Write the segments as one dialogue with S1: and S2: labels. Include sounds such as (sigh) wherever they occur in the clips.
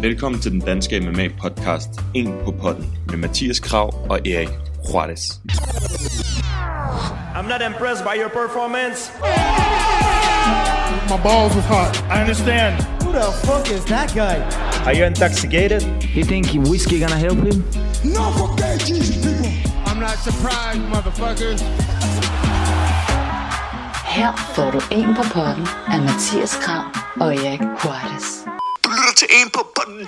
S1: Velkommen til den danske MMA-podcast En på potten med Mathias Krav og Erik Juarez.
S2: I'm not impressed by your performance.
S3: My balls was hot. I understand.
S4: Who the fuck is that guy?
S2: Are you intoxicated?
S5: You think whiskey gonna help him?
S6: No, forget Jesus, people.
S3: I'm not surprised, motherfuckers.
S7: Her får du en på potten af Mathias Krav og Erik Juarez.
S8: Du lytter til en på potten.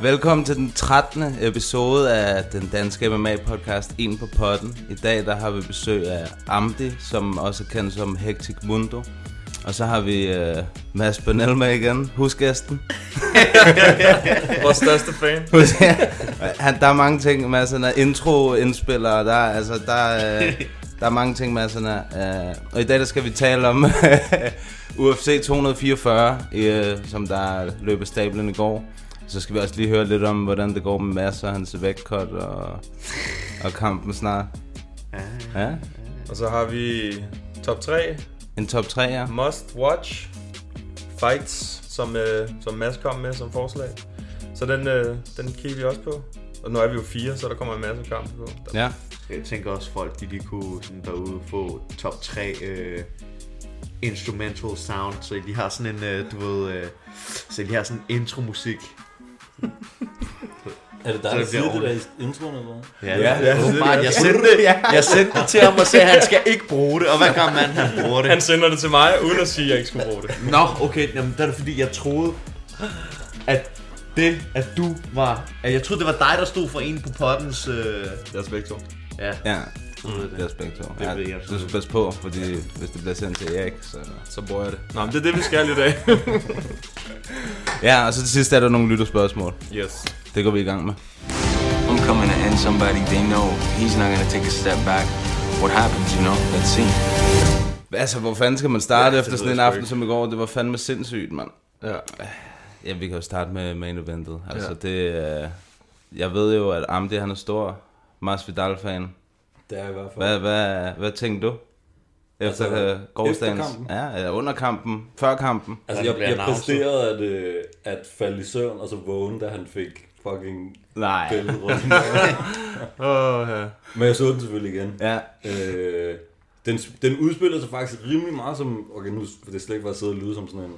S9: Velkommen til den 13. episode af den danske MMA-podcast En på potten. I dag der har vi besøg af Amdi, som også er kendt som Hectic Mundo. Og så har vi øh, Mads Bernal med igen, husgæsten.
S10: Vores største fan.
S9: (laughs) Han, der er mange ting, Mads han er intro-indspiller, og der, er- altså, der, er, øh, der er mange ting, Mads han er. Øh, og i dag der skal vi tale om (laughs) UFC 244, øh, som der løb af stablen i går. Så skal vi også lige høre lidt om, hvordan det går med Mads og hans vægtkort og, og kampen snart. Ja,
S10: Og så har vi top 3
S9: en top 3 ja.
S10: must watch fights, som, øh, som Mads kom med som forslag. Så den, øh, den kigger vi også på. Og nu er vi jo fire, så der kommer en masse kampe på. Der,
S9: ja.
S11: Jeg tænker også, folk de lige kunne sådan derude få top 3 øh, instrumental sound, så I lige har sådan en, øh, du ved, øh, så I lige har sådan en intro-musik.
S12: Er det dig,
S11: Så
S12: der
S11: det bliver
S12: siger det der i introen, eller hvad?
S11: Ja,
S10: ja,
S11: det er åbenbart. Jeg sendte,
S9: (laughs)
S11: det, jeg sendte det til ham og sagde, at han skal ikke bruge det, og hvad gør man, han bruger det?
S10: Han sender det til mig, uden at sige, at jeg ikke skulle bruge det.
S11: Nå, okay, jamen, der er det fordi, jeg troede, at det, at du var... At jeg troede, det var dig, der stod for en på pottens... Øh,
S10: Jeg er spektrum.
S11: ja,
S9: ja.
S11: troede
S9: Det er spektrum.
S11: Det
S9: Ja,
S11: ved jeg
S9: du skal passe på, fordi hvis det bliver sendt til Erik, så...
S10: Så bruger jeg det. Nå, men det er det, vi skal i dag.
S9: Ja, og så til sidst er der nogle lytterspørgsmål.
S10: yes.
S9: Det går vi i gang med.
S5: I'm coming to end somebody they know. He's not gonna take a step back. What happens, you know? Let's see.
S9: Altså, hvor fanden skal man starte
S10: Ja,
S9: ja,
S10: det
S9: efter
S10: ved
S9: sådan
S10: jeg
S9: en
S10: sgu
S9: aften
S10: ikke.
S9: som i går? Det var fandme sindssygt, mand.
S10: Ja.
S9: Ja, vi kan jo starte med main eventet. Altså, ja. det... Øh, jeg ved jo, at Amdi, han er stor Masvidal-fan.
S12: Det er i hvert fald.
S9: Hvad, hvad, hvad tænkte du? Efter
S12: Altså,
S9: altså, gårdsdagens...
S12: efter kampen?
S9: Ja, eller under kampen. Før kampen.
S12: Altså,
S11: Han
S12: jeg,
S11: bliver
S12: jeg
S11: narset.
S12: præsterede at, øh, at falde i søvn, og så vågne, da han fik fucking
S9: Nej.
S12: bæltet rundt.
S10: Åh, ja.
S12: Men jeg så den selvfølgelig igen.
S9: Ja.
S12: Øh, den, den udspiller sig faktisk rimelig meget som... Okay, nu for det er slet ikke bare sidde og lyde som sådan en...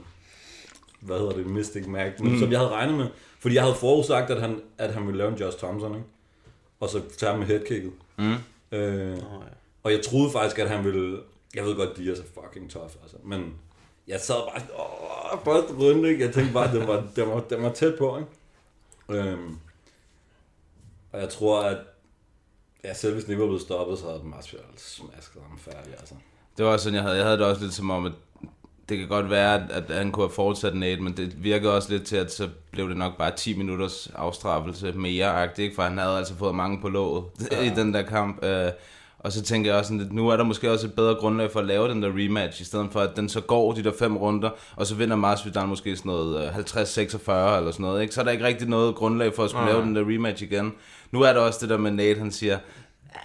S12: Hvad hedder det? Mystic Mac. Men mm. som jeg havde regnet med. Fordi jeg havde forudsagt, at han, at han ville lave en Josh Thompson, ikke? Og så tage ham med headkicket. Mm. Øh, og jeg troede faktisk, at han ville... Jeg ved godt, de er så fucking tough, altså. Men jeg sad bare... Åh, første runde, ikke? Jeg tænkte bare, at den var, den var, den var tæt på, ikke? Øhm, og jeg tror, at Ja, selv hvis Nico var blevet stoppet, så havde Masvidal smasket ham færdig, altså.
S9: Det var også sådan, jeg havde. Jeg havde det også lidt som om, at det kan godt være, at, at han kunne have fortsat Nate, men det virkede også lidt til, at så blev det nok bare 10 minutters afstraffelse mere -agtigt, ikke? for han havde altså fået mange på låget ja. i den der kamp. Øh, og så tænker jeg også sådan lidt, nu er der måske også et bedre grundlag for at lave den der rematch, i stedet for at den så går de der fem runder, og så vinder Masvidal måske sådan noget øh, 50-46 eller sådan noget. Ikke? Så er der ikke rigtig noget grundlag for at skulle lave den der rematch igen. Nu er der også det der med Nate, han siger,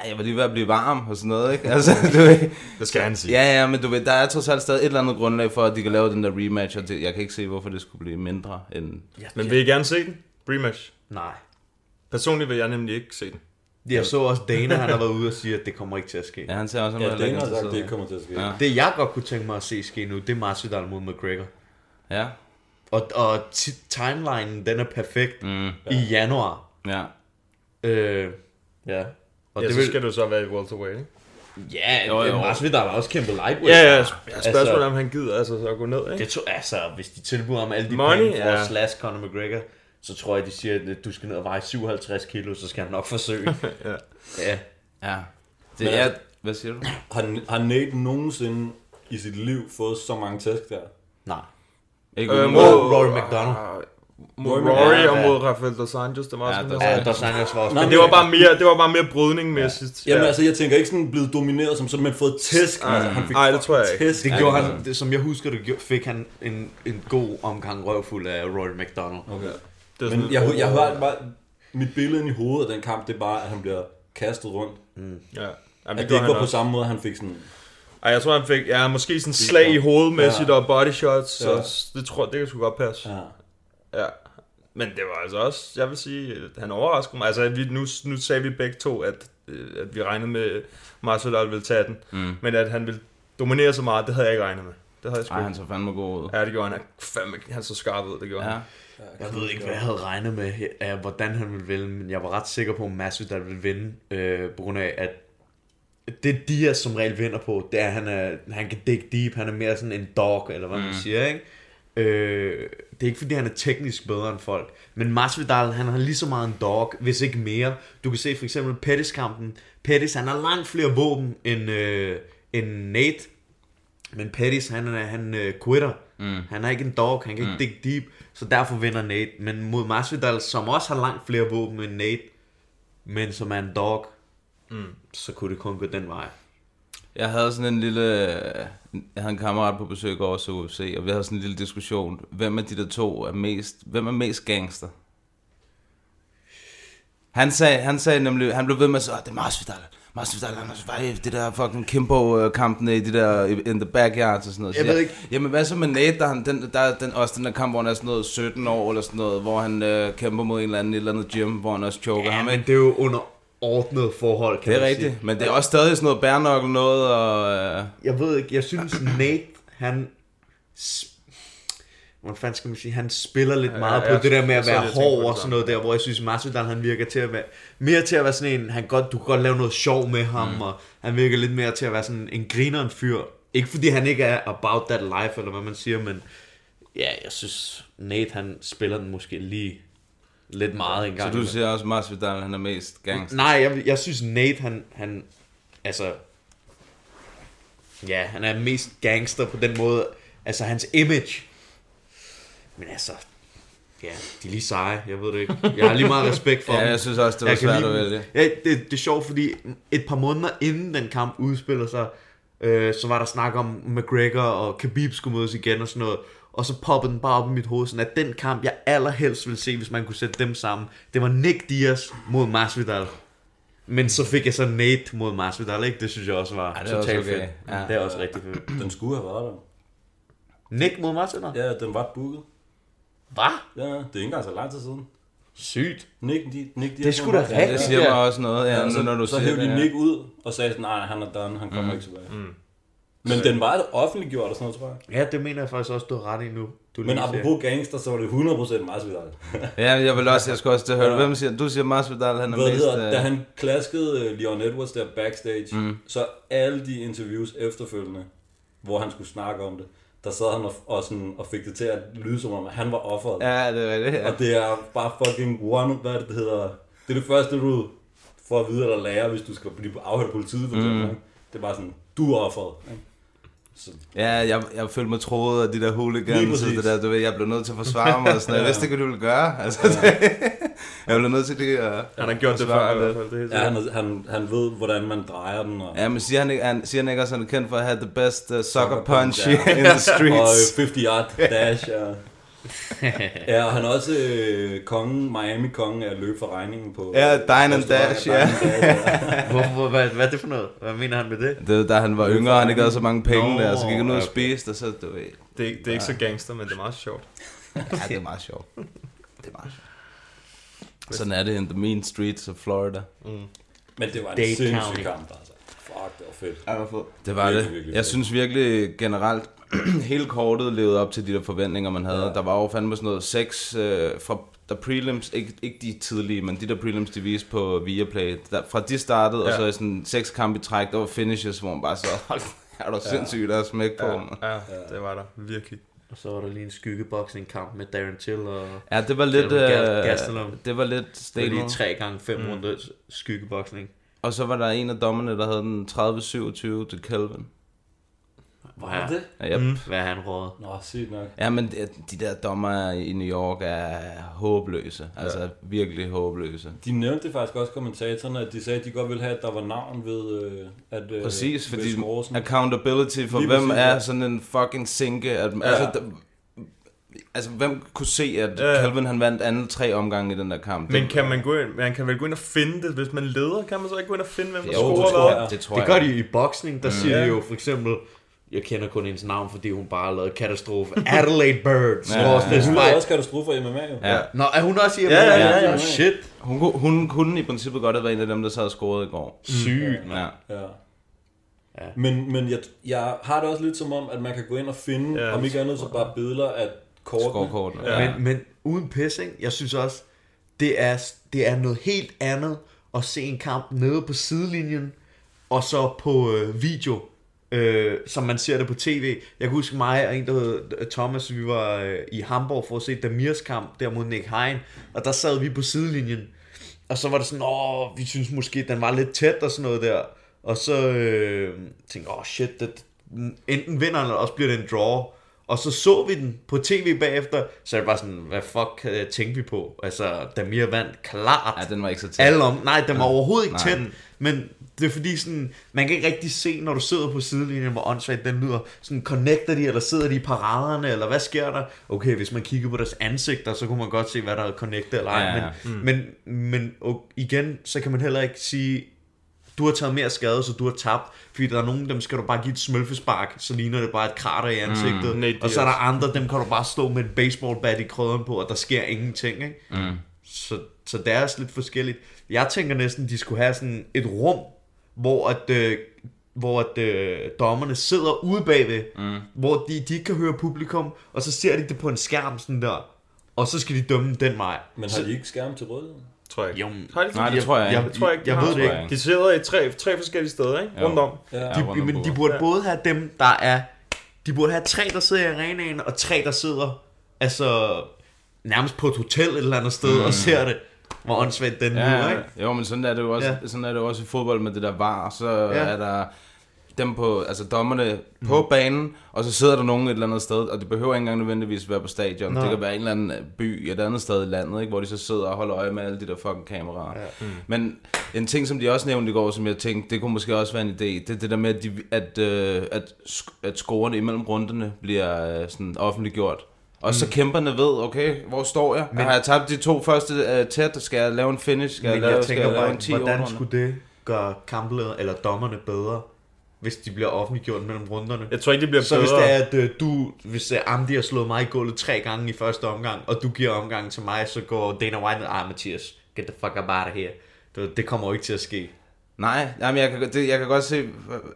S9: "Ja, jeg var lige ved at blive varm og sådan noget, ikke? Altså, (laughs) du ved,
S10: Det skal han sige.
S9: Ja, ja, men du ved, der er trods alt stadig et eller andet grundlag for, at de kan lave den der rematch, og det, jeg kan ikke se, hvorfor det skulle blive mindre end...
S10: Men vil I gerne se den? Rematch.
S11: nej.
S10: Personligt vil jeg nemlig ikke se den.
S11: Jeg så også Dana, han har været ude og sige, at det kommer ikke til at ske.
S9: Ja, han ser også, at
S12: Ja,
S9: han er
S12: det
S9: lidt
S12: har sagt, det
S9: interesseret.
S12: ikke kommer til at ske.
S9: Ja.
S12: Ja.
S11: Det jeg godt kunne tænke mig at se ske nu, det er Masvidal mod McGregor.
S9: Ja,
S11: Og, og ti- timelinen, den er perfekt mm. i januar.
S9: ja.
S11: Øh,
S10: Ja. Og
S11: og
S10: ja,
S11: det
S10: så
S11: vil,
S10: skal du så være i welterweight, ikke?
S11: ja,
S9: Jo,
S11: jo,
S9: jo.
S11: jo. Masvidal har også kæmpet lightweight.
S10: Ja, ja.
S11: Altså-
S10: Spørgsmålet er, om han gider altså så at gå ned, ikke?
S11: Det tror, altså, hvis de tilbyder ham alle de
S10: Money,
S11: Money, penge for
S10: ja.
S11: ja. slash Conor McGregor, så tror jeg, de siger, at du skal ned og veje 57 kilo, så skal han nok forsøge.
S10: (laughs) Ja.
S11: ja.
S9: ja.
S12: Men
S9: Det er...
S12: altså-
S9: Hvad siger du?
S12: Har, har Nate nogensinde i sit liv fået så mange tæsk der?
S11: Nej.
S9: Ikke
S10: Øh,
S9: øh,
S10: mod- Ah,
S11: Rory, Rory McDonald.
S10: Mod Rory
S11: ja,
S10: og
S11: ja.
S10: mod Rafael Dos Anjos, det var også
S9: Ja,
S10: sådan,
S9: der-
S10: der
S11: Ja, Dos Anjos var også
S12: Nej,
S11: Nej,
S10: Men det var bare mere, det var bare mere brydningmæssigt.
S12: Jamen altså, jeg tænker ikke sådan blevet domineret som sådan, men fået tæsk.
S10: Ej,
S12: altså, han fik
S10: ej, det tror jeg
S12: fucking
S10: ikke.
S12: Tæsk.
S11: det gjorde han, det, som jeg husker det, gjorde- fik han en, en god omgang røvfuld af Rory McDonald.
S12: Okay.
S10: det er sådan,
S12: Men jeg, jeg, jeg hørte bare, mit billede ind i hovedet af den kamp, det er bare, at han bliver kastet rundt.
S10: Ja. Jamen,
S12: At det
S10: gjorde
S12: ikke var
S10: han
S12: på
S10: også.
S12: samme måde, han fik sådan...
S10: Ej, jeg tror, han fik ja, måske sådan slag i hovedmæssigt ja. og body shots, ja. så det tror det kan sgu godt passe. Ja. ja. Men det var altså også, jeg vil sige, han overraskede mig. Altså, vi, nu, nu sagde vi begge to, at, øh, at vi regnede med, Masvidal ville tage den. Mm. Men at han ville dominere så meget, det havde jeg ikke regnet med. Det havde jeg sgu
S9: Ej, han så fandme god ud.
S10: Ja, det gjorde han. Han, fandme, han så skarp ud, det gjorde ja. han.
S11: Jeg ved ikke, hvad jeg havde regnet med, af, hvordan han ville vinde, men jeg var ret sikker på, at Masvidal ville vinde, øh, på grund af, at det Diaz som regel vinder på, det er, at han, er, han kan dig deep, han er mere sådan en dog, eller hvad mm. man siger, ikke? Øh, det er ikke fordi, han er teknisk bedre end folk, men Masvidal, han har lige så meget en dog, hvis ikke mere. Du kan se for eksempel Pettis-kampen. Pettis, han har langt flere våben end, øh, end Nate, men Pettis, han, er- han øh, quitter. Mm. Han er ikke en dog, han kan ikke mm. dig deep, så derfor vinder Nate. Men mod Masvidal, som også har langt flere våben end Nate, men som er en dog, mm. så kunne det kun gå den vej.
S9: Jeg havde sådan en lille... øh, Jeg havde en kammerat på besøg i går også UFC, og vi havde sådan en lille diskussion. Hvem af de der to er mest... Hvem er mest gangster? Han sagde, han sagde nemlig... Han blev ved med at sige, "Åh, det er Masvidal. Masvidal, han er det der fucking Kimbo-kampene i de der in the backyards og sådan noget. Så
S11: Jeg ved ikke-
S9: Jamen hvad så med Nate, der, han, den, der den, også den der kamp, hvor han er sådan noget 17 år eller sådan noget, hvor han øh, kæmper mod en eller anden, et eller andet gym, hvor han også choker
S11: Ja,
S9: ham,
S11: men
S9: ikke?
S11: det er jo under ordnet forhold, kan
S9: Det er
S11: man
S9: rigtigt,
S11: sige.
S9: men det er også stadig sådan noget bærnokkel noget, og... Øh,
S11: Jeg ved ikke, jeg synes Nate, han... s- Hvordan fanden skal man sige? Han spiller lidt meget
S10: ja,
S11: på
S10: jeg-
S11: det der med
S10: jeg
S11: at
S10: sidder lige
S11: være
S10: og tænker på
S11: hård
S10: det
S11: og sådan
S10: samme.
S11: noget der, hvor jeg synes Masvidal han virker til at være, mere til at være sådan en, han godt, du kan godt lave noget sjov med ham, mm. og han virker lidt mere til at være sådan en grineren fyr. Ikke fordi han ikke er about that life, eller hvad man siger, men ja, jeg synes Nate han spiller den måske lige lidt meget en
S9: Så
S11: gang.
S9: du
S11: imellem.
S9: siger også, Masvidal han er mest gangster?
S11: Nej, jeg, jeg synes Nate, han, han, altså, ja, han er mest gangster på den måde, altså hans image. Men altså, ja, de er lige seje, jeg ved det ikke. Jeg har lige meget respekt for
S9: Ja,
S11: dem.
S9: jeg synes også, det var
S11: Jeg kan
S9: svært
S11: lide
S9: at
S11: dem.
S9: vælge.
S11: Ja, det, det er sjovt, fordi et par måneder inden den kamp udspiller sig, øh, så var der snak om McGregor og Khabib skulle mødes igen og sådan noget. Og så poppede den bare op i mit hoved, sådan at den kamp, jeg allerhelst ville se, hvis man kunne sætte dem sammen, det var Nick Diaz mod Masvidal. Men så fik jeg så Nate mod Masvidal, ikke? Det synes jeg også var
S9: Ej,
S11: ja,
S9: det er
S11: totalt
S9: også okay.
S11: fedt.
S9: Ja.
S11: Ja. Det er også rigtig fedt.
S12: Den skulle have været der.
S11: Nick mod Masvidal? Ja.
S12: Ja, den var booket.
S11: Hvad?
S12: Ja, det er ikke engang så lang tid siden.
S11: Sygt.
S12: Nick, de, Nick, de
S11: Det er sgu da
S9: Ja,
S11: rigtigt.
S9: det siger
S11: Ja.
S9: mig også noget, ja,
S12: Ja,
S9: nu,
S12: så,
S9: når du
S12: så
S9: siger
S12: hævde
S9: det.
S12: de
S9: ja.
S12: Nick ud og sagde sådan, nej, han er done, han kommer ikke tilbage. Men den var offentliggjort og sådan noget, tror jeg.
S11: Ja, det mener jeg faktisk også, du har ret i nu. Du
S12: Men
S11: lige siger.
S12: apropos gangster, så var det 100% Masvidal.
S9: Ja, jeg vil også, jeg skal også til at høre, hvem siger, du siger Masvidal, han er
S12: Hvad det
S9: mest...
S12: hedder,
S9: øh,
S12: da han klaskede øh, Leon Edwards der backstage, mm. så alle de interviews efterfølgende, hvor han skulle snakke om det, der sad han og, og, sådan, og fik det til at lyde som om, at han var offeret.
S9: Ja, det er rigtigt, ja.
S12: Og det er bare fucking one, hvad er det det hedder, det er det første, du får at vide eller lærer, hvis du skal blive afhørt af politiet, for eksempel. Mm. Det er bare sådan, du er offeret. ikke? Så
S9: Ja, jeg, jeg følte mig troet af de der
S12: Lige
S9: hooligans og
S12: præcis.
S9: det der, du ved, jeg blev nødt til at forsvare mig og sådan noget. Jeg vidste ikke, hvad du ville gøre, altså. Det, (laughs) jeg blev nødt til det at...
S10: Han har gjort det før i hvert fald. Det er helt
S12: ja, han, han, han ved, hvordan man drejer den. Og,
S9: Ja, men siger han ikke, han, siger han ikke også, at han er kendt for at have the best uh, soccer
S12: Sucker
S9: punch
S12: punch,
S9: yeah. (laughs) in the
S12: og
S9: streets?
S12: øh, 50 yard dash.
S9: (laughs)
S12: Og, ja, og han er også øh, kongen, Miami-kongen af løb for regningen på...
S9: Ja, dine and
S12: på restaurant-
S9: dash,
S12: dine
S9: ja.
S12: and dash, ja.
S11: Hvorfor, hvad, hvad er det for noget? Hvad mener han med det?
S9: Det var da han var yngre, og han ikke havde så mange penge
S11: Nå,
S9: der, så gik han ud og
S11: okay.
S9: spiste, og så, du ved...
S10: Det, er ikke- det er ikke så gangster, men det er meget sjovt.
S9: Ja, (laughs) det er meget sjovt. Det er meget sjovt. Sådan er det in the mean streets of Florida.
S12: Men det var en
S11: Dade County.
S12: sindssyg kamp, altså. Fuck, det var fedt.
S9: Det var
S12: Virkelig,
S9: det.
S12: virkelig
S9: Jeg
S12: fedt.
S9: synes virkelig generelt, (clears throat) hele kortet levede op til de der forventninger, man havde. Der var jo fandme sådan noget seks øh, fra der prelims, ikke, ikke de tidlige, men de der prelims, de viste på Viaplay. Der, fra de startede, ja. og
S10: Ja.
S9: så i sådan seks kampe i træk, der var finishes, hvor man bare så, (laughs) hold er du sindssygt, der er smæk på. Ja.
S10: Ja, det var der. Virkelig.
S11: Og så var der lige en skyggeboksningkamp med Darren Till og...
S9: ja, det var lidt...
S11: Det var Gas-
S9: øh,
S11: Gastelum.
S9: det var lidt
S11: Det er
S9: stenet.
S11: lige 3 gange 5 mm. runder skyggeboksning.
S9: Og så var der en af dommerne, der havde den 30-27 til Kelvin.
S11: Hvor er
S12: det?
S9: Ja, yep. mm.
S11: Hvad er han råd?
S12: Nå, sygt nok.
S9: Ja, men de, de der dommer i New York er håbløse. Altså ja. virkelig håbløse.
S12: De nævnte det faktisk også kommentatorerne, at de sagde, at de godt ville have, at der var navn ved... Øh, at, øh,
S9: Præcis,
S12: ved
S9: fordi
S12: scoresen.
S9: accountability for
S12: Lige
S9: hvem
S12: præcis,
S9: er
S12: ja.
S9: sådan en fucking sinke. At, ja. altså, der, altså, hvem kunne se, at ja. Calvin han vandt anden tre omgange i den der kamp?
S10: Men kan man, gå ind, man kan vel gå ind og finde det, hvis man leder, kan man så ikke gå ind og finde, hvem der
S11: Jo, det
S10: scorer
S11: tror
S10: hvad?
S11: jeg. Det, tror det gør de i boksning, der mm. siger de jo for eksempel, jeg kender kun hendes navn, fordi hun bare har lavet katastrofe. Adelaide Bird,
S9: Ja, ja, ja.
S11: skorstens
S9: Hun
S12: Det er
S11: ja,
S12: også katastrofer i MMA, jo.
S9: Ja.
S11: Nå, er hun også i MMA?
S9: Ja, ja,
S12: ja, ja.
S11: Nå, Shit.
S9: Hun, kunne- hun kunne i princippet godt have været en af dem, der sad og scorede i går.
S11: Sygt,
S9: Ja.
S12: Ja. ja. Men, men jeg, jeg har det også lidt som om, at man kan gå ind og finde,
S10: Ja,
S12: ja, om ikke andet, så bare billeder af kortene.
S9: Scorekorten.
S11: Ja. Men, men uden pissing, jeg synes også, det er, det er noget helt andet at se en kamp nede på sidelinjen, og så på øh, video, øh, som man ser det på tv. Jeg kan huske mig og en, der hed øh, Thomas, vi var øh, i Hamburg for at se Damirs kamp der mod Nick Hein, og der sad vi på sidelinjen. Og så var det sådan, åh, vi synes måske, den var lidt tæt og sådan noget der. Og så øh, tænkte jeg, åh shit, det, enten vinder han, eller også bliver det en draw. Og så så vi den på tv bagefter, så er det bare sådan, hvad fuck øh, tænkte vi på? Altså, Damir vandt klart.
S9: Ja, den var ikke så tæt.
S11: Alle om, nej, den var overhovedet ikke
S9: Nej.
S11: tæt, men det er fordi sådan, man kan ikke rigtig se, når du sidder på sidelinjen, hvor åndssvagt den lyder. Sådan, connecter de, eller sidder de i paraderne, eller hvad sker der? Okay, hvis man kigger på deres ansigter, så kunne man godt se, hvad der er connectet eller ej.
S9: Ja, ja. Mm.
S11: Men, men, men og igen, så kan man heller ikke sige, du har taget mere skade, så du har tabt. Fordi der er nogen, dem skal du bare give et smølfespark, så ligner det bare et krater
S9: Mm.
S11: i ansigtet.
S10: Nate
S11: og så er der
S10: Diaz.
S11: andre, dem kan du bare slå med et baseballbat i krøderen på, og der sker ingenting. Ikke? Mm. Så, så det er også lidt forskelligt. Jeg tænker næsten, de skulle have sådan et rum, hvor at, øh, hvor at øh, dommerne sidder ude bagved, mm. hvor de, de ikke kan høre publikum, og så ser de det på en skærm sådan der, og så skal de dømme den vej.
S12: Men har de ikke skærm til rådighed?
S10: Tror jeg ikke.
S11: Jo,
S10: Har de det?
S9: Nej, det tror jeg ikke.
S10: Jeg tror ikke, de
S11: jeg
S10: har.
S11: ved det
S9: tror jeg
S11: ikke.
S10: De sidder i tre, tre forskellige steder, ikke?
S9: Jo.
S10: Rundt om.
S12: Ja.
S9: Ja, rundt
S11: De,
S9: om
S11: men de
S9: bordet.
S11: burde
S10: Ja.
S11: både have dem, der er... De burde have tre, der sidder i arenaen, og tre, der sidder altså nærmest på et hotel et eller andet sted mm. og ser det. Hvor åndssvagt den ja, nu,
S9: Ja,
S11: ikke?
S9: ja. jo, men sådan er det jo også,
S11: Ja.
S9: ja. sådan er det jo også i fodbold med det der var, så
S11: Ja. Mhm.
S9: ja. er der dem på, altså dommerne på banen, og så sidder der nogen et eller andet sted, og det behøver ikke engang nødvendigvis være på stadion.
S11: Nej.
S9: Det kan være en eller anden øh, by et andet sted i landet, ikke, hvor de så sidder og holder øje med alle de der fucking kameraer. Ja. Mm. Men en ting, som de også nævnte i går, som jeg tænkte, det kunne måske også være en idé, det er det der med, at, de, at, øh, at, sk- at scorene imellem runderne bliver øh, sådan offentliggjort. Og
S11: Mm.
S9: så kæmperne ved, okay, hvor står jeg? Men, har jeg tabt de to første øh, tæt? Skal jeg lave en finish? Skal
S11: Men
S9: jeg, lave,
S11: jeg
S9: skal
S11: tænker
S9: jeg lave
S11: bare,
S9: en 10
S11: hvordan
S9: overrunde?
S11: skulle det gøre kampleder eller dommerne bedre, hvis de bliver offentliggjort mellem runderne?
S10: Jeg tror ikke, det bliver
S11: Så hvis
S10: bedre.
S11: det er, at øh, du, hvis øh, Amdi har slået mig i gulvet tre gange i første omgang, og du giver omgangen til mig, så går Dana White, ah Mathias, get the fuck up out of here. Det, det kommer jo ikke til at ske.
S9: Nej, nej men jeg, kan, det, jeg kan godt se,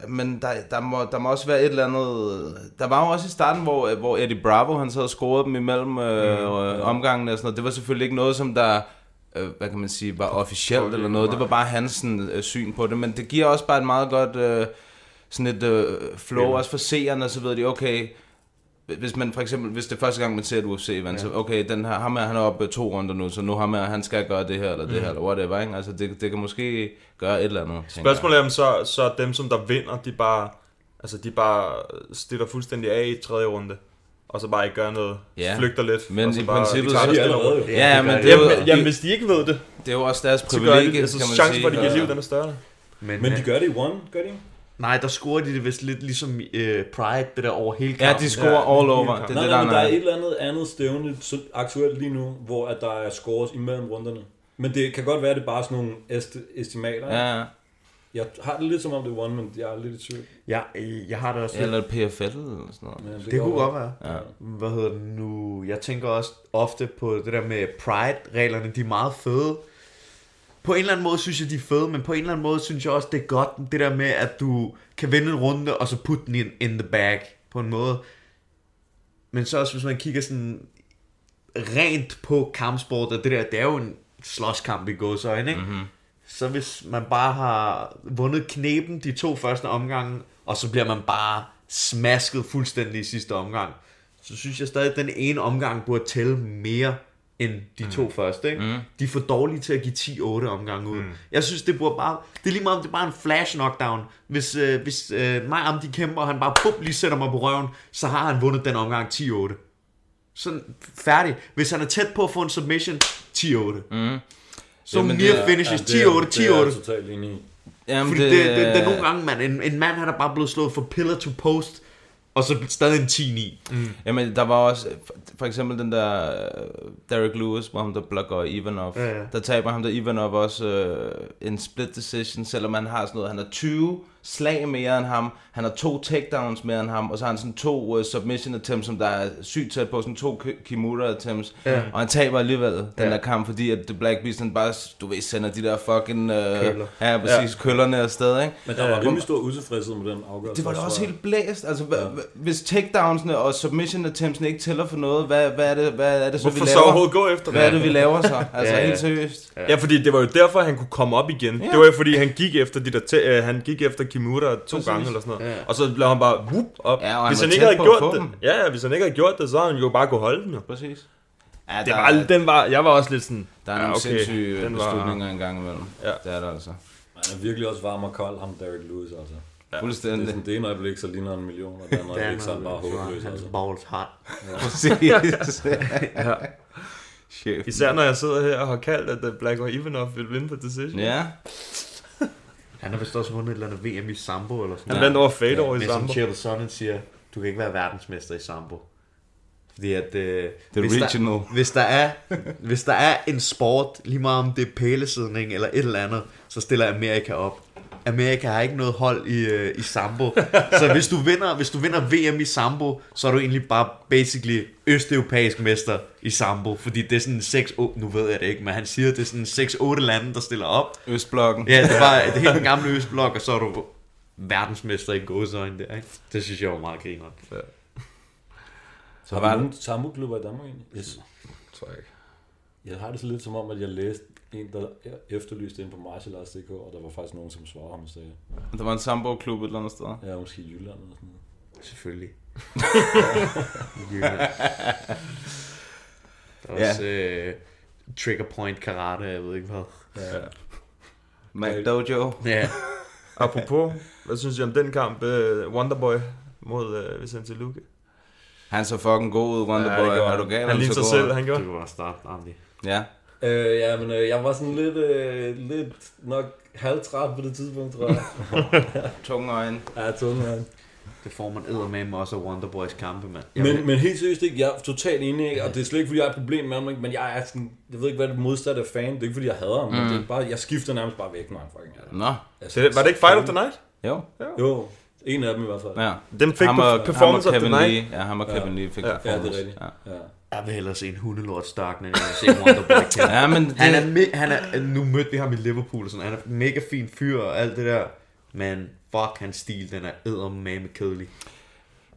S9: men der, der, må, der må også være et eller andet... Der var jo også i starten, hvor, hvor Eddie Bravo han sad og scorede dem imellem øh, øh, omgangene og sådan noget. Det var selvfølgelig ikke noget, som der øh, hvad kan man sige, var officielt eller noget. Det var bare hans sådan, øh, syn på det, men det giver også bare et meget godt øh, sådan et øh, flow, også for seerne, så ved de, okay, hvis man for eksempel, hvis det er første gang, man ser et UFC event, ja. så okay, den her, ham her, han er oppe to runder nu, så nu ham her, han skal gøre det her, eller
S10: Mhm.
S9: det her, eller whatever, ikke? Altså, det, det kan måske gøre et eller andet, tænker jeg.
S10: Spørgsmålet er, om så, så dem, som der vinder, de bare, altså, de bare stiller fuldstændig af i tredje runde. Og så bare ikke gør noget.
S9: Ja.
S10: Flygter lidt.
S9: Men
S10: og så
S9: i
S10: bare,
S9: princippet,
S10: de tager
S9: så-
S10: det stille og
S12: Allerede,
S10: roligt.
S12: jo.
S9: Ja, ja, men det er, jo,
S10: Jamen, jamen, hvis de ikke ved det,
S9: det er jo også deres
S10: så gør de
S9: privilegie,
S10: det. Altså,
S9: kan man
S10: chancen
S9: sige.
S10: for, at de giver
S9: Ja.
S10: liv, den er større.
S11: Men, øh,
S12: Men de gør det i one, gør de ikke?
S11: Nej, der scorer de det vist lidt ligesom øh, Pride, det der over hele
S9: Ja,
S11: kampen.
S9: de scorer all over. Det er
S12: Nej,
S9: det,
S12: nej,
S9: der er
S12: men der er et
S9: nej.
S12: eller andet andet stævne så aktuelt lige nu, hvor at der er scores imellem runderne. Men det kan godt være, at det er bare sådan nogle est- estimater. Ja.
S9: Ja,
S12: Jeg har det lidt som om det er one, men jeg er lidt i tvivl.
S11: Ja, øh, jeg har det også.
S9: eller et PFL eller sådan noget.
S12: Men
S11: det kunne
S12: går-
S11: godt være. Ja. Hvad hedder det nu? Jeg tænker også ofte på det der med Pride-reglerne. De er meget fede. På en eller anden måde synes jeg, de er fede, men på en eller anden måde synes jeg også, det er godt, det der med, at du kan vinde en runde, og så putte den in, in the bag, på en måde. Men så også, hvis man kigger sådan rent på kampsport, og det der, det er jo en slåskamp i gåsøjne, ikke? Mm-hmm. Så hvis man bare har vundet knepen de to første omgange, og så bliver man bare smasket fuldstændig i sidste omgang, så synes jeg stadig, at den ene omgang burde tælle mere end de to første. Ikke? Mm. De er for dårlige til at give 10-8 omgange ud. Mm. Jeg synes, det burde bare... Det er lige meget, om det er bare en flash knockdown. Hvis, øh, hvis øh, mig og Amdi kæmper, og han bare pum, lige sætter mig på røven, så har han vundet den omgang 10-8. Sådan færdig. Hvis han er tæt på at få en submission, 10-8. Mm. Så
S9: Jamen,
S11: Jamen,
S9: det
S11: near
S9: er-
S11: finishes,
S12: det
S11: 10-8,
S12: er-
S11: 10-8.
S12: Det er jeg totalt enig i.
S9: Jamen,
S11: Fordi det, det, det, er nogle gange, man, en, en mand han er bare blevet slået fra pillar to post og så stadig en 10 i.
S9: Mm. Jamen, der var også, øh, for eksempel den der øh, Derek Lewis, hvor ham der blokker Ivanov.
S11: Ja, ja.
S9: Der taber ham der Ivanov også øh, en split decision, selvom han har sådan noget, han har 20 slag mere end ham, han har to takedowns mere end ham, og så har han sådan to øh, submission attempts, som der er sygt tæt på, sådan to ki- Kimura attempts,
S11: Ja.
S9: og han taber alligevel den
S11: Ja.
S9: der kamp, fordi at The Black Beast, han bare, du ved, sender de der fucking, øh,
S11: Køller. Øh,
S9: ja, præcis, ja. køllerne afsted, ikke?
S12: Men der var rimelig stor utilfredshed med den afgørelse.
S9: Det var da
S12: tror
S9: også
S12: jeg.
S9: helt blæst. Altså, hvad, ja. hvis takedownsene og submission attemptsene ikke tæller for noget, hvad, hvad, er, det, hvad er det så,
S10: Hvorfor
S9: vi
S10: så
S9: laver?
S10: overhovedet gå efter
S9: Hvad er det, vi laver så?
S10: (laughs)
S9: Altså,
S10: Ja,
S9: ja,
S10: ja.
S9: helt seriøst.
S10: Ja, fordi det var jo derfor, han kunne komme op igen.
S9: Ja.
S10: Ja. Det var jo fordi, han gik efter, de der tæ- øh, han gik efter Kimura to
S9: Præcis.
S10: gange eller sådan noget. Ja.
S9: Ja.
S10: Og så blev han bare whoop op.
S9: Ja, og han
S10: hvis
S9: var
S10: han,
S9: tæt
S10: ikke havde
S9: på at få
S10: gjort det,
S9: dem.
S10: ja, ja, hvis han ikke havde gjort det, så havde han jo bare kunne holde den jo.
S9: Præcis. Ja,
S10: Ja, det
S9: der
S10: var,
S9: er-
S10: den var, jeg var også lidt sådan,
S9: Der er
S10: ja,
S9: nogle
S10: okay,
S9: sindssyge øh,
S10: den var-
S9: beslutninger en gang imellem. Ja. Det er der altså.
S12: Han er virkelig også varm og kold, ham Derek Lewis, altså.
S9: Ja. Fuldstændig.
S12: Det er sådan, det ene øjeblik, så ligner han en million, og det andet øjeblik, så er han bare håbløs,
S11: Han
S12: altså.
S11: er balls hard.
S9: Præcis. (laughs)
S10: (laughs) Ja.
S9: Chef.
S10: Især når jeg sidder her og har kaldt, at øh, Black og Ivanov vil vinde på decision.
S9: Ja.
S11: Han har vist også vundet et eller andet VM i sambo eller sådan
S10: Han vandt over fade over i
S11: men
S10: sambo.
S11: Men som Chael Sonnen siger, du kan ikke være verdensmester i sambo. Fordi at... Øh,
S9: The regional.
S11: Der, hvis, der er, hvis der er en sport, lige meget om det er pælesidning eller et eller andet, så stiller Amerika op. Amerika har ikke noget hold i, øh, i sambo.
S10: (laughs)
S11: Så hvis du, vinder, hvis du vinder VM i sambo, så er du egentlig bare basically østeuropæisk mester i sambo. Fordi det er sådan 6 8 nu ved jeg det ikke, men han siger, at det er sådan 6-8 lande, der stiller op.
S9: Østblokken.
S11: Ja, det var det hele den gamle Østblok, og så er du verdensmester i gåsøjne der, ikke? Det synes jeg var meget grineren. Ja.
S12: Så har vi nogen samboklubber i Danmark egentlig? Yes.
S10: Tror jeg ikke.
S12: Jeg har det så lidt som om, at jeg læste en, der efterlyste ind på martialarts.dk, og der var faktisk nogen, som svarede ham og sagde,
S9: Der var en sambo-klub et eller andet sted.
S12: ja, måske i Jylland eller sådan noget.
S11: Selvfølgelig.
S12: Jylland.
S11: Der er også øh, trigger point karate, jeg ved ikke hvad.
S12: Ja.
S9: Mac Dojo.
S11: Ja.
S10: Apropos, hvad synes I om den kamp? Uh, Wonderboy mod uh, Vicente Luque.
S9: Han så fucking god ud,
S10: Ja, det
S9: Wonderboy.
S10: gjorde
S9: Ja, er
S10: han.
S9: du gal?
S10: Han lignede sig
S9: så god
S10: selv,
S9: ud?
S10: han gjorde.
S11: Du kan bare starte, Andy.
S9: Ja.
S12: Øh, ja, men øh, jeg var sådan lidt, øh, lidt nok halvtræt på det tidspunkt, tror jeg.
S9: Tunge øjne.
S12: (laughs) ja, tunge øjne.
S11: Det får man eddermame også af Wonderboys kampe, mand.
S12: Men, men helt seriøst, ikke? jeg er totalt enig, ikke? og det er slet ikke, fordi jeg har et problem med ham, ikke? men jeg er sådan, jeg ved ikke, hvad det modsatte af fan, det er ikke, fordi jeg hader ham,
S9: Mm.
S12: mm. det er bare, jeg skifter nærmest bare væk, når han fucking er der.
S9: Nå.
S12: Altså,
S10: Det, var det ikke Fight of the Night?
S9: Jo.
S12: Jo, en af dem i hvert fald.
S9: Ja.
S10: Den fik
S9: Ham og-
S10: perf- performance
S9: ham og
S10: of the
S9: Kevin
S10: night.
S9: Lee. Ja, ham og Kevin Lee fik
S12: ja, Ja,
S9: performance.
S12: det er rigtigt. Ja.
S11: Jeg vil hellere se en hundelort stakken, end jeg vil se Wonderboy kæmpe.
S9: Ja, men det-
S11: han, er me- han er, nu mødte vi ham i Liverpool, og sådan. han er en mega fin fyr og alt det der. Men fuck, hans stil, den er eddermame kedelig.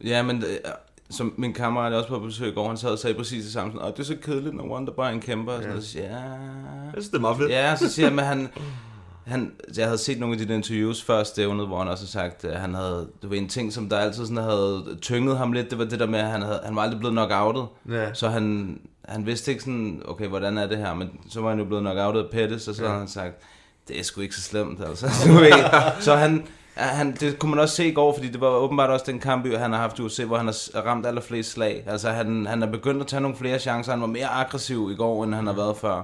S9: Ja, men øh, som min kammerat også på besøg i går, han sad og sagde præcis det samme. Sådan, Åh, det er så kedeligt, når Wonderboy er en kæmper. Og sådan, noget. Så siger jeg, ja.
S10: Jeg synes, det er meget fedt.
S9: Ja, så siger jeg, men han... Han, jeg havde set nogle af de der interviews før stævnet, hvor han også har sagt, at han havde, du ved, en ting, som der altid sådan havde tynget ham lidt, det var det der med, at han, havde, han var aldrig blevet knockoutet.
S11: Ja.
S9: Så han, han vidste ikke sådan, okay, hvordan er det her, men så var han jo blevet knockoutet af Pettis, og så ja. havde han sagt, det er sgu ikke så slemt, altså. (laughs) Du ved. så han, han, det kunne man også se i går, fordi det var åbenbart også den kamp, han har haft i UFC, hvor han har ramt allerflest slag. Altså han, han er begyndt at tage nogle flere chancer, han var mere aggressiv i går, end han har været før.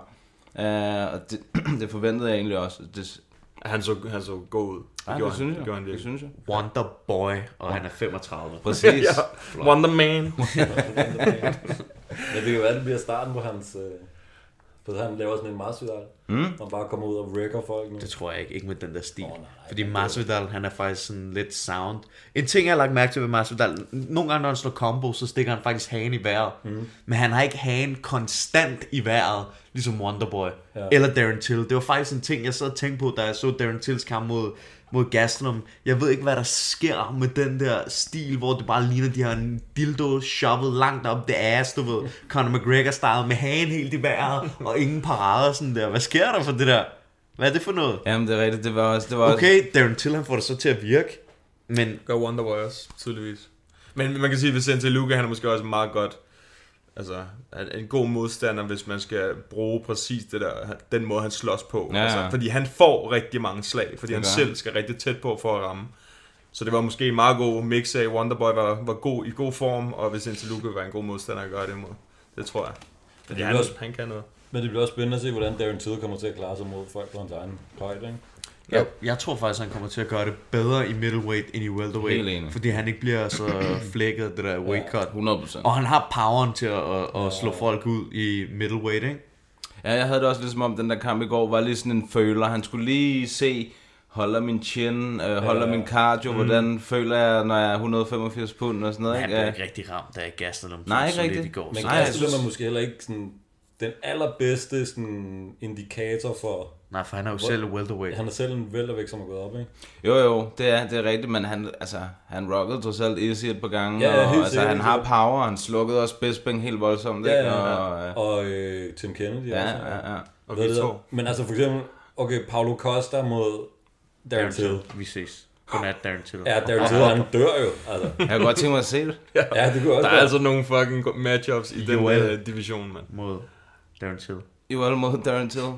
S9: Uh, og det, (clears throat) det forventede jeg egentlig også. Det,
S10: Han så, han så god ud. Det
S9: ja,
S10: gjorde
S9: det, synes
S10: han,
S9: jeg.
S10: det gjorde han
S9: det
S10: virkelig.
S9: synes jeg.
S11: Wonderboy, og han er 35.
S9: (laughs) Præcis.
S10: Ja, Wonder Man.
S12: Men det kan være, det bliver starten på hans... Øh, på han laver sådan en marsugal, mm. og bare kommer ud og wrecker folk nu.
S11: Det
S12: Det
S11: tror jeg ikke, ikke med den der stil. Oh,
S12: nej,
S11: nej,
S12: nej,
S11: Fordi Masvidal, han er faktisk sådan lidt sound. En ting, jeg har lagt mærke til ved Masvidal, nogle gange, når han slår combo, så stikker han faktisk hagen i vejret. Mm. Men han har ikke hagen konstant i vejret, ligesom Wonderboy. Ja. Eller Darren Till. Det var faktisk en ting, jeg sad og tænkte på, da jeg så Darren Tills kamp mod, mod Gaslam. Jeg ved ikke, hvad der sker med den der stil, hvor det bare ligner, de har en dildo shoppet langt op det ass, du ved. Conor McGregor-style med hagen helt i vejret, og ingen parader sådan der. Hvad sker der for det der? Hvad er det for noget?
S9: Jamen, det er rigtigt. Det var også... Det var også
S11: Okay, Darren Till han får det så til at virke, men
S10: Gør Wonderboy også, tydeligvis. Men man kan sige, at Vicente Luque, han er måske også meget godt... Altså, han er en god modstander, hvis man skal bruge præcis det der, den måde, han slås på.
S9: Ja, ja.
S10: altså, fordi han får rigtig mange slag, fordi han
S9: gør
S10: selv
S9: han.
S10: skal rigtig tæt på for at ramme. Så det var måske en meget god mix af, Wonderboy var, var god, i god form, og Vicente Luque var en god modstander at gøre det imod. Det tror jeg. Fordi
S12: det
S10: han,
S12: er også-
S10: han kan noget.
S12: Men det bliver også spændende at se, hvordan Darren Till kommer til at klare sig mod folk på hans egen højde, ikke?
S11: Ja. Jeg, jeg tror faktisk, han kommer til at gøre det bedre i middleweight end i welterweight. Fordi han ikke bliver så flækket af det der weight cut.
S9: 100%.
S11: Og han har poweren til at, at, at slå folk ud i middleweight, ikke?
S9: Ja, jeg havde det også ligesom om, den der kamp i går var lige sådan en føler. Han skulle lige se, holder min chin, øh, holder ja. min cardio, mm. hvordan føler jeg, når jeg er 185 pund og sådan noget.
S11: Han
S9: Ikke?
S11: blev
S9: Ja,
S11: ikke rigtig ramt, da jeg gastede om
S9: Nej, ikke
S11: så lidt
S9: rigtig.
S11: i går.
S9: Men
S11: så-
S9: Nej, jeg
S12: Nej, så
S9: synes-
S12: man måske heller ikke sådan, den allerbedste sådan, indikator for...
S11: Nej, for han er jo selv welterweight.
S12: Han er selv en weltervægt, som er gået op, ikke?
S9: jo, jo, det er, det er rigtigt, men han, altså, han rockede trods alt Izzy et par gange.
S12: Ja, ja, helt
S9: og, altså,
S12: sikkert,
S9: han
S12: helt
S9: har
S12: sikkert.
S9: power, og han slukkede også Bisping helt voldsomt.
S12: Ja,
S9: Ikke?
S12: ja, ja.
S9: Og, øh,
S12: Og øh, Tim Kennedy
S9: ja,
S12: også.
S9: ja, ja.
S10: Og
S12: Hvad er det
S10: Vitor.
S12: der? Men altså for eksempel, okay, Paulo Costa mod Darren Till.
S11: Vi ses. Godnat, Darren Till.
S12: Ja, Darren Till, han dør jo. Altså.
S9: Jeg kunne godt tænke mig at se det.
S12: Ja, det kunne også
S10: Der er
S12: være.
S10: altså nogle fucking go- matchups i den
S11: Joel.
S10: øh, division, mand.
S11: Mod Darren Till.
S9: I var mod Darren Till.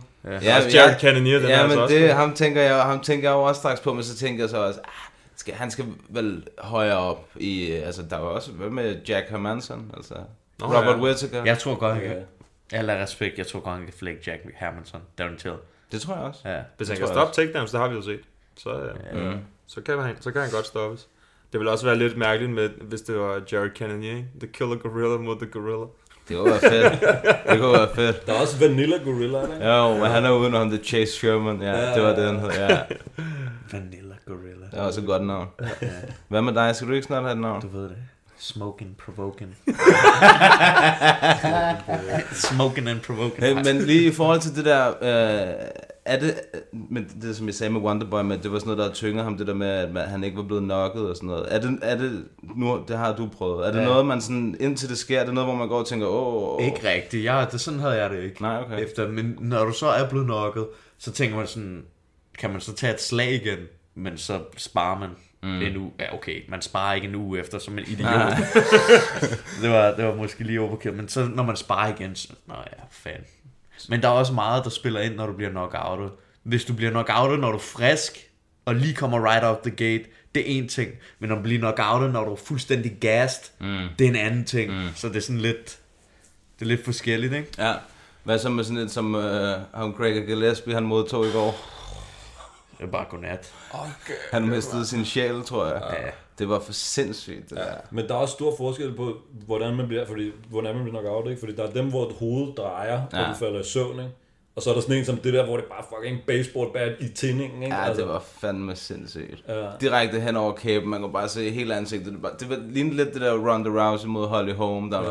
S9: Ja,
S10: Også Jared Cannonier, den er
S9: ja, men
S10: altså også
S9: det,
S10: med.
S9: ham tænker, jeg, ham tænker jeg jo også straks på, men så tænker jeg så også, ah, skal, han skal vel højere op i, øh, altså der var også, hvad med Jack Hermanson, altså Nå, Robert
S10: ja.
S9: ja. Whittaker.
S11: Jeg tror godt, han kan...
S12: Ja.
S11: Alle respekt, jeg tror godt, han kan flække Jack Hermanson. Darren Till.
S9: Det tror jeg også.
S11: Ja.
S10: Hvis han
S9: tror
S10: kan
S9: jeg
S10: stoppe takedowns, det har vi jo set. Så, øh,
S9: Ja.
S10: så, kan han, så kan han godt stoppes. Det ville også være lidt mærkeligt, med, hvis det var Jared Cannonier, ikke? The Killer Gorilla mod The Gorilla.
S9: Det kunne være (laughs) fedt. Det kunne være fedt.
S12: Der er også Vanilla Gorilla, ikke?
S9: Jo, men han er udenom The Chase Sherman. Ja,
S12: Ja.
S9: det var det, han hed. Ja,
S11: Vanilla Gorilla.
S9: det er også et godt navn. Hvad med dig? Skal du ikke snart have et navn?
S11: Du ved det. Smoking,
S9: (laughs)
S11: provoking. Smoking and provoking.
S9: Hey, Øh, men lige i forhold til det der, øh, er det, men det som jeg sagde med Wonderboy, men det var sådan noget, der tynger ham, det der med, at man, han ikke var blevet nokket og sådan noget. Er det, er det, nu, det har du prøvet, er det
S11: Ja.
S9: ja. noget, man sådan, indtil det sker, er det noget, hvor man går og tænker, åh, åh, åh.
S11: Ikke rigtigt. Jeg, det, sådan havde jeg det ikke.
S9: Nej, okay.
S11: Efter, men når du så er blevet nokket, så tænker man sådan, kan man så tage et slag igen? Men så sparer man mm. en uge. Ja, okay, man sparer ikke en uge efter som en idiot. (laughs) det, var, det var måske lige overkill. Men så når man sparer igen, så... Nå ja, fan. Men der er også meget, der spiller ind, når du bliver knockoutet. Hvis du bliver knockoutet, når du er frisk, og lige kommer right out the gate, det er en ting. Men når du bliver knockoutet, når du er fuldstændig gassed, mm. det er en anden ting. Mm. Så det er sådan lidt... Det er lidt forskelligt, ikke?
S9: Ja. Hvad så med sådan et som øh, ham Craig Gillespie, han modtog i går?
S11: Det er bare godnat.
S9: Han mistede sin sjæl, tror jeg.
S11: Ja.
S9: Det var for sindssygt, det der.
S12: Men der er også stor forskel på, hvordan man bliver, fordi, hvordan man bliver nok out, ikke? Fordi der er dem, hvor hovedet drejer, og
S9: Ja.
S12: du falder i søvn, ikke? Og så er der sådan en som det der, hvor det er bare fucking baseball bat i tændingen, ikke?
S9: Ja,
S12: Altså,
S9: det var fandme sindssygt.
S12: Ja.
S9: Ja. Direkte hen over kæben, man kunne bare se hele ansigtet. Det, var, det var, lignede lidt det der Ronda Rousey mod Holly Holm, der ja.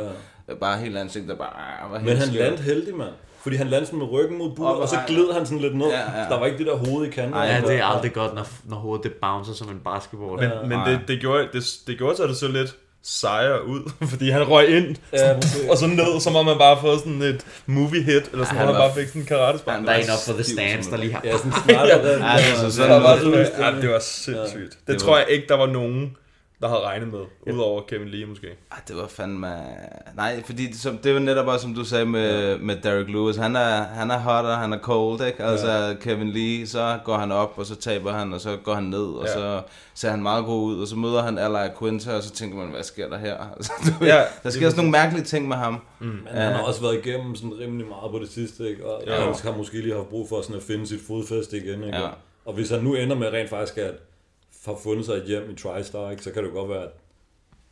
S9: var bare hele ansigtet, der bare ah, var helt
S12: Men han
S9: skævt.
S12: landte heldig, mand. Fordi han landte sådan med ryggen mod buret,
S9: Op,
S12: og så
S9: ej.
S12: gled han sådan lidt ned.
S9: Ja, ja.
S12: Så der var ikke det der hoved i kanten.
S9: Ej,
S11: Ja, det er aldrig godt, når, når hovedet det bouncer som en basketball. Ah, Men,
S10: Men
S9: Ah.
S10: det, det, gjorde, det, det gjorde så det så lidt sejere ud, (laughs) fordi han røg ind
S12: Ja, præcis.
S10: og så ned, som om man bare fået sådan et movie hit, eller sådan, hvor
S9: han
S10: han
S9: var-
S10: bare fik sådan en karate spark.
S9: Han
S11: der
S9: var
S11: er en op for the
S9: stiv
S11: stands,
S9: som
S11: der
S9: en-
S11: lige har...
S12: Ja, sådan snakker der.
S9: (laughs) Ja, altså sådan
S12: Der var
S9: noget.
S12: sådan
S10: Ja, det var sindssygt. Det, det
S9: var-
S10: tror jeg ikke, der var nogen, der havde regnet med, udover Kevin Lee måske.
S9: Ah, det var fandme... Nej, fordi det, som, det var netop også, som du sagde med, ja. med Derek Lewis. Han er, han er hot, og han er cold, ikke? Altså, ja. Kevin Lee, så går han op, og så taber han, og så går han ned, og
S10: Ja.
S9: ja. så ser han meget god ud, og så møder han Ally Quinta, og så tænker man, hvad sker der her? (laughs) Altså, du,
S10: Ja,
S9: ja, der
S10: det
S9: sker også nogle mærkelige ting med ham.
S12: Men han har også været igennem sådan rimelig meget på det sidste, ikke? Og ja. han har måske lige haft brug for sådan at finde sit fodfæste igen, ikke?
S9: Ja.
S12: Og hvis han nu ender med rent faktisk at have fundet sig et hjem i TriStar, ikke? Så kan det jo godt være, at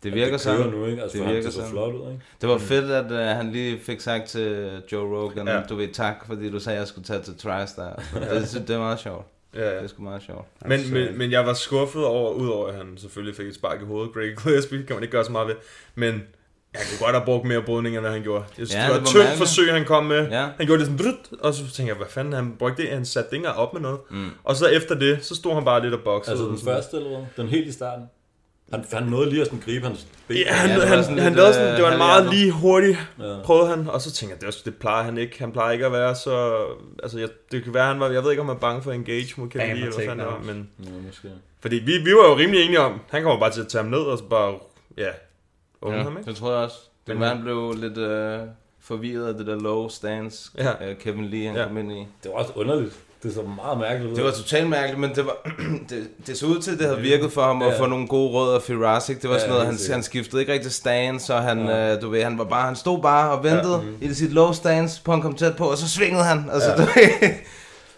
S9: Det
S12: at
S9: virker
S12: det kører
S9: sådan.
S12: nu, ikke? Altså,
S9: det
S12: for
S9: virker
S12: ham, det så
S9: sådan.
S12: flot Mm. ud, ikke?
S9: Det var fedt, at uh, han lige fik sagt til Joe Rogan,
S10: Ja.
S9: ja. du ved tak, fordi du sagde, at jeg skulle tage til
S12: (laughs)
S9: TriStar. det, synes- det er meget sjovt.
S10: Ja,
S9: Det
S10: ja.
S9: er sgu meget sjovt.
S10: Men, men, men jeg var skuffet over, udover at han selvfølgelig fik et spark i hovedet. (laughs) Greg Gillespie kan man ikke gøre så meget ved. Men jeg kunne godt have brugt mere brydning, end hvad han gjorde. Jeg synes, ja, det var et tyndt
S9: mærkeligt.
S10: forsøg, han kom med.
S9: Ja.
S10: Han gjorde det sådan, brut, og så tænkte jeg, hvad fanden, han brugte det, han satte det ikke engang op med noget. Mm. Og så efter det, så stod han bare lidt og boxede.
S12: Altså den
S10: Sådan-
S12: første eller hvad? Den helt i starten. Han, han nåede lige at sådan gribe hans ben.
S10: Ja, han,
S9: Ja, det
S10: ja,
S9: var
S10: han,
S9: sådan
S10: han
S9: lidt,
S10: lavede sådan,
S9: øh,
S10: det var en meget
S9: halvhjertet.
S10: lige hurtig, ja. prøvede han, og så tænkte jeg, det, var, det plejer han ikke, han plejer ikke at være så, altså jeg, det kan være, han var, jeg ved ikke, om han er bange for at engage mod Kevin
S11: Ja,
S10: Lee, eller
S11: jeg
S10: hvad
S11: tænker
S10: fanden det var,
S11: også.
S10: men,
S12: Ja, måske.
S10: fordi vi, vi var jo rimelig enige om, han kommer bare til at tage ham ned, og så bare, ja, unge ja. ham, ikke?
S9: det tror jeg også. Det
S10: Men-
S9: men, han blev lidt øh, forvirret af det der low stance,
S10: Ja.
S9: ja. øh, Kevin Lee han
S10: Ja.
S9: ja. kom ind i.
S12: Det var også underligt. Det så meget mærkeligt ud.
S9: Det var totalt mærkeligt, men det, var, (clears throat) det, det så ud til, at det havde virket for ham at få nogle gode råd af Firas, ikke? Det var
S12: Ja,
S9: sådan noget,
S12: helt
S9: han,
S12: sikkert.
S9: han skiftede ikke rigtig stance, og han, ja. øh, du ved, han, var bare, han
S12: Mhm.
S9: stod bare og ventede ja. i sit low stance, på han kom tæt på, og så svingede han. Altså, ja. du ved,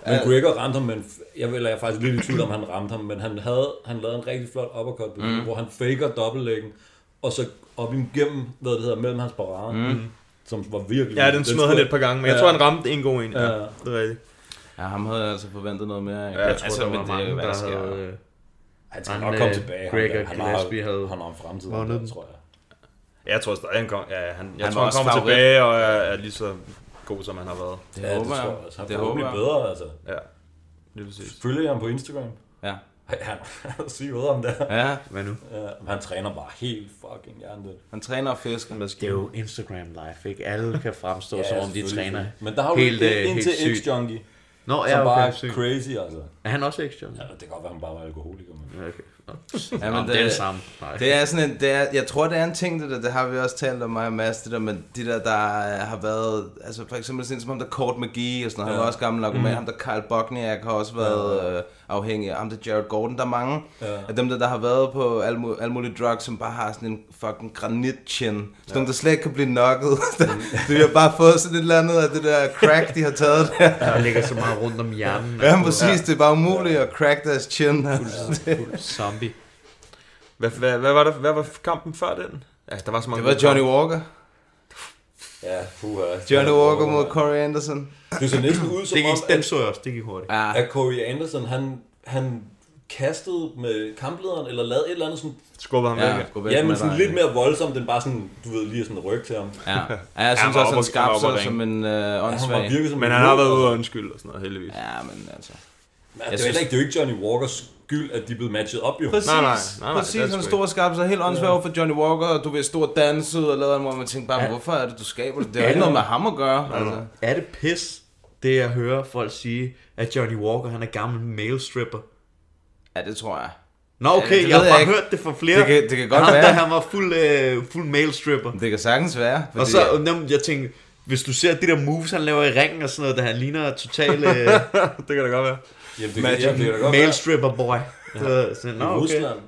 S12: Men Gregor ramte ham, men jeg, eller jeg er faktisk lidt i tvivl om, han ramte ham, men han, havde, han lavede en rigtig flot uppercut, mm. hvor han faker dobbeltlæggen, og så op igennem, hvad det hedder, mellem hans parader, mm. som var virkelig...
S10: Ja, den smed han et par gange, men jeg tror, han ramte en god en. Ja,
S12: Ja.
S10: det er rigtigt.
S9: Ja, ham havde jeg altså forventet noget mere.
S10: Ja, jeg tror,
S9: altså,
S10: der
S9: men
S10: var mange,
S9: jo, hvad
S10: der
S9: sker.
S11: havde... Øh,
S12: Han skal
S11: han,
S12: nok komme
S11: øh,
S12: tilbage.
S11: Greg
S12: han,
S11: og
S12: han, har,
S11: Gillespie havde
S12: han har en fremtid,
S11: vundet
S12: der,
S11: den.
S12: tror jeg.
S10: Jeg tror stadig, han kommer ja, han, jeg han
S9: Han var
S10: tror, han
S9: også
S10: kommer
S9: favorit.
S10: tilbage og er, er lige så god, som han har været.
S9: Det
S12: Ja, det
S9: håber
S12: tror
S9: jeg.
S12: jeg også. Han
S9: Det
S12: det
S9: håber
S12: bliver
S9: jeg.
S12: bedre, altså.
S10: Ja, lige præcis.
S12: Følger jeg ham på Instagram?
S9: Ja.
S12: Han er syg ud om det.
S9: Ja,
S11: Hvad nu?
S12: Ja, men han træner bare helt fucking hjernedødt.
S9: han træner og fisker.
S11: Det er jo Instagram live, ikke? Alle kan fremstå,
S12: Ja,
S11: som om de
S12: selvfølgelig.
S11: træner
S12: Men der har jo helt,
S11: øh,
S12: en til X-Junkie,
S11: Nå,
S12: som
S11: ja,
S12: bare
S11: okay.
S12: er
S11: sygt.
S12: crazy, altså.
S11: Er han også X-Junkie?
S12: Ja, det kan godt være, han bare var alkoholiker, men...
S11: Ja, okay. Nå.
S9: Ja,
S11: Nå, det er det samme. Nej.
S9: Det er sådan en, det er, jeg tror, det er en ting, det der, det har vi også talt om mig og Mads, det der med de der, der øh, har været, altså for eksempel sådan som ham der Kort McGee og sådan noget, han var også gammel narkoman, mm. ham der Karl Bogniak har også været øh, afhængig, af ham der Jared Gordon, der er mange af dem der, der har været på alle, mu- alle mulige drugs, som bare har sådan en fucking granit-chin, sådan nogle, der slet ikke kan blive knocket, de har bare fået sådan et eller andet af det der crack, de har taget der.
S11: Der ligger så meget rundt om hjernen.
S9: Ja, præcis, det er bare umuligt at crack deres chin.
S11: Zombie.
S10: Hvad, hvad, hvad, var der, hvad var kampen før den? Ja, der var så mange
S9: Det var Johnny Walker.
S12: Ja, puha.
S9: Johnny Walker mod Corey Anderson.
S12: Det ser næsten ud som
S11: Det
S12: om,
S11: gik, den så jeg også, det gik hurtigt.
S9: Ja.
S12: at, at Corey Anderson, han, han kastede med kamplederen, eller lavede et eller andet sådan...
S10: Skubber ham
S9: Ja,
S10: væk.
S9: gå væk
S12: Ja,
S9: med
S12: men
S9: dig.
S12: sådan lidt mere voldsomt, end bare sådan, du ved, lige sådan ryg til ham.
S9: Ja. ja jeg synes
S10: var
S9: også,
S10: oppe-
S9: han skabte
S10: han var oppe
S9: sig
S10: at
S9: som en øh,
S12: Ja, han var
S9: åndssvag.
S12: virkelig som
S10: Men
S12: en
S10: han har været
S12: løber.
S10: ude og undskylde og sådan noget, heldigvis.
S9: Ja, men altså...
S12: Men det, er
S9: synes-
S12: synes... ikke, det er jo ikke Johnny Walkers skyld, at de er blevet matchet op, jo.
S9: Præcis,
S10: Nej, nej, nej, nej,
S9: præcis
S10: det er
S9: han
S10: sgu
S9: stod og skabte sig helt åndssvagt over for Johnny Walker, og du ved, stod og dansede og lavede en, hvor man tænkte bare, hvorfor er det, du skaber det? Det har
S11: Ja.
S9: ikke noget med ham at gøre. Altså.
S11: Er det pis, det jeg hører folk sige, at Johnny Walker, han er gammel male stripper?
S9: Ja, det tror jeg.
S11: Nå
S9: det
S11: okay,
S9: ved
S11: jeg har
S9: jeg
S11: bare
S9: ikke.
S11: hørt det fra flere.
S9: Det kan- det kan godt
S11: ham,
S9: være.
S11: Der, han var fuld, øh, fuld male stripper.
S9: Det kan sagtens være. Fordi,
S11: Og så, jamen, jeg tænkte, hvis du ser de der moves, han laver i ringen og sådan noget, der han ligner total øh,
S10: Det kan da godt være.
S12: Jamen, det, kan, jamen, det kan da godt
S11: male
S12: være.
S11: stripper boy. Så, sådan, nå,
S12: I
S11: Ah, okay.
S12: Rusland.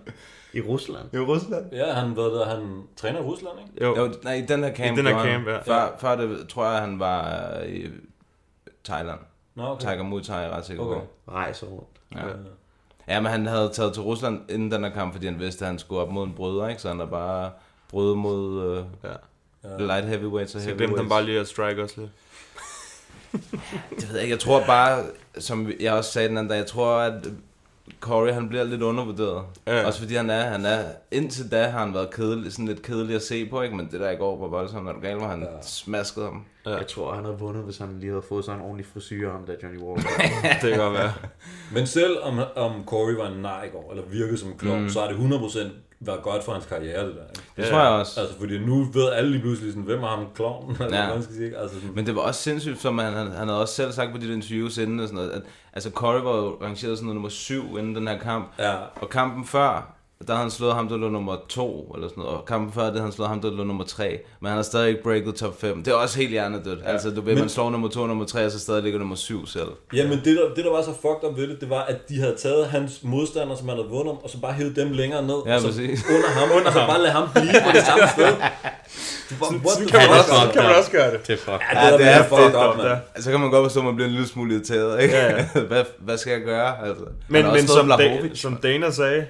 S11: I Rusland.
S9: I Rusland?
S12: Ja, han, hvad der, han træner i Rusland, ikke?
S10: Jo.
S9: Jo, nej, i den her camp.
S10: I den her
S9: gjorde han.
S10: camp, ja.
S9: Før, før det, tror jeg, han var øh, i Thailand.
S12: Nå, okay.
S9: Tiger Muay Thai, er jeg ret sikker
S12: Okay.
S9: på.
S11: Rejser rundt.
S9: Ja, men han havde taget til Rusland inden den her kamp, fordi han vidste, at han skulle op mod en bryder, ikke? Så han har bare brydet mod øh,
S10: Ja.
S9: light heavyweights og
S10: Så glemte han
S9: heavyweights.
S10: bare lige at strike os lidt.
S9: Det ved jeg ikke. Jeg tror bare, som jeg også sagde den anden dag, jeg tror, at Corey han bliver lidt undervurderet.
S10: Ja.
S9: Ja. Også fordi han er, han er, indtil da har han været kedelig, sådan lidt kedelig at se på, ikke? men det der i går var voldsomt, når du galt, hvor han ja. smaskede ham.
S11: Jeg tror, han havde vundet, hvis han lige havde fået sådan en ordentlig frisyr, ham der Johnny Walker.
S10: Det kan godt være.
S12: Men selv om, om Corey var en nar i går, eller virkede som en klon, mm. så har det 100% været godt for hans karriere, det der. Ikke?
S9: Det ja. tror jeg også.
S12: Altså, fordi nu ved alle lige pludselig, sådan, hvem er ham klonen, eller
S9: Ja.
S12: hvad man skal sige. ikke? Altså, sådan,
S9: Men det var også sindssygt, som han, han, han havde også selv sagt på dit interviews inden, og sådan noget, at altså Corey var jo rangeret sådan noget nummer syv inden den her kamp,
S12: Ja.
S9: og kampen før, der havde han slået ham, der lå nummer 2, eller sådan noget. Og kampen før, det havde han slået ham, der lå nummer 3. Men han har stadig ikke breaket top 5. Det er også helt hjernedødt. Ja. Altså, du ved,
S12: Men-
S9: man slår nummer 2 og nummer 3, og så stadig ligger nummer 7 selv.
S12: ja, men det der, det, der var så fucked up ved det, det var, at de havde taget hans modstandere, som han havde vundet om, og så bare hævet dem længere ned,
S9: Ja,
S12: og så
S9: præcis.
S12: under ham, og så bare lade ham blive på det samme sted. Du bare, what the
S10: Kan man
S12: fuck,
S10: også,
S12: altså?
S10: kan man også gøre det?
S11: det er fuck.
S12: Ja, det, der
S9: det
S12: er
S9: er
S12: fucked
S10: fedt,
S12: up,
S10: der.
S12: mand.
S9: Altså, så kan man godt forstå, at man bliver en lille smule irriteret, ikke?
S10: Ja,
S9: (laughs) hvad, hvad skal jeg gøre? Altså, han
S10: Men,
S9: har også
S10: men
S9: slået
S10: som, da,
S9: Blachowicz.
S10: som Dana sagde,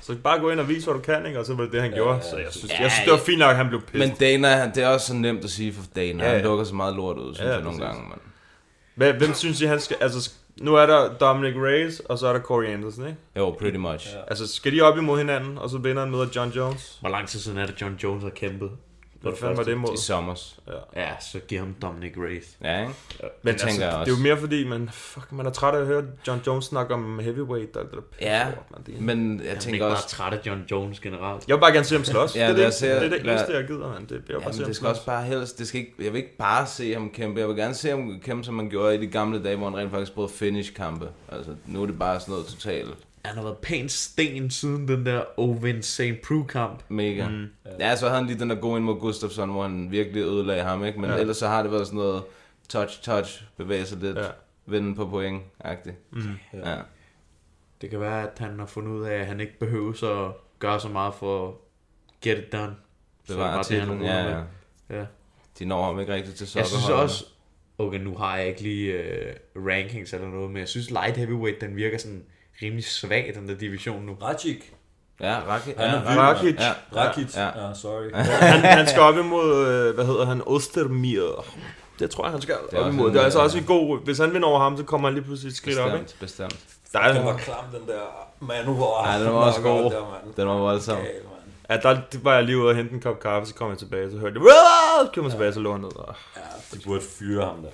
S10: så bare gå ind og vise, hvad du kan, ikke? Og så var det det, han gjorde. Så jeg synes, jeg synes, det
S9: ja.
S10: var fint nok, at han blev pissed.
S9: men Dana, han, det er også så nemt at sige for Dana.
S10: Ja,
S9: Ja,
S10: ja.
S9: Han lukker så meget lort ud, synes
S10: Ja,
S9: jeg nogle
S10: præcis.
S9: gange, mand.
S10: Hvad, hvem synes I, han skal... Altså, nu er der Dominic Reyes, og så er der Corey Anderson, ikke?
S9: Jo, pretty much. Ja.
S10: Altså, skal de op imod hinanden, og så vinder han møder John Jones?
S11: Hvor lang tid siden er det, John Jones har kæmpet?
S10: Hvad fanden var det
S9: I
S10: imod?
S9: sommers.
S11: Ja, så giv ham Dominic Reyes.
S9: Ja, ikke?
S10: Men
S11: altså,
S9: tænker jeg også.
S10: det er jo mere fordi, man, fuck, man er træt af at høre John Jones snakke om heavyweight. Og det der pisse
S9: Ja,
S10: lort, man. Det er-
S9: men jeg
S11: Han er
S9: tænker
S11: ikke
S9: også...
S11: bare træt af John Jones generelt.
S10: Jeg vil bare gerne se ham slås.
S9: (laughs) Ja,
S10: det, er
S9: lad
S10: det,
S9: os se-
S10: det, er det
S9: lad-
S10: eneste, jeg gider, mand. Det, jeg vil bare se
S9: Jamen,
S10: ham
S9: det skal også
S10: slås.
S9: bare helst, det skal ikke, jeg vil ikke bare se ham kæmpe, jeg vil gerne se ham kæmpe, som man gjorde i de gamle dage, hvor han rent faktisk prøvede finish kampe. Altså, nu er det bare sådan noget totalt
S11: Han har været pænt sten siden den der Owen St. Prue kamp.
S9: mega. Mm. Ja, så havde han lige den der gode ind mod Gustafsson, hvor han virkelig ødelagde ham, ikke? Men ja. ellers så har det været sådan noget touch-touch, bevæge sig lidt,
S10: Ja.
S9: ja. vinde på point-agtigt. Mm. Ja. ja.
S11: Det kan være, at han har fundet ud af, at han ikke behøver at gøre så meget for at get it done.
S9: Det var
S11: bare
S9: artiklen,
S11: ruller
S9: ja, ja.
S11: med. ja.
S9: De når ham ikke rigtigt til
S11: Jeg synes
S9: sokkerholderne.
S11: også, okay, nu har jeg ikke lige øh, rankings eller noget, men jeg synes light heavyweight, den virker sådan rimelig svag, den der division nu.
S12: Rajic.
S9: Ja, Rakic.
S12: Han er
S9: Ja,
S12: vild,
S9: Rakic.
S12: mand.
S9: Ja,
S12: Rakic.
S9: ja.
S12: Ja, sorry.
S10: han, (laughs) han skal op imod, øh, hvad hedder han, Ostermir. Det tror jeg, han skal
S9: er
S10: op
S9: også
S10: imod.
S9: en,
S10: Det er altså
S9: øh,
S10: også en god... Hvis han vinder over ham, så kommer han lige pludselig et skridt op, ikke?
S9: Bestemt, bestemt.
S10: Der er,
S12: Den var klam, den der manowar.
S9: Ja, den var også
S12: Knockout
S9: god.
S12: der, mand.
S9: Den var voldsom.
S12: Gal, mand.
S10: ja, der var jeg lige ude og hente en kop kaffe, så kom jeg tilbage, så hørte jeg... "Wah!" Så kom jeg tilbage, så lå han ned. og-
S12: Ja, de burde fyre ham der,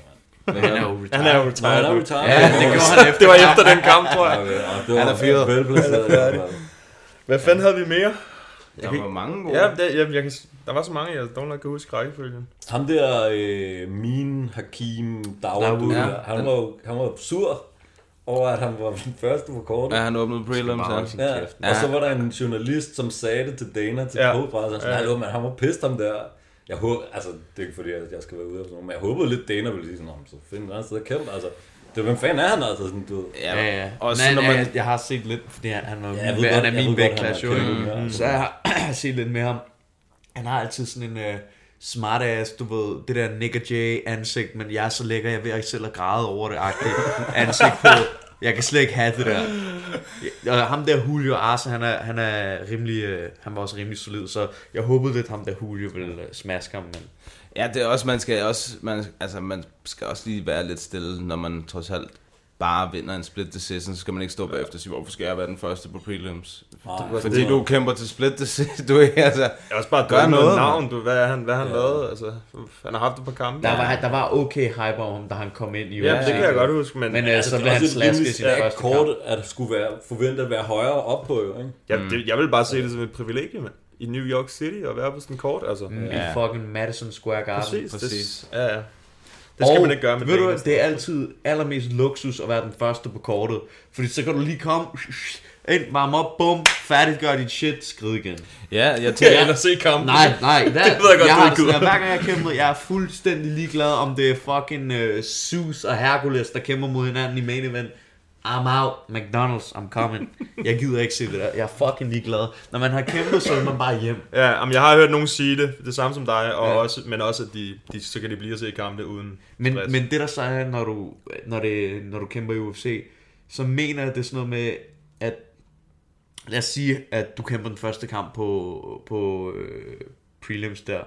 S12: mand.
S11: Han er jo
S10: Han
S11: retired.
S10: er jo
S12: Nå, han
S10: retired.
S12: er
S10: nu.
S12: retired.
S11: Ja, det gjorde han efter.
S10: Det var efter den kamp, tror jeg.
S12: Okay, og det var
S9: Han er fyret.
S12: velplaceret, mand.
S10: Hvad fanden havde vi mere?
S9: Der var mange gode.
S10: Ja, det, jeg, jeg kan, der var så mange, jeg dog nok kan huske rækkefølgen.
S12: Ham der, øh, min Hakim Dawud,
S9: Ja.
S12: ja. han, var, jo- han var sur over, at han var den første på kortet.
S9: Ja, han åbnede prelims.
S11: bare holde sin
S9: Ja.
S12: Ja.
S11: kæft.
S12: Og så var der en journalist, som sagde det til Dana, til
S10: Ja.
S12: ja. Cobra, så sådan, hallo, man, han var pissed ham der. Jeg håber, altså, det er ikke fordi, at jeg skal være ude af sådan noget, men jeg håbede lidt, Dana ville sige sådan, "Nå, men så find et andet sted at kæmpe, altså. Det, hvem fanden er han altså, sådan, du ved.
S11: Ja, ja.
S9: Også
S11: Nej,
S9: når
S11: nej,
S9: man-
S11: jeg, jeg har set lidt, fordi han, han, var,
S12: Ja,
S11: ja,
S12: jeg
S11: han
S12: ved godt-
S11: er
S12: jeg ved
S11: min
S12: godt, han
S11: vægtklasse,
S12: er
S11: jo. ikke?
S12: kæmpe, ja.
S11: Mm. Så jeg har, jeg har (clears throat) set lidt med ham. Han har altid sådan en uh, smart ass, du ved, det der Nick og Jay ansigt, men jeg er så lækker, jeg ved ikke selv at græde over det
S10: (laughs)
S11: agtigt ansigt på. Jeg kan slet ikke have det der. Og ham der Julio Arce, han er, han er rimelig, øh, han var også rimelig solid, så jeg håbede lidt, ham der Julio ville øh, smaske ham, men
S9: Ja, det er også, man skal også, man, altså, man skal også lige være lidt stille, når man trods alt bare vinder en split decision, så skal man ikke stå bagefter og sige, hvorfor skal jeg være den første på prelims?
S12: Nej.
S9: Fordi du kæmper til split decision, (laughs) du er ikke, altså...
S10: Jeg er også bare
S9: Gør
S10: dømt noget
S9: noget,
S10: navn, du, hvad er han, hvad han lavede, altså, han har haft et par kampe.
S11: der var, der var okay hype om ham, da han kom ind i
S10: ja,
S11: UFC.
S10: det kan jeg Altså, godt huske, men,
S11: Men
S12: Altså,
S10: men
S11: øh, så blev han slasket i sin
S10: øh,
S11: første kamp.
S12: kort, at skulle være, forvente at være højere op på, jo, ikke?
S10: jeg,
S11: mm.
S10: det, jeg vil bare se det som et privilegie, mand. I New York City at være på sådan en kort, altså.
S11: ja. i fucking Madison Square Garden.
S10: Præcis.
S9: præcis.
S10: Det, ja, ja. Det skal
S11: og,
S10: man ikke gøre med
S11: ved du,
S10: Dana.
S11: hvad, det er altid allermest luksus at være den første på kortet. Fordi så kan du lige komme, ind, varme op, bum, færdiggør dit shit, skride igen.
S9: Ja, jeg tænker,
S10: ind og se kampen.
S11: Nej, nej,
S10: (laughs)
S11: der, det
S10: jeg godt, du
S11: jeg har,
S10: ikke gider.
S11: jeg, hver gang jeg kæmper, jeg er fuldstændig ligeglad, om det er fucking uh, Zeus og Hercules, der kæmper mod hinanden i main event. I'm out, McDonald's, I'm coming. Jeg gider ikke se det der, jeg er fucking ligeglad. Når man har kæmpet, så vil man bare hjem.
S10: Ja, jamen, jeg har hørt nogen sige det, det samme som dig, og også, men også, at de, de, så kan de blive og se kampe uden
S11: Men,
S10: stress.
S11: men det der så er, når du, når, det, når du kæmper i UFC, så mener jeg, det er sådan noget med, at lad os sige, at du kæmper den første kamp på, på øh, prelims der,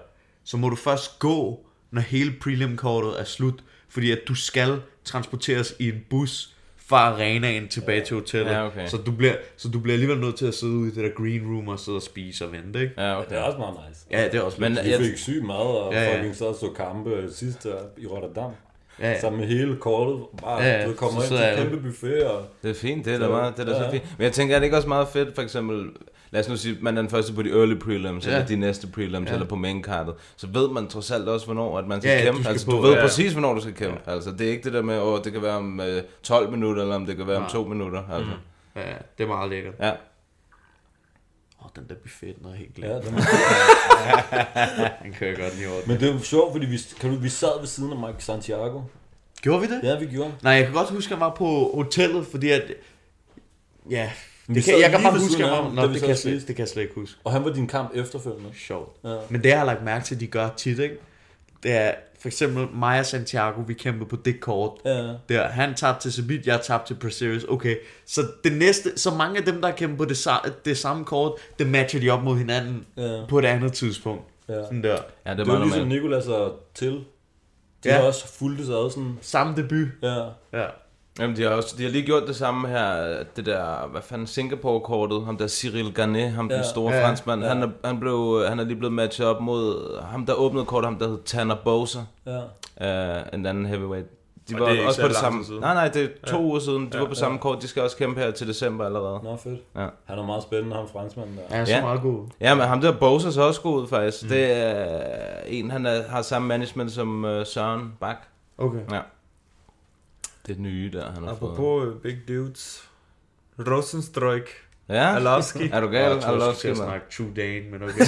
S11: så må du først gå, når hele prelim-kortet er slut, fordi at du skal transporteres i en bus fra arenaen tilbage til hotellet.
S9: Ja, okay.
S11: så, du bliver, så du bliver alligevel nødt til at sidde ude i det der green room og sidde og spise og vente, ikke?
S9: Ja,
S12: Det er
S9: okay.
S12: også meget nice.
S11: Ja, det er også
S9: Men
S12: Vi
S9: jeg,
S12: fik sygt meget, og
S11: Ja, ja.
S12: fucking så så kampe sidst her i Rotterdam.
S11: Ja, ja.
S12: Sammen med hele kortet, bare
S11: Ja, ja.
S12: du ved, kommer
S11: Så
S12: ind til
S11: sidder
S12: et
S11: jeg jo.
S12: kæmpe buffet, og
S9: det er fint, det er da
S12: Så-
S9: meget, det er da
S12: ja.
S9: så fint. Men jeg tænker, er det ikke også meget fedt, for eksempel, lad os nu sige, man er den første på de early prelims,
S11: Ja.
S9: eller de næste prelims, eller på main cardet, så ved man trods alt også, hvornår at man skal
S11: Ja, ja,
S9: kæmpe.
S11: du skal
S9: altså,
S11: på,
S9: du ved
S10: ja.
S9: præcis, hvornår du skal kæmpe. Altså, det er ikke det der med, åh, det kan være om øh, 12 minutter, eller om det kan være om 2 minutter. Altså.
S11: ja, det er meget lækkert.
S9: Ja.
S11: Åh, oh, den der buffet, den er helt
S12: ja,
S11: glemt.
S12: det
S11: (laughs) Den kører jeg godt lige over.
S12: Men det er jo sjovt, fordi vi, kan du, vi sad ved siden af Mike Santiago.
S11: Gjorde vi det?
S12: Ja, vi gjorde.
S11: Nej, jeg kan godt huske, at jeg var på hotellet, fordi at... Ja,
S12: vi
S11: det
S12: sad
S11: kan, jeg kan
S12: lige
S11: bare
S12: ved
S11: huske,
S12: siden
S11: at jeg
S12: af
S11: var...
S12: ham,
S11: Nå,
S12: da
S11: det
S12: vi
S11: kan, jeg
S12: sad
S11: slet,
S12: sidst.
S11: det kan jeg slet ikke huske.
S12: Og han var din kamp efterfølgende.
S11: Sjovt.
S12: Ja.
S11: Ja. Men det, jeg har lagt mærke til, at de gør tit, ikke? Det er for eksempel mig og Santiago, vi kæmpede på det kort.
S12: Ja.
S11: Der, han tabte til Sabit, jeg tabte til Perseus. Okay, så det næste, så mange af dem, der kæmper på det, sa- det samme kort, det matcher de op mod hinanden
S12: Ja.
S11: på et andet tidspunkt.
S12: Ja.
S11: Sådan der.
S9: Ja, det er
S12: Det var
S9: meget
S12: ligesom
S9: normalt.
S12: Nikolas og Til. De
S11: Ja.
S12: har også fulgt sig ad sådan.
S11: Samme debut.
S12: Ja.
S11: Ja.
S9: Jamen, de har, også, de har lige gjort det samme her, det der, hvad fanden, Singapore-kortet, ham der Cyril Garnet, ham ja. den store ja, franskmand, ja. Han, er, han, blev, han er lige blevet matchet op mod ham, der åbnede kortet, ham der hed Tanner Bowser,
S12: Ja.
S9: øh, en anden heavyweight. De
S10: Og
S9: var
S10: det er ikke
S9: også
S10: så
S9: på det
S10: lang
S9: samme.
S10: tid siden.
S9: Nej, nej, det er to ja. uger siden, de ja, var på samme kort, de skal også kæmpe her til december allerede.
S12: Nå, fedt.
S9: Ja.
S12: Han er meget spændende, ham franskmanden der.
S11: Han er så
S9: Ja.
S11: meget god.
S9: Ja, men ham der Bowser så også god ud, faktisk. Mm. Det er en, han er, har samme management som øh, Søren Bak.
S11: Okay.
S9: Ja. Det nye der, han har fået.
S10: Apropos øh, big dudes. Rosenstrøk.
S9: Ja,
S12: Ah. (laughs)
S10: Alowski.
S9: er du
S11: Jeg, jeg tror,
S9: gal?
S11: jeg skal til
S9: Alowski,
S11: at
S9: mand.
S11: snakke True Dane, men okay.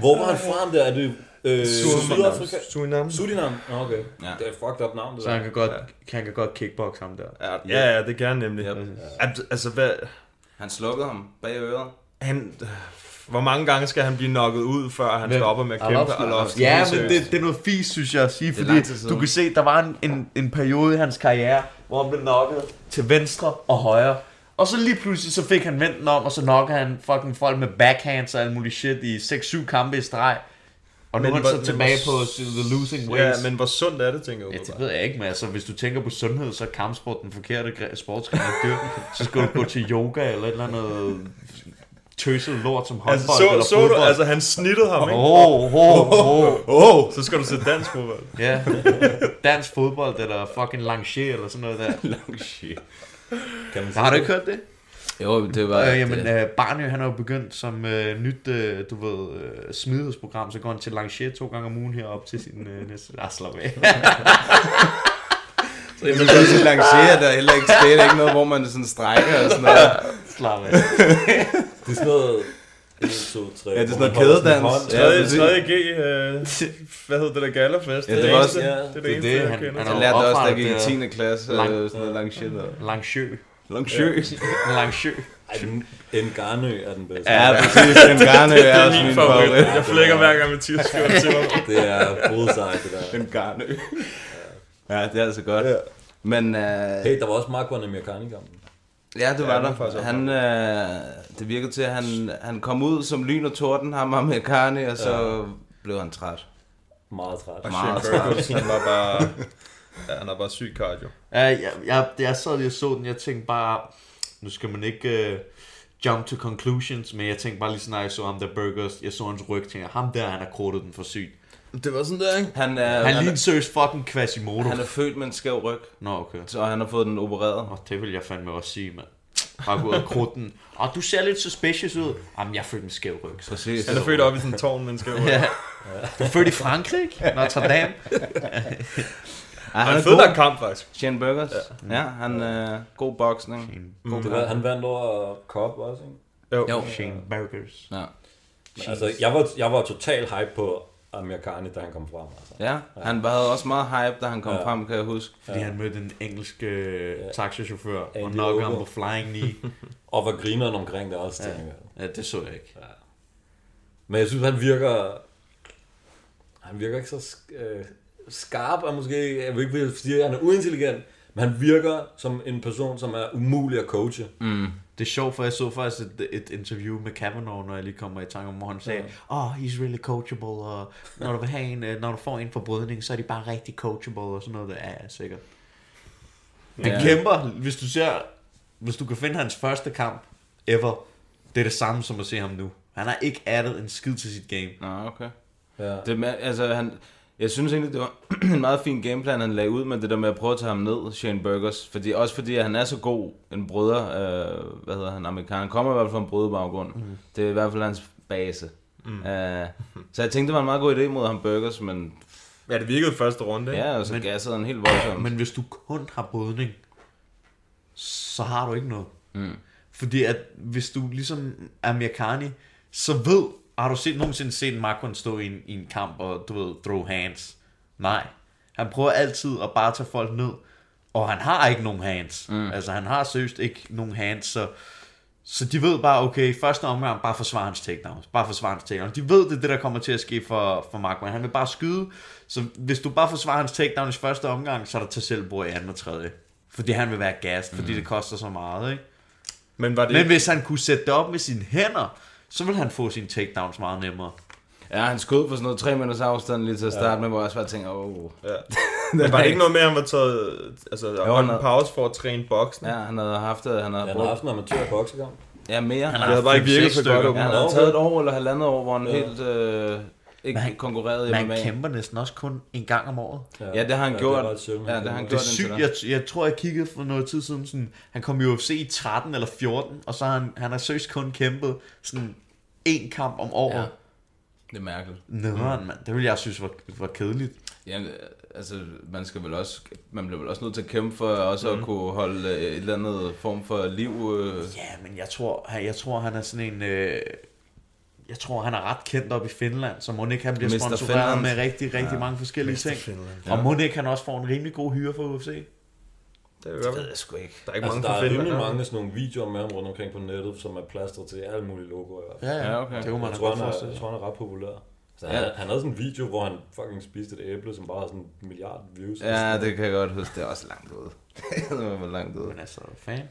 S12: Hvor var han fra ham der? Er det øh, Sydafrika?
S10: Surinam.
S12: Surinam? Nå, okay.
S9: Ja.
S12: Det er et fucked up navn, det
S11: Så
S12: der.
S11: han kan godt, han kan godt kickbox ham der.
S10: Ja, ja, det kan han nemlig.
S9: Yep.
S10: Al- Altså, hvad...
S9: Han slukkede ham bag øret.
S10: Han... Hvor mange gange skal han blive knocket ud, før han men, stopper med at kæmpe Arlovski, Arlovski?
S11: Ja, men det, det er noget fisk, synes jeg at sige, fordi du kan se, der var en, en, en periode i hans karriere, hvor han blev knocket til venstre og højre. Og så lige pludselig, så fik han vendt om, og så knocker han fucking folk med backhands og alt muligt shit i 6-7 kampe i streg. Og nu er han så tilbage på the losing ways.
S10: Ja, men hvor sundt er det, tænker jeg
S11: Ja, det ved jeg ikke, men altså, hvis du tænker på sundhed, så er kampsport den forkerte gre- sportsgren at dør. så skal du gå til yoga eller et eller andet tøset lort som håndbold
S10: Altså, så,
S11: eller
S10: så
S11: fodbold.
S10: du, altså
S11: (laughs)
S10: han snittede ham, ikke?
S11: Åh, åh, åh.
S10: oh. Så skal du se dansk fodbold.
S11: Ja, dansk fodbold eller fucking langer eller sådan noget der.
S12: langer.
S11: Kan man har du ikke hørt det?
S9: Jo, det var...
S11: Øh, jamen, øh, Barnø, han har jo begyndt som øh, nyt, øh, du ved, øh, smidighedsprogram, så går han til Langer to gange om ugen herop til sin øh, næste... Ah, slap af.
S9: Så jeg vil sige, at lancere der heller ikke sted, ikke noget, hvor man sådan strækker og sådan noget.
S11: (laughs) Slap af.
S12: Det er sådan noget... 1, 2, 3.
S9: Ja, det er sådan noget kædedans.
S12: Ja.
S9: Ja,
S10: Tredje,
S9: præcis.
S10: tredje G, øh, hvad hedder det der gallerfest?
S9: Ja, det var også-
S10: eneste- det,
S9: ja.
S10: er
S11: Det er
S10: det, eneste,
S11: det,
S10: jeg
S11: han-
S10: kender.
S11: han
S9: Jeg
S11: har-
S9: lærte det også, da jeg gik i
S11: Oprettet,
S9: 10. klasse, øh,
S11: lang-
S9: sådan noget langsjø der.
S11: Langsjø.
S9: Langsjø.
S11: Langsjø.
S12: En garnø er den bedste.
S9: (laughs) Ja, præcis. Den garne
S10: Det
S9: er
S10: er
S9: også
S10: min
S9: min
S10: favorit.
S9: favorit.
S10: Jeg flækker hver gang Mathias skriver det til mig.
S12: Det er hovedsejt, det der.
S9: Den garne. Ja, det er altså godt. Men øh,
S12: Hey, der var også Mark Wanamir i kampen.
S9: ja, det
S10: Ja,
S9: var
S10: det var faktisk
S9: der. Han, øh, det virkede til, at han, han kom ud som lyn og torden, ham og Amerikani, og så blev han træt.
S12: Meget træt.
S9: Meget
S10: Shane Ferguson, han var bare... Ja, han er bare syg cardio.
S11: Ja, jeg, jeg, jeg sad lige og så den, jeg tænkte bare, nu skal man ikke uh, jump to conclusions, men jeg tænkte bare lige sådan, når jeg så ham der burgers, jeg så hans ryg, tænkte jeg, ham der, han har kortet den for sygt.
S9: Det var sådan der, ikke? Han er,
S11: Han
S9: han,
S11: ligner seriøst fucking Quasimodo.
S9: han er født med en skæv ryg,
S11: Nå, okay.
S9: så han har fået den opereret.
S11: Og det vil jeg fandme også sige, mand. Bare gå ud og krudte den. Og du ser lidt suspicious ud. Jamen, jeg følte en skæv ryg. Så.
S9: Præcis.
S10: Han er født op i sådan en tårn, men skal
S11: (laughs)
S10: jo... Ja,
S11: Du er født i Frankrig? Notre Dame?
S9: Ej,
S10: han
S9: han
S10: er
S9: er
S10: fed der
S9: god.
S10: kamp, faktisk.
S9: Shane Burgers. Ja, han er god boksning.
S12: Det var, han vandt over Cobb også, ikke?
S9: Jo.
S11: Shane Burgers.
S9: Ja.
S12: Men altså, jeg var, jeg var total hype på Amir Khani, da han kom frem. Altså.
S9: Ja, han var- havde også meget hype, da han kom
S12: Ja.
S9: frem, kan jeg huske.
S11: Fordi han mødte en engelsk øh, taxachauffør og
S12: Andy
S11: knockede ham
S12: Ogle.
S11: på flying knee.
S12: Og var grineren omkring det også, tænker jeg.
S11: Ja, det så jeg ikke.
S12: Men jeg synes, han virker... Han virker ikke så sk- øh, skarp, og måske... Jeg vil ikke sige, at han er uintelligent, men han virker som en person, som er umulig at coache. Mm.
S11: Det er sjovt, for jeg så faktisk et, et interview med Kavanaugh, når jeg lige kommer i tanke om, hvor han sagde, oh, he's really coachable, og når du, vil have en, øh, når du får en forbrydning, så er de bare rigtig coachable, og sådan noget. Ja, ja sikkert. Han
S9: Ja.
S11: kæmper, hvis du ser, hvis du kan finde hans første kamp ever, det er det samme som at se ham nu. Han har ikke addet en skid til sit game.
S9: Nå, okay.
S12: Ja.
S9: Det med, altså, han, jeg synes egentlig, det var (clears throat) en meget fin gameplan, han lagde ud med det der med at prøve at tage ham ned, Shane Burgers. Fordi, også fordi at han er så god en brødre, øh, hvad hedder han, amerikaner. Han kommer i hvert fald fra en brødrebaggrund. Mm. Det er i hvert fald hans base. Mm. Øh, så jeg tænkte, det var en meget god idé mod ham Burgers, men
S10: Ja, det virkede første runde, ikke?
S9: ja, og så men, gassede han helt voldsomt.
S11: Men hvis du kun har brydning, så har du ikke noget. Mm. Fordi at hvis du ligesom er Mirkani, så ved, har du set, nogensinde set Markon stå i en, i en kamp og du ved, throw hands? Nej. Han prøver altid at bare tage folk ned, og han har ikke nogen hands. Mm. Altså han har seriøst ikke nogen hands, så så de ved bare, okay, første omgang, bare forsvar hans takedowns. Bare forsvar hans takedowns. De ved, det er det, der kommer til at ske for, for Markman. Han vil bare skyde. Så hvis du bare forsvarer hans takedowns i første omgang, så er der til selv i anden og tredje. Fordi han vil være gas, fordi det koster så meget, ikke?
S10: Men var det
S11: Men hvis han kunne sætte det op med sine hænder, så vil han få sine takedowns meget nemmere.
S9: Ja, han skød på sådan noget tre minutters afstand lige til at starte ja. med, hvor jeg også bare tænkte, åh... (laughs)
S10: Ja. Men var det ikke noget med, at han var taget altså, jo,
S9: han
S10: holdt en
S9: havde-
S10: pause for at træne boksen?
S9: Ja, han havde haft det, han havde
S12: Han har
S9: brugt...
S12: haft en amatør boksekamp.
S9: Ja, mere. Han
S10: Det havde bare ikke virket så godt.
S9: Ja, han
S10: åbenbart.
S9: havde
S12: Nå,
S9: taget
S12: okay.
S9: et år eller halvandet år, hvor han helt øh, ikke
S11: han-
S9: konkurrerede i
S11: Men
S9: MMA.
S11: han kæmper næsten også kun en gang om året.
S9: Ja, det har han
S12: Ja,
S9: gjort.
S12: det er ret sjældent,
S9: ja,
S12: han
S9: det har han
S12: gjorde.
S9: gjort
S11: Det er
S9: indtil
S11: sygt.
S9: da.
S11: Jeg, jeg tror, jeg kiggede for noget tid siden. Sådan, han kom i UFC i 13 eller 14, og så har han, han har søst kun kæmpet sådan en kamp om året.
S9: Ja. Det er mærkeligt.
S11: Nederen, mand. Det ville jeg synes var, var kedeligt.
S9: Ja, altså, man, skal vel også, man bliver vel også nødt til at kæmpe for også mm. at kunne holde øh, et eller andet form for liv. Øh.
S11: Ja, men jeg tror, han, jeg tror, han er sådan en... Øh, jeg tror, han er ret kendt op i Finland, så må ikke han bliver
S9: Mr.
S11: sponsoreret
S9: Finland.
S11: med rigtig, rigtig ja, mange forskellige ting. Ja. Og må ikke han også får en rimelig god hyre for UFC.
S10: Det,
S9: det ved jeg sgu ikke.
S10: Der er ikke
S12: altså,
S10: mange
S12: der er
S10: forfindere.
S12: rimelig mange sådan nogle videoer med ham rundt omkring på nettet, som er plastret til alle mulige logoer i hvert fald.
S11: Ja, ja, Ja, okay. det kunne man
S12: jeg
S11: da
S12: tror,
S11: godt
S12: han er,
S11: forestille
S12: jeg
S11: sig.
S12: tror, han er ret populær. Så
S9: Ja.
S12: han, han havde sådan en video, hvor han fucking spiste et æble, som bare havde sådan en milliard views.
S9: Ja, det kan jeg godt huske. Det er også langt ude. (laughs) det var langt ude.
S11: Men altså, fan.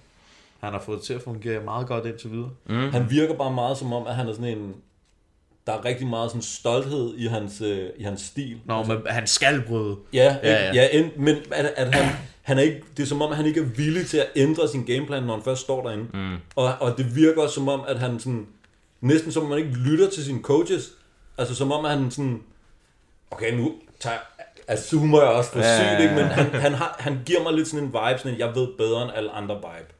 S11: Han har fået det til at fungere meget godt indtil videre.
S12: Mm. Han virker bare meget som om, at han er sådan en... Der er rigtig meget sådan stolthed i hans, øh, i hans stil.
S11: Nå,
S10: Altså.
S11: men han skal bryde.
S12: Ja, ja, ja. ja end, men at, at han, han er ikke, det er som om, at han ikke er villig til at ændre sin gameplan, når han først står derinde.
S9: Mm.
S12: Og, og det virker også som om, at han sådan, næsten som om, man ikke lytter til sine coaches. Altså som om, at han sådan, okay, nu tager assumer jeg også for
S9: Ja,
S12: ja,
S9: ja,
S12: sygt, ikke? men
S9: ja.
S12: han, han, har, han giver mig lidt sådan en vibe, sådan en, jeg ved bedre end alle andre vibe.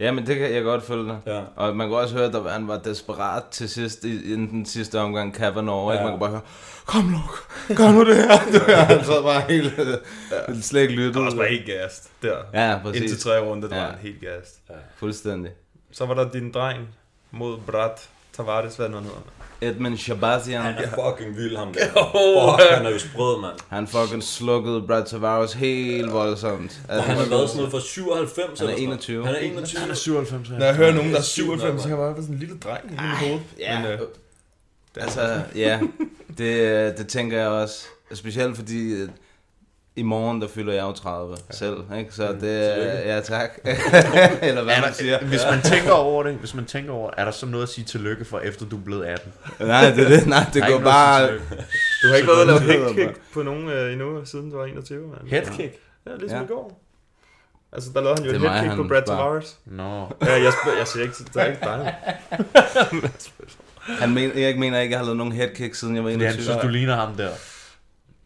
S9: Ja, men det kan jeg godt følge dig.
S12: Ja.
S9: Og man kunne også høre, at han var desperat til sidst, i, i den sidste omgang Cavanaugh. Ja. Ikke? Man kunne bare høre, kom Luke, gør nu det her. (laughs) Du her. Han sad bare helt, ja. slet ikke lyttet.
S10: Han var også bare helt gast der.
S9: Ja, præcis.
S10: Indtil tre runder, der
S9: Ja.
S10: ja. var han helt gast.
S12: Ja.
S9: Fuldstændig.
S10: Så var der din dreng mod Brat Tavares, hvad nu han hedder.
S9: Edmund Shabazian.
S12: Han er fucking vild,
S9: (laughs)
S12: ham der.
S10: Oh,
S12: Fuck, han er jo sprød, mand.
S9: Han fucking slukkede Brad Tavares helt voldsomt.
S12: Og han har været sådan noget fra 97 eller
S9: Han er
S12: sådan noget.
S9: 21.
S12: Han er 21. Han er
S11: 97, ja.
S2: Når jeg hører nogen, der
S12: Det
S2: er
S12: er sygt nok,
S2: 97, så
S12: mand.
S2: kan jeg bare være sådan en lille dreng i mit hoved.
S9: Ja,
S2: Men, øh,
S9: det altså, ja, det, øh, det tænker jeg også. Specielt fordi øh, i morgen, der fylder jeg jo 30 ja. selv, ikke? Så det, øh, ja tak. (laughs) Eller hvad
S11: er der,
S9: man siger.
S11: Hvis man tænker over det, hvis man tænker over, er der så noget at sige tillykke for, efter du er blevet 18?
S9: Nej, det er det. Nej, det
S11: Der er
S9: går
S11: ikke noget at
S9: bare-
S11: sige tillykke.
S10: Du har ikke været ude og lave
S9: Selvfølgelig.
S10: headkick på nogen øh, endnu, siden du var 21, mand.
S11: Headkick?
S10: Ja, ligesom
S11: Ja.
S10: i går. Altså, der lavede han jo
S9: Det
S10: et
S9: er mig,
S10: headkick på
S9: han
S10: Brad
S9: bare-
S10: Tavares.
S11: Nå.
S10: Ja, jeg, spørger, jeg siger ikke, det er ikke dig.
S9: Han men, jeg mener ikke, jeg har lavet nogen headkick, siden jeg var 21.
S11: Fordi han synes, du ligner ham der.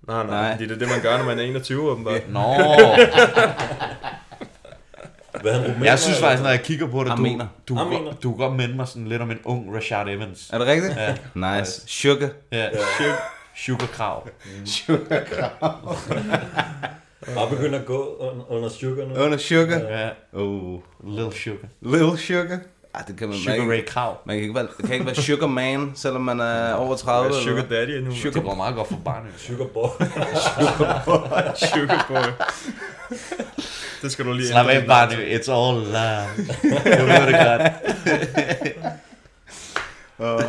S10: Nej, nej,
S9: Nej.
S10: nej. Det er det, man gør, når man er 21, åbenbart.
S11: Nå.
S12: Hvad er han, rumæner,
S11: Jeg synes
S12: eller
S11: faktisk,
S12: hvad?
S11: når jeg kigger på dig, du,
S9: Armener.
S11: du, du,
S12: Armener.
S11: du kan godt minde mig sådan lidt om en ung Rashad Evans.
S9: Er det rigtigt?
S11: Ja.
S9: Nice. Sugar.
S11: Ja, Sugar- Sugar Krav.
S9: Sugar Krav.
S12: Bare begynder at gå under, under sugar nu.
S9: Under sugar?
S11: Ja. Uh.
S9: Oh.
S11: Little Sugar.
S9: Little Sugar? Ej, det kan man,
S11: Sugar
S9: man kan-
S11: Ray Krav.
S9: Man kan ikke være, kan ikke være Sugar Man, selvom man er over 30.
S10: Hvad er
S9: eller hvad?
S10: sugar daddy endnu?
S9: Sugar
S10: Det
S11: går meget godt for (laughs) barnet.
S12: Sugar boy.
S9: Sugar boy.
S10: Sugar boy. Det skal du lige
S11: Slap
S10: ændre
S11: af,
S10: din
S11: Barney.
S10: navn
S11: It's all love. Du ved det godt.
S9: Og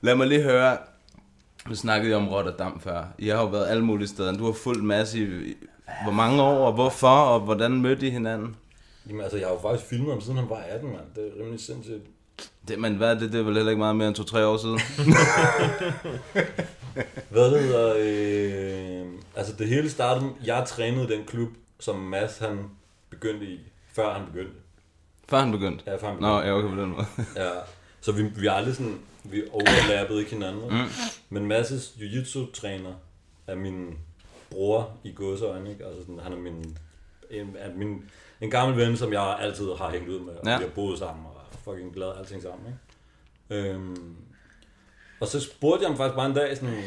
S9: lad mig lige høre, nu snakkede jeg om Rotterdam før. Jeg har jo været alle mulige steder. Du har fulgt en masse i, i- hvor mange år, og hvorfor, og hvordan mødte I hinanden?
S12: (laughs) Jamen altså, jeg har jo faktisk filmet ham, siden han var 18, mand. Det er rimelig sindssygt.
S9: Det, men hvad er det? Det er vel heller ikke meget mere end 2-3 år
S12: (laughs)
S9: siden.
S12: Hvad det hedder... Øh, altså, det hele startede... Jeg trænede i den klub, som Mads han begyndte i, før han begyndte.
S9: Før han begyndte?
S12: Ja, før han
S9: Nå,
S12: begyndte.
S9: ja, okay på den måde. (laughs)
S12: (laughs) Ja. Så vi, vi har aldrig sådan... Vi overlappede ikke hinanden. vel?
S9: Mm.
S12: Men Mads' jiu-jitsu-træner er min bror i godseøjne, ikke? Altså, sådan, han er min... En, er min, en gammel ven, som jeg altid har hængt ud med, og
S9: Ja.
S12: ja. vi har boet sammen, og er fucking glad alting sammen, ikke? Øhm, og så spurgte jeg ham faktisk bare en dag, sådan,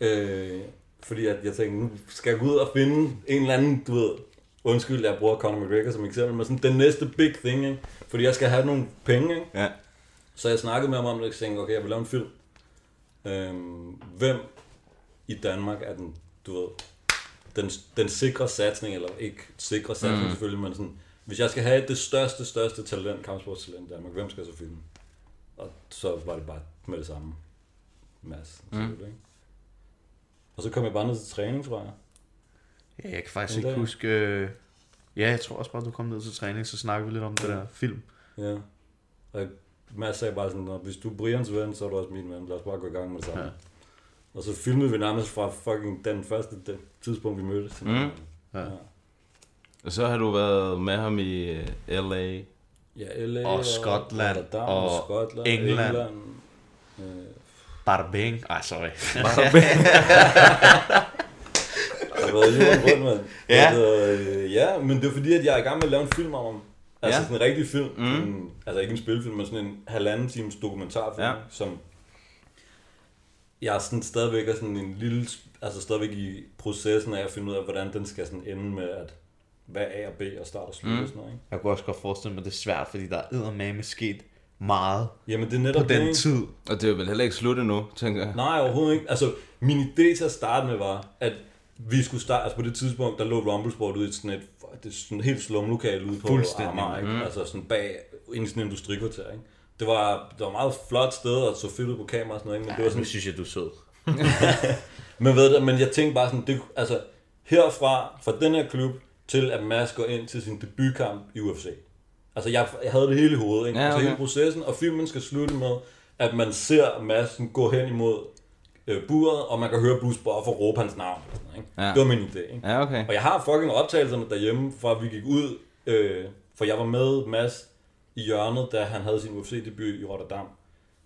S12: øh, fordi at jeg tænkte, nu skal jeg gå ud og finde en eller anden, du ved, undskyld, jeg bruger Conor McGregor som eksempel, men sådan den næste big thing, ikke? fordi jeg skal have nogle penge. Ikke?
S9: Ja.
S12: Så jeg snakkede med ham om det, og jeg tænkte, okay, jeg vil lave en film. Øhm, hvem i Danmark er den, du ved, den, den sikre satsning, eller ikke sikre satsning
S9: Mm.
S12: mm. selvfølgelig, men sådan, hvis jeg skal have det største, største talent, kampsportstalent i Danmark, hvem skal jeg så filme? Og så var det bare med det samme. Mads.
S9: Mm.
S12: Mm. Ikke? Og så kom jeg bare ned til træning, tror jeg.
S11: (laughs) Ja, jeg kan faktisk
S12: En
S11: ikke
S12: dag.
S11: huske... øh, Ja, jeg tror også bare, du kom ned til træning, så snakkede vi lidt om det der film.
S12: Ja. Og Mads sagde bare sådan, "Nå, hvis du er Brians ven, så er du også min ven. Lad os bare gå i gang med det samme.
S11: Ja.
S12: Ja. Og så filmede vi nærmest fra fucking den første den tidspunkt, vi mødtes.
S9: Mm.
S11: Ja.
S9: Og så har du været med ham i øh, L.A.
S12: Ja, LA
S11: Og Skotland
S12: Rotterdam
S11: og England.
S12: Øh,
S11: Bada bing. Ej, sorry.
S9: Bada
S11: (laughs)
S9: bing.
S12: Jeg har været jorden rundt, mand.
S11: Ja.
S12: Altså, øh, ja, men det er fordi, at jeg er i gang med at lave en film om ham. Altså
S9: Ja.
S12: ja. sådan en rigtig film.
S9: Mm.
S12: Mm. En, altså ikke en spilfilm, men sådan en halvanden times dokumentarfilm,
S9: Ja.
S12: ja. som jeg er sådan stadigvæk er sådan en lille, altså stadigvæk i processen af at finde ud af, hvordan den skal sådan ende med, at hvad er A og B og start og slut mm.
S11: Mm.
S12: og sådan noget, ikke?
S11: Jeg kunne også godt forestille mig, det er svært, fordi der er eddermame sket meget
S12: Jamen, det er netop
S11: på den
S12: det, ikke?
S11: tid.
S9: Og det er vel heller ikke slut endnu, tænker jeg.
S12: Nej, overhovedet ikke. Altså, min idé til at starte med var, at vi skulle starte, altså på det tidspunkt, der lå Rumblesport ude i sådan et, det er sådan et helt slumlokale ude på
S11: Fuldstændig.
S12: Amager, ikke?
S11: Mm.
S12: altså sådan bag, inden sådan en industrikvarter, ikke? Det var, det var et meget flot sted, og så fedt ud på kamera og sådan noget, ikke? men ja, det var sådan...
S11: nu synes jeg, du er sød.
S12: men ved du, men jeg tænkte bare sådan, det, altså herfra, fra den her klub, til at Mads går ind til sin debutkamp i UFC. Altså jeg, jeg havde det hele i hovedet, ikke?
S9: Ja,
S12: Ja, okay. altså
S9: okay.
S12: hele processen, og filmen skal slutte med, at man ser Madsen gå hen imod øh, buret, og man kan høre Bruce Buffer råbe hans navn. Og sådan, noget, ikke?
S9: Ja.
S12: Det var min idé. Ikke?
S9: Ja, okay.
S12: Og jeg har fucking optagelserne derhjemme, fra vi gik ud, øh, for jeg var med Mads i hjørnet, da han havde sin UFC-debut i Rotterdam.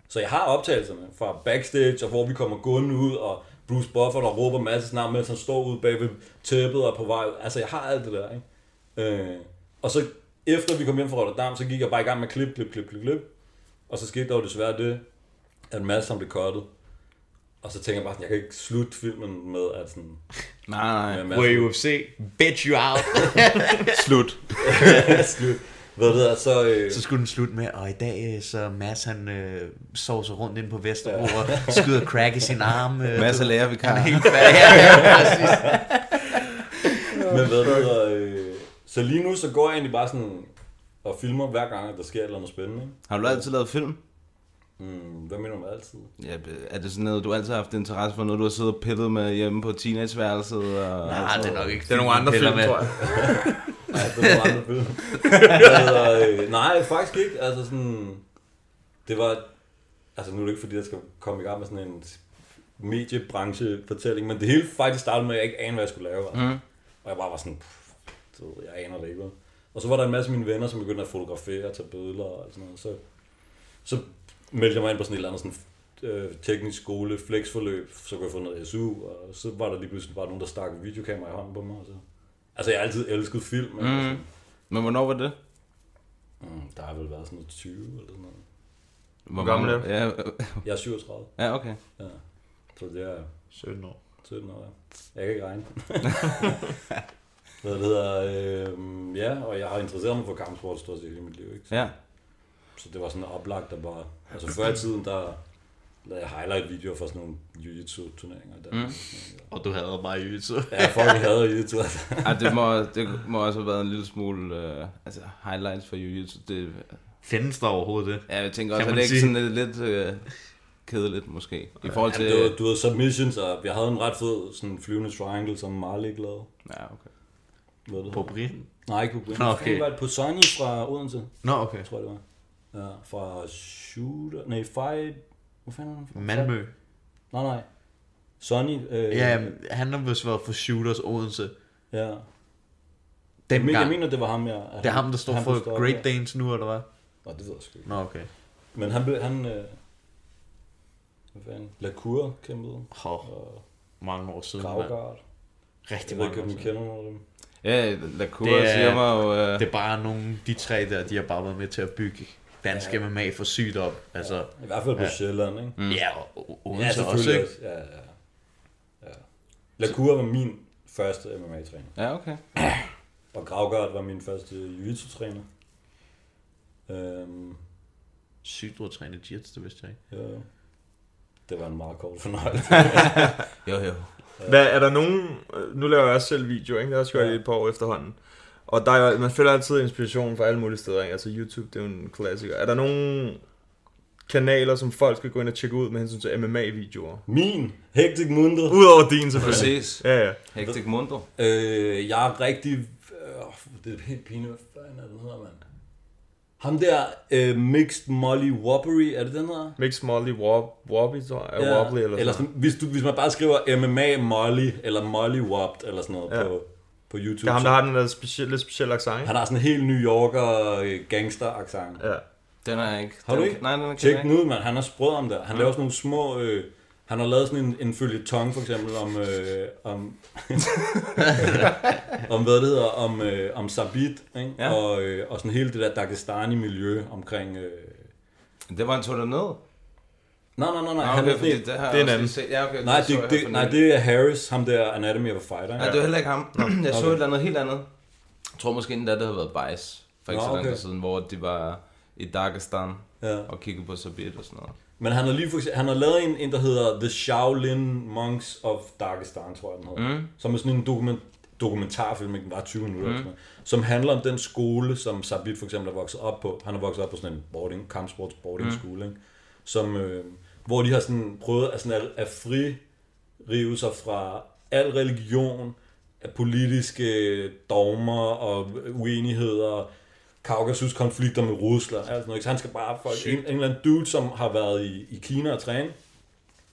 S12: Så jeg har optagelserne fra backstage, og hvor vi kommer gående ud, og Bruce Buffer, der råber Mads' navn, mens han står ude bag ved tæppet og på vej. ud. Altså, jeg har alt det der, ikke? Øh, og så efter vi kom hjem fra Rotterdam, så gik jeg bare i gang med klip, klip, klip, klip, klip. Og så skete der jo desværre det, at Mads han blev cuttet. Og så tænker jeg bare sådan, jeg kan ikke slutte filmen med, at sådan...
S9: Nej,
S12: med
S9: nej.
S12: Mads-
S11: Hvor i UFC, bitch you out.
S9: Slut.
S12: Slut. Hvad det er, så... Øh,
S11: så skulle den slutte med, og i dag øh, så Mads han øh, sover sig rundt inde på Vesterbro og skyder crack i sin arm. Øh,
S9: Mads er lærer, vi kan.
S11: Han er helt færdig. Ja, ja, præcis.
S12: Men hvad det hedder, øh, så lige nu så går jeg egentlig bare sådan og filmer hver gang, at der sker et eller andet spændende. ikke?
S9: Har du altid lavet film?
S12: Mm, hvad mener du med altid?
S9: Ja, er det sådan noget, du altid har haft interesse for, når du har siddet og pillet med hjemme på teenageværelset?
S11: (laughs)
S9: Og...
S11: Nej, det er nok ikke.
S9: Det er nogle andre
S11: Piller
S9: film, tror jeg.
S12: Nej, det var andre film. Hvad hedder, øh, nej, faktisk ikke. Altså sådan, det var, altså nu er det ikke fordi, jeg skal komme i gang med sådan en mediebranchefortælling, men det hele faktisk startede med, at jeg ikke anede, hvad jeg skulle lave. Altså.
S9: Mm.
S12: Og jeg bare var sådan, pff, du ved, jeg aner det ikke. vel? Og så var der en masse af mine venner, som begyndte at fotografere og tage billeder og sådan noget. Så, så meldte jeg mig ind på sådan et eller andet sådan, øh, teknisk skole, flexforløb, så kunne jeg få noget SU, og så var der lige pludselig bare nogen, der stak en videokamera i hånden på mig. Og så. Altså jeg har altid elsket film, mm. altså,
S9: Men hvornår var det?
S12: mm, der har vel været sådan noget 20 eller sådan noget.
S9: Hvor
S10: gammel er
S9: mange- Ja, øh,
S12: Jeg er 37,
S9: ja, okay.
S12: ja. så det er
S11: 17 år.
S12: 17 år. ja. Jeg kan ikke regne. Hvad det hedder, øh, ja, og jeg har interesseret mig for kampsport stort set hele mit liv, ikke? Så-
S9: Ja.
S12: Så det var sådan oplagt, der bare... Altså før i tiden, der lavede jeg highlight-videoer for sådan nogle jiu-jitsu-turneringer. Der. Mm.
S11: Og du havde mig i så.
S12: (laughs) Ja, jeg fucking havde jiu-jitsu. altså.
S9: Ej, det, må, det må også have været en lille smule øh, altså, highlights for jiu-jitsu. Det,
S11: Findes der overhovedet det?
S9: ja, jeg tænker
S11: Kan
S9: også, at
S11: man
S9: det ikke
S11: sige?
S9: sådan lidt, lidt øh, kedeligt måske. I forhold til...
S12: Jamen, det var, du havde submissions, og jeg havde en ret fed sådan flyvende triangle, som Malik lavede.
S9: Ja, okay.
S12: Hvad er det?
S11: På Brian?
S12: Nej, ikke på Brian.
S11: Nå, okay.
S12: Det var det på Sonny fra Odense,
S11: Nå, okay.
S12: tror jeg det var. Ja, fra Shooter... Nej, Fight... Hvor fanden er han fra?
S11: Malmø.
S12: Nej, nej. Sonny... Øh,
S11: Ja, han har vist været for Shooters Odense.
S12: ja. Jeg, mener, jeg
S11: Dengang.
S12: mener, det var ham, ja.
S11: Det er ham, der står for Great
S12: Day.
S11: Danes nu, eller hvad?
S12: Nå, det ved jeg sgu ikke.
S11: Nå, okay.
S12: Men han blev, han, øh, hvad fanden, Lacour kæmpede,
S11: Hå,
S12: og
S11: mange år siden. mand.
S12: Gravgaard.
S11: Rigtig
S12: Jeg ved
S11: mange
S12: ikke,
S11: år
S12: om I
S11: siden.
S12: kender nogen af dem.
S9: Ja, La Cour
S11: Det er-
S9: siger mig jo... Øh,
S11: Det er bare nogle, de tre der, de har bare været med til at bygge dansk MMA for sygt op. Altså,
S12: I hvert fald på Sjælland, ikke?
S11: mm. ja, og og
S12: Ja,
S11: Odense også,
S12: selvfølgelig
S11: ikke?
S12: også. Ja, ja, ja. Lacour var min første MMA-træner,
S9: ja, okay.
S12: og Gravgaard var min første jiu-jitsu-træner. Øhm,
S11: Sygt at træne jits, det vidste jeg ikke.
S12: ja, ja. det var en meget kort fornøjelse.
S10: (laughs)
S9: Jo, jo.
S10: Hvad, er der nogen... øh, Nu laver jeg også selv video, ikke? Det har jeg også gjort i et par år efterhånden. Og der er, jo- man føler altid inspiration fra alle mulige steder, ikke? Altså YouTube, det er jo en klassiker. Er der nogen kanaler, som folk skal gå ind og tjekke ud med hensyn til MMA-videoer?
S12: Min Hectic Mundo.
S10: Udover din selvfølgelig.
S9: Præcis.
S10: Ja, ja.
S9: Hektik Mundo.
S12: Øh, jeg er rigtig... Øh, det er helt pinligt. Hvad fanden er det, den hedder, mand? Ham der, øh, Mixed Molly Whoppery, er det den hedder?
S10: Mix Molly Wob, Wobby, tror jeg. Ja. Wobbly eller,
S12: eller
S10: sådan
S12: sådan, hvis, du, hvis man bare skriver MMA Molly, eller Molly Whopped, eller sådan noget ja.
S10: Ja.
S12: på, på YouTube.
S10: Det er ham, der har den der speciel, lidt specielle accent,
S12: så-
S10: ikke?
S12: han har sådan en helt New Yorker øh, gangster-accent.
S10: Ja.
S9: Den er jeg ikke.
S12: Har du
S9: den,
S12: ikke?
S9: Nej, den er
S12: Tjek den ud, mand. Han har sprød om der. Han laver sådan nogle små... Øh, han har lavet sådan en, en følgetong, for eksempel, om... Øh,
S9: (laughs)
S12: om, om, hvad det hedder, om, øh, om Sabit, ikke?
S9: Ja.
S12: Ja. Og, øh, og sådan hele det der Dagestani-miljø omkring... Øh...
S9: Det var en tog ned.
S12: Nej, nej, nej, nej.
S9: Nej,
S12: han
S9: okay,
S12: er sådan
S9: fordi
S12: en...
S9: det, har
S10: det er en
S9: jeg også
S10: anden.
S9: lige set. Ja, okay,
S12: Nej,
S9: så jeg
S12: det, det,
S9: for
S12: nej,
S9: nylig.
S12: det er Harris, ham der Anatomy of a Fighter. Ikke?
S9: Nej, det var heller ikke ham. (clears throat) Jeg så
S12: Okay.
S9: et eller andet helt andet. Jeg tror måske endda, det havde været Bice. For ikke
S12: Nå,
S9: så lang tid
S12: okay.
S9: siden, hvor de var i Dagestan
S12: Ja.
S9: og kiggede på Sabir og sådan noget.
S12: Men han har, lige for, eksempel- han har lavet en, en, der hedder The Shaolin Monks of Dagestan, tror jeg den hedder.
S9: Mm.
S12: Som er sådan en dokument, dokumentarfilm, ikke? den var 20 minutter,
S9: Mm.
S12: mm. sådan noget, som handler om den skole, som Sabit for eksempel er vokset op på. Han er vokset op på sådan en boarding, kampsports boarding
S9: Mm.
S12: mm. skole, ikke? Som, øh, hvor de har sådan prøvet at, sådan at, at fririve sig fra al religion, af politiske dogmer og uenigheder, Kaukasus-konflikter med Rusland, alt sådan noget. ikke? Så han skal bare få en, en eller anden dude, som har været i, i Kina og træne,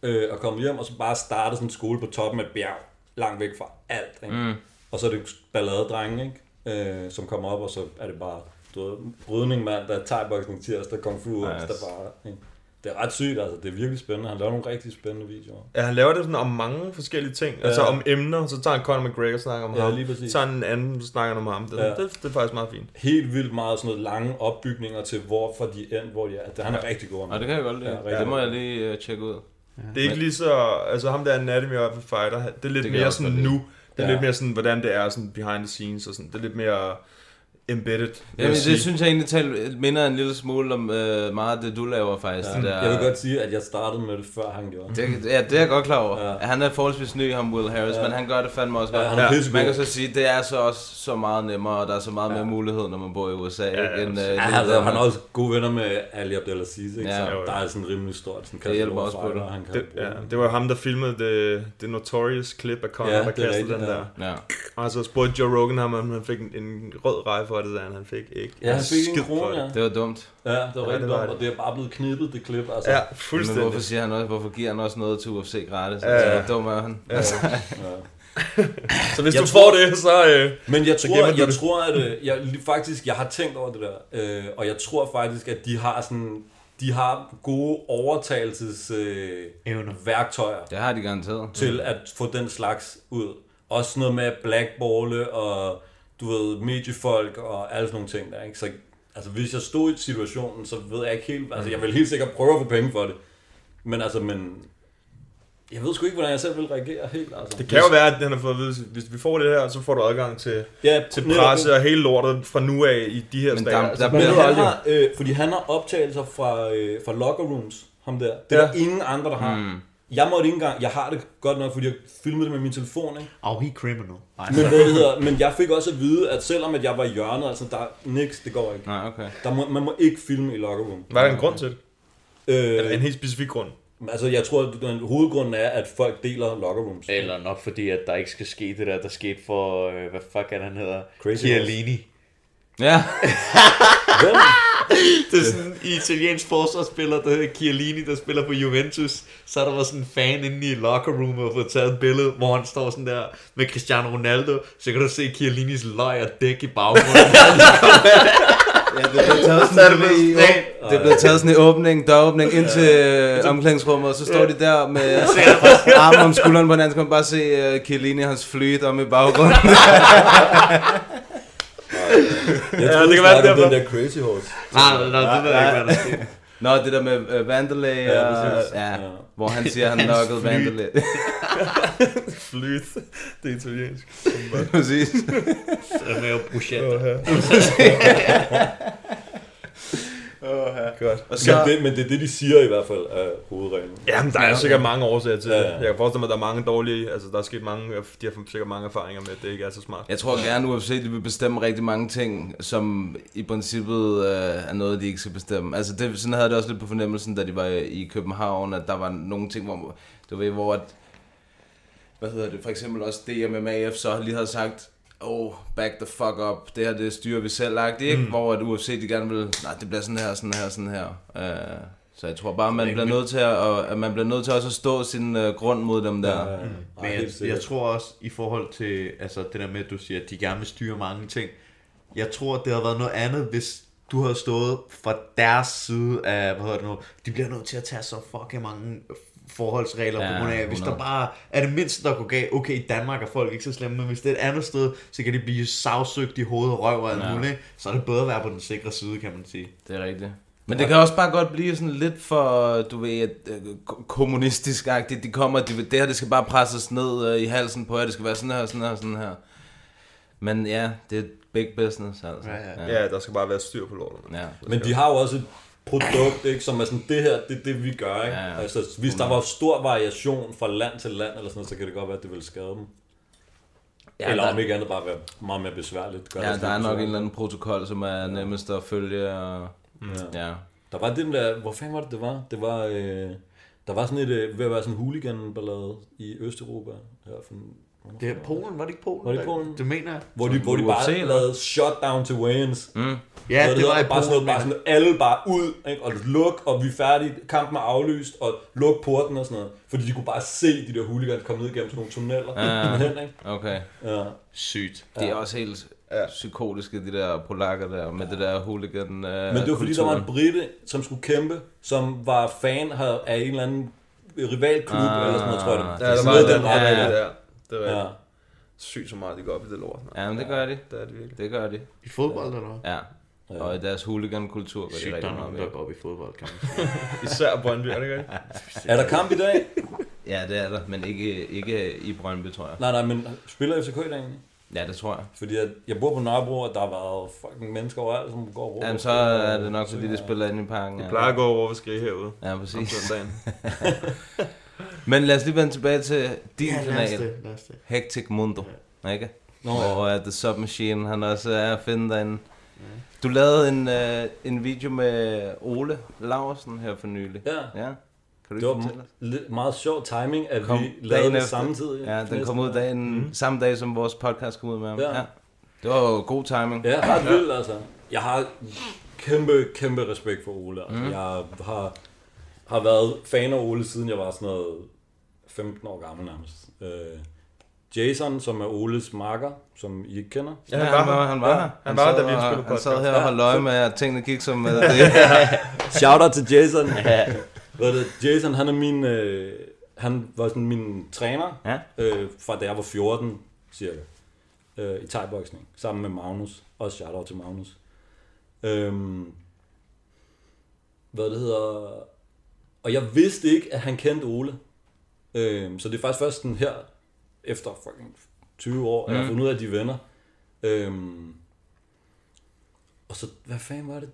S12: øh, og komme hjem, og så bare starte sådan en skole på toppen af et bjerg, langt væk fra alt. Ikke?
S9: Mm.
S12: Og så er det balladedrenge, ikke? Øh, som kommer op, og så er det bare du ved, brydning mandag, thai-boksning tirsdag, kung fu onsdag
S10: Nice.
S12: bare. Ikke? Det er ret sygt, altså. Det er virkelig spændende. Han laver nogle rigtig spændende videoer.
S10: Ja, han laver det sådan om mange forskellige ting. Ja. Altså
S12: Ja.
S10: om emner, så tager han Conor McGregor og snakker om
S12: Ja,
S10: ham.
S12: lige præcis.
S10: Så tager han en anden, så snakker han om ham. Det, ja.
S12: Ja.
S10: det, det, er faktisk meget fint.
S12: Helt vildt meget sådan noget lange opbygninger til, hvorfor de end, hvor de er. Det- Han er rigtig god.
S9: Og det kan jeg godt lide. Ja, det må jeg lige øh, tjekke ud.
S10: Det er ikke lige så... Altså ham der Anatomy of a Fighter, han- det er lidt
S9: Det
S10: det
S9: kan jeg
S10: mere
S9: også
S10: sådan
S9: godt lide.
S10: nu. Det er
S9: Ja.
S10: lidt mere sådan, hvordan det er sådan behind the scenes og sådan. Det er lidt mere embedded. vil jeg
S9: Jamen,
S10: sige.
S9: det synes jeg egentlig tal, minder en lille smule om øh, meget af det, du laver faktisk.
S12: Ja.
S9: Det der,
S12: Mm. Jeg vil godt sige, at jeg startede med det, før han gjorde.
S9: Det, ja, det er jeg godt klar over. Ja. Han er forholdsvis ny, ham Will Harris, ja. men han gør det fandme også godt.
S12: Ja, han er pissegod.
S9: Man kan så sige, det er så også så meget nemmere, og der er så meget ja. mere mulighed, når man bor i USA. Ja, ja. End,
S12: Ja,
S9: øh, i
S12: altså, han
S9: Danmark.
S12: har også gode venner med Ali Abdelaziz, ikke?
S9: Ja.
S12: Ja.
S9: Jo,
S12: Så
S9: jo.
S12: der er sådan rimelig stort. Sådan
S9: Det hjælper også på
S12: Kastelov-
S9: det.
S12: Han kan
S10: Det,
S12: bruge.
S10: ja, det var jo ham, der filmede det, det Notorious klip af Conor,
S12: Ja,
S10: ja, der
S12: det er
S10: kastede den
S12: rigtigt, ja.
S10: der.
S9: Ja.
S10: Og så spurgte Joe Rogan ham, om han fik en, en rød rej for det, der han fik ikke.
S12: Ja, han fik
S10: Skid
S12: en
S10: for
S12: krone, ja.
S9: Det var dumt.
S12: Ja, det var
S10: Ja,
S12: rigtig
S10: det var
S12: dumt,
S10: det.
S12: og det er bare blevet knippet, det klip. Altså.
S10: Ja, fuldstændig.
S9: Men hvorfor, siger han også, hvorfor giver han også noget til UFC gratis?
S10: Ja, ja.
S9: Ja. Så dum er han.
S10: Ja.
S9: Altså.
S10: Så hvis jeg du tror, får det, så... Øh,
S12: Men jeg
S10: så
S12: tror,
S10: gemmer du
S12: jeg
S10: det.
S12: tror at øh, jeg, lige faktisk, jeg har tænkt over det der, øh, og jeg tror faktisk, at de har sådan, de har gode overtagelses øh,
S11: Evner.
S12: værktøjer
S9: Det har de garanteret.
S12: til at få den slags ud. Også sådan noget med blackballe og du ved, mediefolk og alle sådan nogle ting der, ikke? Så altså, hvis jeg stod i situationen, så ved jeg ikke helt, altså jeg vil helt sikkert prøve at få penge for det. Men altså, men jeg ved sgu ikke, hvordan jeg selv vil reagere helt, altså.
S10: Det kan jo være, at han har fået at vide, hvis vi får det her, så får du adgang til,
S12: Ja,
S10: til
S12: netop.
S10: presse og hele lortet fra nu af i de her
S9: Men
S10: stater.
S9: der-
S10: Altså,
S9: der
S10: man
S12: Men
S10: ved
S9: bliver-
S12: han
S10: aldrig.
S12: har, øh, fordi han har optagelser fra, øh, fra locker rooms, ham der. Det
S10: Ja.
S12: er der ingen andre, der har.
S9: Mm.
S12: Mm. Jeg måtte ikke engang, jeg har det godt nok, fordi jeg filmede det med min telefon, ikke?
S11: Oh, he criminal. Ej,
S12: Men, hvad det hedder, men jeg fik også at vide, at selvom at jeg var i hjørnet, altså der er niks, det går ikke.
S9: Nej, okay.
S12: Der må, man må ikke filme i locker room.
S10: Var der en grund til det? Eller en
S12: Øh,
S10: helt specifik grund?
S12: altså jeg tror, at den- hovedgrunden er, at folk deler locker rooms.
S11: Eller nok fordi, at der ikke skal ske det der, der skete for, øh, hvad fuck er det, han hedder?
S12: Crazy
S11: Chiellini.
S9: Ja.
S12: Hvem?
S11: Det er sådan en italiensk forsvarsspiller, der hedder Chiellini, der spiller på Juventus. Så der var sådan en fan inde i locker room og fået taget et billede, hvor han står sådan der med Cristiano Ronaldo. Så kan du se Chiellinis løg og dæk i baggrunden.
S9: Det blev taget sådan, i, åb- det blev taget sådan i åbning, døråbning ind til øh, omklædningsrummet, og så står de der med (laughs) armen om skulderen på hinanden, så kan man bare se uh, Chiellini og hans flyet om i baggrunden.
S12: Jeg tror, ja, det kan være derfor. den der Crazy Horse.
S11: nej, nej, nej, det ved jeg ikke, hvad der sker.
S9: Nå, det der med uh, Vandalay,
S12: Ja,
S9: og,
S12: præcis.
S9: ja,
S12: Ja.
S9: hvor han siger, han
S11: Hans
S9: lukkede
S11: flyet.
S9: Vandalay.
S10: Flyt. (laughs) Det er italiensk.
S9: (laughs) Præcis.
S11: Romeo Bruschetta.
S10: Godt.
S9: Og
S12: Men
S9: så,
S12: det, men det er det, de siger i hvert fald af hovedreglen.
S10: Jamen, der er sikkert mange årsager til det.
S12: Ja, ja.
S10: Jeg kan forestille mig, at der er mange dårlige... Altså, der er sket mange... De har sikkert mange erfaringer med, at det ikke er så smart.
S9: jeg tror gerne, UFC de vil bestemme rigtig mange ting, som i princippet øh, er noget, de ikke skal bestemme. Altså, det, sådan havde jeg det også lidt på fornemmelsen, da de var i København, at der var nogle ting, hvor, du ved, hvor at, hvad hedder det, for eksempel også DMMAF, så lige havde sagt, oh, back the fuck up, det her, det styrer vi selv, lagt, ikke? Mm. Hvor at UFC, de gerne vil, nej, det bliver sådan her, sådan her, sådan her. Uh, så jeg tror bare, man bliver nødt til at, og, at man bliver nødt til også at stå sin uh, grund mod dem der. Ja, ja.
S12: Ej,
S11: Men
S12: helt
S11: jeg,
S12: sikkert.
S11: jeg tror også, i forhold til altså det der med, at du siger, at de gerne vil styre mange ting, jeg tror, det havde været noget andet, hvis du havde stået fra deres side af, hvad hedder det nu, de bliver nødt til at tage så fucking mange forholdsregler ja,
S9: Ja,
S11: på grund af, hvis der
S9: 100.
S11: bare er det mindste, der går galt, okay, i Danmark er folk ikke så slemme, men hvis det er et andet sted, så kan de blive savsøgt i hovedet, røv og alt
S9: Ja.
S11: ja. muligt, så er det bedre at være på den sikre side, kan man sige.
S9: Det er rigtigt. Men det kan også bare godt blive sådan lidt for, du ved, at, øh, ko- kommunistisk-agtigt. De kommer, de, vil- det her, det skal bare presses ned øh, i halsen på jer. Det skal være sådan her, sådan her, sådan her. Men ja, det er big business, altså.
S11: Ja, ja.
S9: ja.
S10: Ja, der skal bare være styr på lortet.
S9: ja.
S12: Men de har jo også et produkt, ikke? som er sådan, det her, det er det, vi gør. Ikke? Ja, ja. Altså, hvis der var stor variation fra land til land, eller sådan noget, så kan det godt være, at det ville skade dem. Ja, eller der... om ikke andet bare være meget mere besværligt.
S9: Gør ja, det der er nok en eller anden protokol, som er nemmest at følge. Og...
S12: Mm.
S9: Ja. ja.
S12: Der var den der, hvor fanden var det, det var? Det var, øh, der var sådan et, øh, ved at være sådan en hooligan-ballade i Østeuropa. Her for
S11: Det er Polen, var det ikke Polen?
S12: Var det ikke Polen?
S11: Det mener jeg.
S12: Hvor de, hvor de
S9: UFC,
S12: bare
S9: eller?
S12: lavede shutdown til Wayans.
S9: Mm.
S11: Ja,
S12: Så
S11: det var
S12: hedder
S11: i
S12: bare sådan, noget,
S11: Polen,
S12: bare sådan alle bare ud, ikke? og luk, og vi er færdige, kampen er aflyst, og luk porten og sådan noget. Fordi de kunne bare se de der hooligans komme ned gennem sådan nogle tunneller.
S9: Ja.
S12: Hen, ikke?
S9: Okay.
S12: Ja.
S11: Sygt.
S9: Det er også helt ja. psykotiske, de der polakker der, med det der hooligan øh,
S12: Men det var fordi, der var en brite, som skulle kæmpe, som var fan af af en eller anden rivalklub,
S9: Ah,
S12: ah, eller sådan noget, tror jeg.
S9: ja,
S12: Det,
S2: Ja, der
S12: er sådan
S2: var
S12: noget i
S2: den
S12: den
S2: ret
S12: retning.
S2: ja, ja. der. Det var
S12: Ja.
S2: ja. sygt så meget, de går op i det lort. Man.
S9: Ja, men det gør de.
S2: Det er det virkelig.
S9: Det gør de.
S11: I fodbold, eller hvad?
S9: Ja. Og i deres hooligan-kultur går de
S11: Sygt, der
S9: rigtig
S11: er
S9: meget
S11: nogen,
S9: med.
S11: der går op i fodbold, kan man
S2: Især Brøndby, er det ikke rigtigt?
S12: Er der kamp i dag?
S9: Ja, det er der, men ikke, ikke i Brøndby, tror jeg.
S12: Nej, nej, men spiller FCK i dag egentlig?
S9: Ja, det tror jeg.
S12: Fordi jeg, jeg bor på Nørrebro, og der har været fucking mennesker overalt, som går og råber.
S9: Jamen, så er det nok, fordi det spiller inde i parken.
S2: Det
S9: ja.
S2: (laughs) plejer at gå over, hvor vi skal herude.
S9: Ja,
S2: Om
S9: præcis.
S2: søndagen.
S9: Men lad os lige vende tilbage til din
S11: Ja, lad os
S9: kanal,
S11: det, lad os det.
S9: Hectic Mundo, ikke?
S12: Nå, ja.
S9: Hvor uh, The Submachine, han også er at finde derinde. Du lavede en, uh, en video med Ole Laursen her for nylig.
S12: Ja.
S9: ja. Kan du
S12: Det
S9: ikke
S12: var
S9: fortælle os?
S12: lidt, meget sjov timing, at
S9: Kom
S12: vi
S9: dagen
S12: lavede det
S9: efter.
S12: samtidig.
S9: Ja, den kom ud dagen, mm. samme dag, som vores podcast kom ud med ham.
S12: Ja.
S9: Ja. Det var jo god timing.
S12: Ja, ret vildt altså. Jeg har kæmpe, kæmpe respekt for Ole. Altså,
S9: Mhm.
S12: mm. Jeg har, har været fan af Ole, siden jeg var sådan noget 15 år gammel nærmest. Øh, Jason, som er Oles marker, som I ikke kender.
S9: Ja, han, var, han var her.
S2: han var her,
S9: sad
S2: da vi
S9: og-
S2: indspillede
S9: Han sad
S2: podcast.
S9: her og holdt øje med, at tingene gik som øh, det.
S12: Shout out til Jason. Hvad er det? Jason, han er min... Øh, han var sådan min træner,
S9: Ja.
S12: øh, fra da jeg var 14, cirka, øh, i thai-boksning, sammen med Magnus. Også shout out til Magnus. Øhm, hvad det hedder... Og jeg vidste ikke, at han kendte Ole. Øhm, så det er faktisk først sådan her, efter fucking 20 år, at jeg har fundet ud af, at de er venner. Øhm, og så, hvad fanden var det?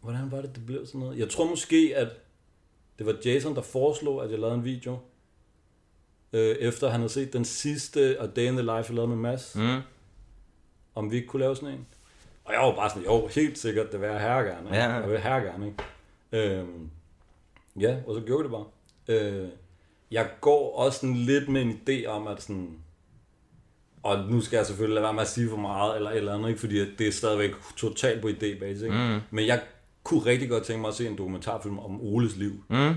S12: Hvordan var det, det blev sådan noget? Jeg tror måske, at det var Jason, der foreslog, at jeg lavede en video. Øh, efter han havde set den sidste A Day in the Life, jeg lavede med Mads.
S9: Mm.
S12: Om vi ikke kunne lave sådan en. Og jeg var bare sådan, jo, helt sikkert, det vil jeg herre gerne. ikke?
S9: Ja.
S12: Jeg vil herre gerne, ikke? Øhm, ja, og så gjorde vi det bare. Øh, jeg går også sådan lidt med en idé om, at sådan... Og nu skal jeg selvfølgelig lade være med at sige for meget, eller et eller andet, ikke? fordi at det er stadigvæk totalt på idébasis. Ikke? Mm. Men jeg kunne rigtig godt tænke mig at se en dokumentarfilm om Oles liv. Mm.
S11: Ja.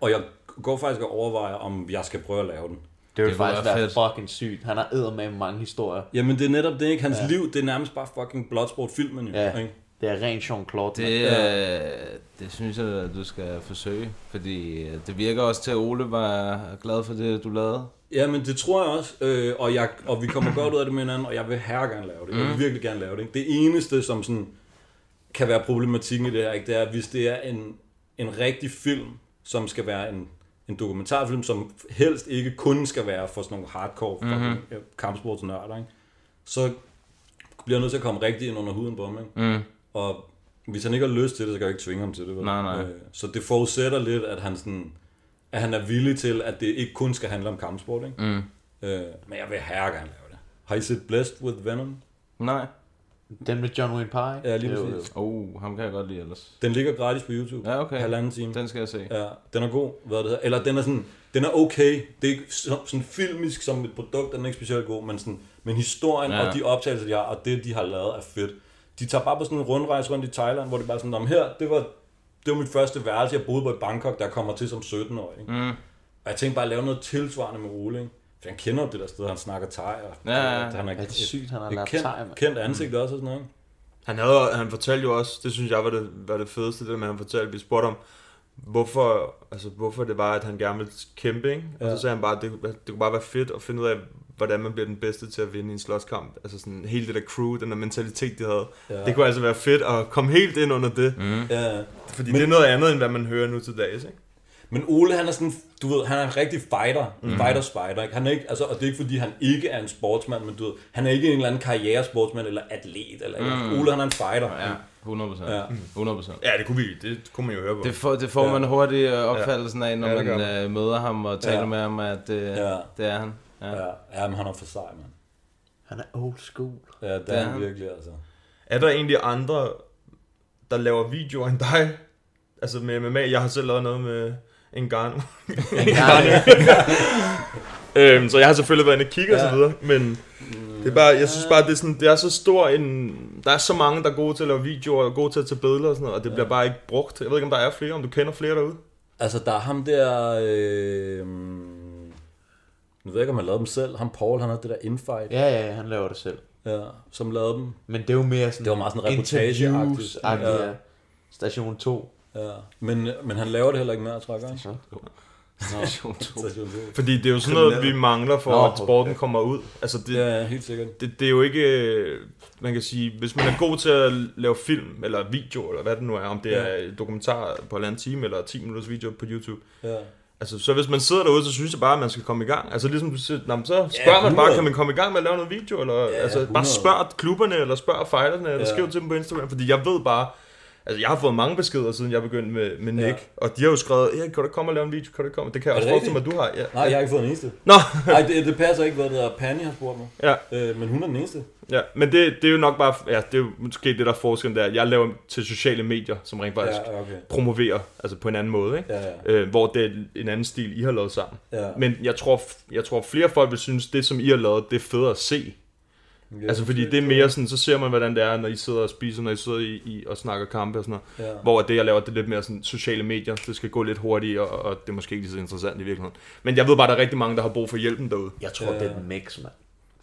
S12: Og jeg går faktisk og overvejer, om jeg skal prøve at lave den.
S11: Det ville
S9: kunne
S11: faktisk
S9: være
S11: være
S9: fedt.
S11: fucking sygt. Han har med mange historier.
S12: Jamen det er netop det, ikke? Hans ja. liv, det er nærmest bare fucking Bloodsport-filmen, jo.
S11: Ja,
S12: Ikke?
S11: det er ren Jean-Claude.
S9: Det, øh, det synes jeg, at du skal forsøge, fordi øh, det virker også til, at Ole var glad for det, du lavede.
S12: Ja, men det tror jeg også, øh, og, jeg, og vi kommer godt ud af det med hinanden, og jeg vil herre gerne lave det. Jeg
S9: Mhm.
S12: vil virkelig gerne lave det. Ikke? Det eneste, som sådan, kan være problematikken i det her, ikke? det er, hvis det er en, en rigtig film, som skal være en, en dokumentarfilm, som helst ikke kun skal være for sådan nogle hardcore
S9: Mhm.
S12: mm-hmm. kampsportsnørder, ikke? så bliver jeg nødt til at komme rigtig ind under huden på ham. Ikke?
S9: Mhm.
S12: Mm. Og hvis han ikke har lyst til det, så kan jeg ikke tvinge ham til det. Vel?
S9: Nej, nej.
S12: Øh, så det forudsætter lidt, at han sådan at han er villig til, at det ikke kun skal handle om kampsport. Ikke? Mm. Øh, men jeg vil herre gerne lave det. Har I set Blessed with Venom?
S9: Nej.
S11: Den med John Wayne Pye.
S12: Ja, lige
S11: Det er jo-
S12: præcis.
S9: Oh, ham kan jeg godt lide ellers.
S12: Den ligger gratis på YouTube.
S9: Ja, okay.
S12: Halvanden time.
S9: Den skal jeg se.
S12: Ja, den er god, hvad det hedder. Eller den er sådan, den er okay. Det er ikke så- sådan filmisk som et produkt, er den er ikke specielt god, men, sådan, men historien
S9: Ja.
S12: ja. og de optagelser, de har, og det, de har lavet, er fedt. De tager bare på sådan en rundrejse rundt i Thailand, hvor det bare er sådan, om her, det var, det var mit første værelse, jeg boede på i Bangkok, der jeg kommer til som 17-årig. Ikke? Mm. Og jeg tænkte bare at lave noget tilsvarende med Ole, ikke? For han kender jo det der sted, han snakker thai, og
S9: Ja, ja, ja.
S12: han er,
S11: Ja, det er sygt, han har lært
S12: kendt,
S11: thai, mand.
S12: kendt ansigt også og sådan noget. Ikke?
S2: Han, havde, han fortalte jo også, det synes jeg var det, var det fedeste, det der med, at han fortalte, vi spurgte om, hvorfor, altså, hvorfor det var, at han gerne ville kæmpe, ikke? Og
S12: Ja.
S2: så sagde han bare, at det, kunne- det kunne bare være fedt at finde ud af, hvordan man bliver den bedste til at vinde i en slåskamp. Altså sådan hele det der crew, den der mentalitet, de havde. Ja.
S12: Ja.
S2: Det kunne altså være fedt at komme helt ind under det. Mm.
S12: Ja.
S2: Fordi Men, det er noget andet, end hvad man hører nu til dags, ikke?
S12: Men Ole, han er sådan, du ved, han er en rigtig fighter, mm. fighter spider, ikke? Han er ikke, altså, og det er ikke fordi, han ikke er en sportsmand, men du ved, han er ikke en eller anden karrieresportsmand eller atlet, eller mm. Ole, han er en fighter. Mhm. Ja,
S9: 100%. Ja. 100%.
S10: Ja, det kunne, vi, det kunne man jo høre på.
S9: Det får, det får ja. man hurtigt øh, opfattelsen af, når ja, man øh, møder ham og taler ja. med ham, at øh, ja. det er han.
S12: Ja, ja. ja men han er for sej, mand.
S11: Han er old school.
S12: Ja, det, det er han, han virkelig, altså.
S10: Er der egentlig andre, der laver videoer end dig? Altså med MMA, jeg har selv lavet noget med en garn. (laughs) en garn. (laughs) øhm, så jeg har selvfølgelig været inde og kigge ja. og så videre, men det er bare, jeg synes bare, det er, sådan, det er så stor en... Der er så mange, der er gode til at lave videoer, og gode til at tage billeder og sådan noget, og det ja. bliver bare ikke brugt. Jeg ved ikke, om der er flere, om du kender flere derude?
S12: Altså, der er ham der... Øh, nu ved jeg ikke, om han lavede dem selv. Ham Paul, han havde det der infight.
S11: Ja, ja, han laver det selv.
S12: Ja, som lavede dem.
S11: Men det er jo mere sådan...
S12: Det var meget sådan reportage-agtigt.
S11: Ja. ja. Station 2.
S12: Ja. Men, men han laver det heller ikke mere, tror jeg ikke. Station 2.
S10: Station 2. Fordi det er jo sådan noget, vi mangler for, Nå, at sporten ja. kommer ud. Altså det,
S12: ja, ja, helt sikkert.
S10: Det, det er jo ikke, øh, man kan sige, hvis man er god til at lave film, eller video, eller hvad det nu er, om det ja. er dokumentar på en anden time, eller 10 minutters video på YouTube. Ja. Altså, så hvis man sidder derude, så synes jeg bare, at man skal komme i gang. Altså ligesom du siger, nah, så spørger ja, 100. man bare, kan man komme i gang med at lave noget video? Eller, ja, altså, 100. bare spørg klubberne, eller spørg fighterne, eller ja. skriv til dem på Instagram. Fordi jeg ved bare, Altså, jeg har fået mange beskeder, siden jeg begyndte med, med Nick, ja. og de har jo skrevet, ja, kan du komme og lave en video, kan du komme? Det kan jeg også forestille mig, du har. Ja.
S12: Nej, jeg har ikke fået en eneste.
S10: Nå!
S12: Nej, det, det, passer ikke, hvad det er, Pani har spurgt mig.
S10: Ja.
S12: Øh, men hun er den eneste.
S10: Ja, men det, det er jo nok bare, ja, det er jo måske det, der er forskellen der. Jeg laver til sociale medier, som rent faktisk ja, okay. promoverer, altså på en anden måde, ikke?
S12: Ja, ja.
S10: Øh, hvor det er en anden stil, I har lavet sammen.
S12: Ja.
S10: Men jeg tror, jeg tror, flere folk vil synes, det som I har lavet, det er federe at se, Ja, altså fordi det er mere sådan, så ser man hvordan det er, når I sidder og spiser, når I sidder i, i og snakker kampe og sådan noget. Ja. Hvor det jeg laver, det er lidt mere sådan sociale medier, det skal gå lidt hurtigt, og, og det er måske ikke lige så interessant i virkeligheden. Men jeg ved bare, der er rigtig mange, der har brug for hjælpen derude.
S11: Jeg tror, ja. det er et mix, mand.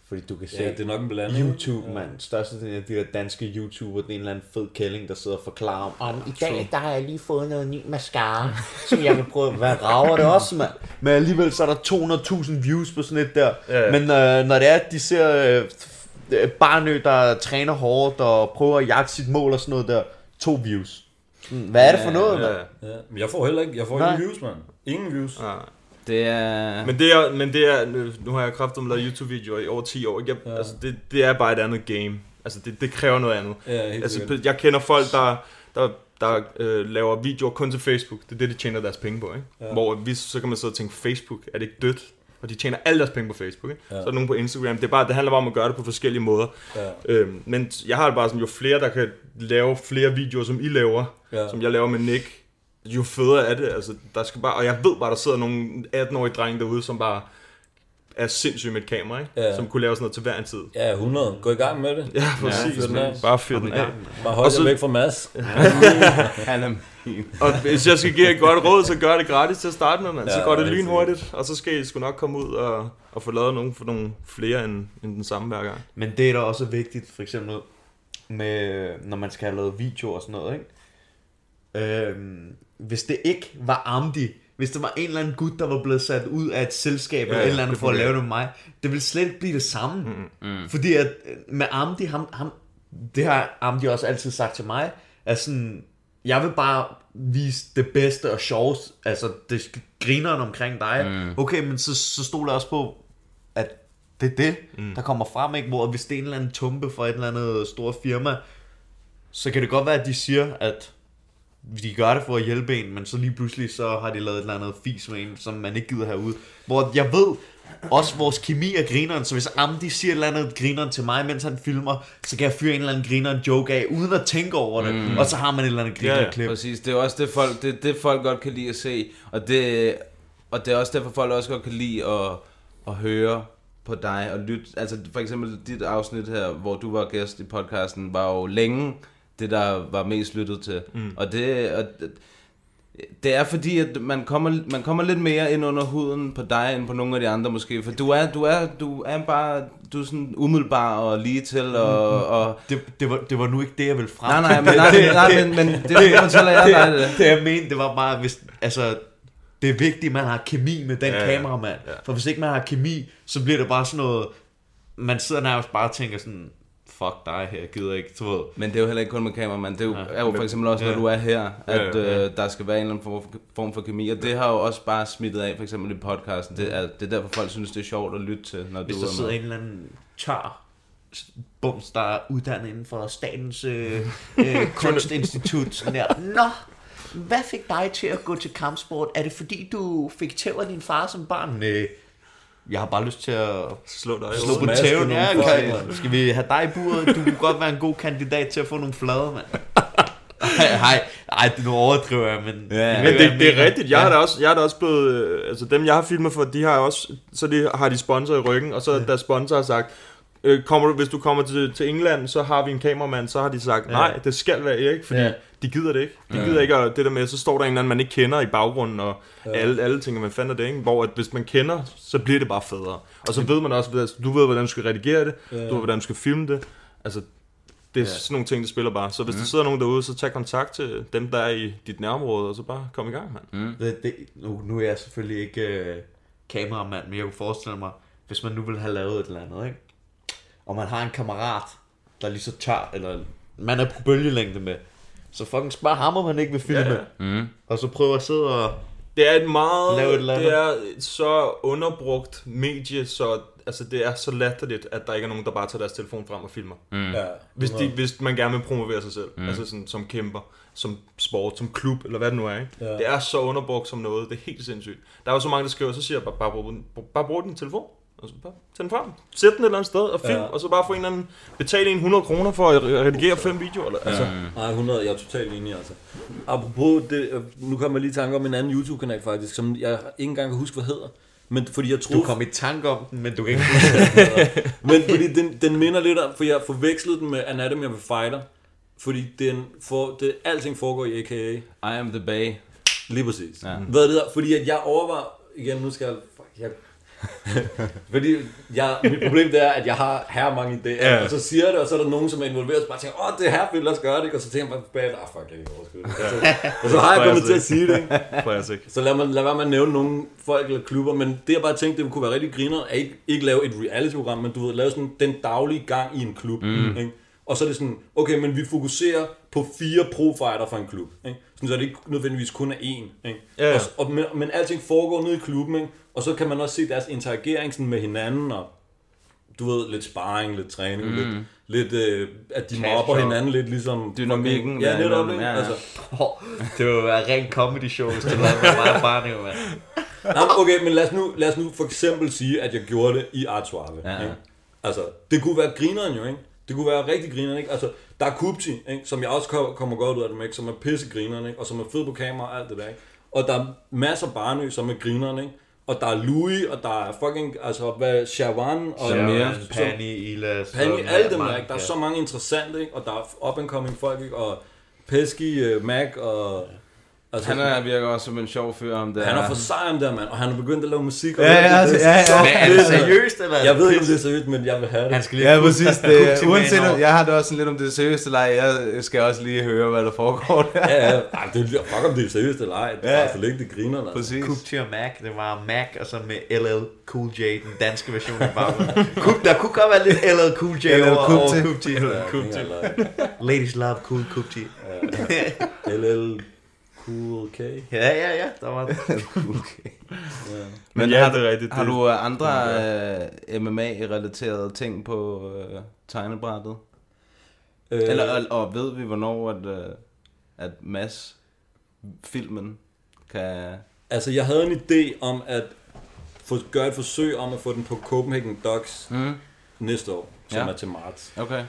S11: Fordi du kan se,
S12: ja, det er nok en blanding.
S11: YouTube, ja. mand. Størstedelen af de der danske YouTuber, det er en eller anden fed kælling, der sidder og forklarer om, om i dag, der har jeg lige fået noget ny mascara, (laughs) som jeg vil prøve. Hvad rager det også, mand? Men alligevel, så er der 200.000 views på sådan et der.
S10: Ja.
S11: Men øh, når det er, at de ser øh, Barnø, der træner hårdt og prøver at jagte sit mål og sådan noget der, to views. Hmm, Hvad er det for noget,
S12: ja,
S11: ja, ja.
S12: mand? Ja. Men jeg får heller ikke, jeg får Nej. ingen views, mand. Ingen views.
S10: Nej.
S9: Det er...
S10: Men det er, men det er nu har jeg kraftet med lavet YouTube-videoer i over 10 år. Jeg, ja. altså, det, det er bare et andet game. Altså, det, det kræver noget andet.
S12: Ja,
S10: altså, sikkert. jeg kender folk, der, der, der øh, laver videoer kun til Facebook. Det er det, de tjener deres penge på, ikke? Ja. Hvor vi, så kan man sidde og tænke, Facebook, er det ikke dødt? Og de tjener alle deres penge på Facebook, ikke? Ja. Så er der nogen på Instagram. Det, er bare, det handler bare om at gøre det på forskellige måder.
S12: Ja.
S10: Øhm, men jeg har det bare sådan, jo flere, der kan lave flere videoer, som I laver,
S12: ja.
S10: som jeg laver med Nick, jo federe er det. Altså, der skal bare, og jeg ved bare, der sidder nogle 18-årige drenge derude, som bare er sindssyge med et kamera, ikke?
S12: Ja.
S10: som kunne lave sådan noget til hver en tid.
S12: Ja, 100. Gå i gang med det.
S10: Ja, præcis. Ja,
S12: man.
S10: Bare fyr den af. Ja.
S12: Bare hold så... væk fra Mads.
S9: Han er min.
S10: og hvis jeg skal give et godt råd, så gør det gratis til at starte med, man. Ja, så går det lynhurtigt, og så skal I sgu nok komme ud og, og få lavet nogle, for nogle flere end, end den samme hver gang.
S11: Men det er da også vigtigt, for eksempel med, når man skal have lavet video og sådan noget, ikke? Øhm, hvis det ikke var Amdi, hvis der var en eller anden gut, der var blevet sat ud af et selskab ja, eller et eller andet for at lave det med mig, det ville slet ikke blive det samme.
S10: Mm, mm.
S11: Fordi at øh, med Amdi, ham, ham, det har Amdi også altid sagt til mig, at sådan, jeg vil bare vise det bedste og sjoveste, altså det grineren omkring dig.
S9: Mm.
S11: Okay, men så, så stod der også på, at det er det,
S10: mm.
S11: der kommer frem, ikke? Hvor hvis det er en eller anden tumpe for et eller andet stort firma, så kan det godt være, at de siger, at de gør det for at hjælpe en, men så lige pludselig så har de lavet et eller andet fis med en, som man ikke gider herude. Hvor jeg ved, også vores kemi er grineren, så hvis Amdi siger et eller andet grineren til mig, mens han filmer, så kan jeg fyre en eller anden grineren joke af, uden at tænke over det, mm. og så har man et eller andet grineren klip. Ja, ja.
S9: Præcis, det er også det folk, det, det folk godt kan lide at se, og det, og det er også derfor folk også godt kan lide at, at høre på dig og lytte. Altså for eksempel dit afsnit her, hvor du var gæst i podcasten, var jo længe det der var mest lyttet til.
S10: Mm.
S9: Og det og det er fordi at man kommer man kommer lidt mere ind under huden på dig end på nogle af de andre måske, for du er du er du er bare du er sådan umiddelbar og lige til og, mm. og
S11: det, det, var, det var nu ikke det jeg ville frem.
S9: Nej
S11: (laughs)
S9: nej, men nej, nej, nej men, men det, det fortæller jeg dig det.
S11: Det jeg mente, det var bare hvis altså det er vigtigt, at man har kemi med den
S10: ja,
S11: kameramand.
S10: Ja.
S11: For hvis ikke man har kemi, så bliver det bare sådan noget... Man sidder nærmest bare og tænker sådan fuck dig her, jeg gider ikke, du ved.
S9: Men det er jo heller ikke kun med kameramand, det er jo, ja. er jo for eksempel også, når ja. du er her, at ja, ja, ja. Øh, der skal være en eller anden form for, form for kemi, og det har jo også bare smittet af, for eksempel i podcasten, det er, det er derfor folk synes, det er sjovt at lytte til, når
S11: Hvis
S9: du er
S11: der sidder en eller anden tør bums, der er uddannet inden for statens (laughs) øh, øh, kunstinstitut. Sådan der. Nå, hvad fik dig til at gå til kampsport? Er det fordi, du fik tæv af din far som barn? Nej. Jeg har bare lyst til at
S10: Slå dig.
S11: slå på
S12: smaske
S11: tæven.
S12: nogle
S11: Ja,
S12: folk,
S11: kan, skal vi have dig i buret? Du kunne godt være en god kandidat til at få nogle flader, mand. (laughs) Nej, nej, det nu overdriver jeg, men...
S9: ja.
S11: I ved,
S10: Men
S11: hvad
S10: det,
S11: jeg
S10: det er
S11: mener.
S10: rigtigt. Jeg, ja. er da også, jeg er da også blevet... øh, Altså dem, jeg har filmet for, de har jo også... Så de, har de sponsor i ryggen, og så ja. der sponsor har sagt... Øh, kommer du, hvis du kommer til, til England, så har vi en kameramand, så har de sagt, nej, det skal være Erik, fordi
S11: Ja.
S10: ja. de gider det ikke. De gider ja. ikke, og det der med, så står der en eller anden, man ikke kender i baggrunden, og ja. alle, alle tænker, man fanden er det, ikke? Hvor at hvis man kender, så bliver det bare federe. Og så ved man også, altså, du ved, hvordan du skal redigere det, ja. du ved, hvordan du skal filme det. Altså, det er ja. sådan nogle ting, der spiller bare. Så hvis mm. der sidder nogen derude, så tag kontakt til dem, der er i dit nærområde, og så bare kom i gang, mand. Mm.
S11: Det, det, nu, nu er jeg selvfølgelig ikke øh, kameramand, men jeg kunne forestille mig, hvis man nu ville have lavet et eller andet, ikke? og man har en kammerat, der lige så tør, eller man er på bølgelængde med, så fucking spørg ham, om han ikke vil filme. Yeah. Mm. Og så prøver at sidde og...
S10: Det er et meget,
S11: Lav et eller andet.
S10: det er et så underbrugt medie, så altså, det er så latterligt, at der ikke er nogen, der bare tager deres telefon frem og filmer. Mm.
S12: Ja.
S10: Hvis, de, hvis man gerne vil promovere sig selv, mm. altså sådan, som kæmper, som sport, som klub, eller hvad det nu er. Ikke? Ja. Det er så underbrugt som noget, det er helt sindssygt. Der er jo så mange, der skriver, så siger jeg bare, bare, brug, den- bare brug din telefon. Og så bare tag den frem, sæt den et eller andet sted og film, ja. og så bare få en eller anden, betale en 100 kroner for at redigere fem videoer. Eller, altså,
S12: Nej, 100, jeg er totalt enig, altså. Apropos, det, øh, nu kommer jeg lige i tanke om en anden YouTube-kanal faktisk, som jeg ikke engang kan huske, hvad hedder. Men fordi jeg troede...
S11: Du kom i tanke om den, men du kan ikke... (laughs)
S12: Men fordi den, den minder lidt om, for jeg forvekslede den med Anatomy of a Fighter. Fordi den for, det, alting foregår i AKA.
S9: I am the bay.
S12: Lige præcis. Ja. Hvad er det der? Fordi at jeg overvejer... Igen, nu skal jeg... Fuck, jeg (laughs) fordi jeg, mit problem det er, at jeg har her mange idéer, ja. og så siger jeg det, og så er der nogen, som er involveret, og bare tænker, åh, det er her fedt, lad os gøre det, ikke? og så tænker jeg bare bagefter, ah, fuck, jeg kan ikke overskue det. Og så, og så har jeg kommet til at sige det, ikke?
S10: classic.
S12: Så lad, man, lad være med at nævne nogle folk eller klubber, men det jeg bare tænkte, det kunne være rigtig griner, at ikke, ikke lave et reality-program, men du ved, lave sådan den daglige gang i en klub. Mm. Ikke? Og så er det sådan, okay, men vi fokuserer på fire profiler fra en klub. Ikke? Sådan, så det ikke nødvendigvis kun er én. Ikke?
S10: ja.
S12: Og, s- og, men, men alting foregår nede i klubben, ikke? og så kan man også se deres interagering sådan med hinanden, og du ved, lidt sparring, lidt træning, mm. lidt, lidt øh, at de mobber hinanden lidt ligesom...
S9: Dynamikken
S12: Ja,
S9: der
S12: netop,
S9: imellem,
S12: ikke?
S9: ja,
S12: Ja,
S9: ja.
S12: ja. Altså,
S11: Åh, det ville være rent comedy show, hvis det var med mig og Barney, mand.
S12: Nå, men okay, men lad os, nu, lad os nu for eksempel sige, at jeg gjorde det i Art Suave.
S9: Ja, ja.
S12: Ikke? Altså, det kunne være grineren jo, ikke? Det kunne være rigtig grineren, ikke? Altså, der er Kupti, ikke? som jeg også kom- kommer godt ud af dem, ikke? som er pissegrineren, ikke? og som er fed på kamera og alt det der. Ikke? Og der er masser af Barnø, som er grineren, ikke? og der er Louis, og der er fucking, altså, hvad, Shawan, og
S11: Ja,
S12: som-
S11: Pani, Ila...
S12: Penge,
S11: Strøm,
S12: alle dem der,
S11: mange,
S12: ikke? Der er
S11: ja.
S12: så mange interessante, ikke? Og der er up and coming folk, ikke? Og Pesky, uh, Mac og... Altså,
S9: Han er, virker også som en sjov fyr, om det
S12: han er
S9: er.
S12: for sej om det, mand. Og han er begyndt at lave musik. Og
S13: Ja, ja,
S12: det
S13: ja, ja.
S12: så
S11: Men er det
S12: fedt,
S11: (laughs)
S12: mand.
S11: seriøst, eller? er
S12: Jeg
S11: det
S12: ved ikke, om
S11: pis?
S12: det er seriøst, men jeg vil have det.
S11: Han skal lige
S13: Ja,
S11: (laughs)
S13: præcis.
S11: Der er
S13: Det,
S11: Kupti med
S13: uanset,
S11: indover.
S13: jeg har det også sådan lidt om det seriøste leg. Jeg skal også lige høre, hvad der foregår der.
S12: Ja, ja. Ej, det er fuck om det er seriøst eller ej. Det er
S13: Ja.
S12: bare så længe det griner, eller.
S13: Præcis.
S11: Kupti og Mac, det var Mac, og så med LL Cool J, den danske version af
S12: (laughs)
S11: baggrunden. Kup, der kunne godt være lidt LL Cool J
S13: LL
S11: over, over
S13: Cool J.
S11: Kupti. Ladies love cool Kupti.
S12: LL Cool K.
S11: Ja, ja, ja, der var det.
S9: Men
S10: ja,
S9: har,
S10: det er rigtigt.
S9: har
S10: Det-
S9: du øh, andre øh, MMA-relaterede ting på øh, tegnebrættet?
S12: Øh,
S9: Eller, og, og ved vi, hvornår at, øh, at Mads filmen kan...
S12: Altså, jeg havde en idé om at få, gøre et forsøg om at få den på Copenhagen Docs
S9: Mm.
S12: næste år, som
S9: Ja.
S12: er til marts.
S9: Okay.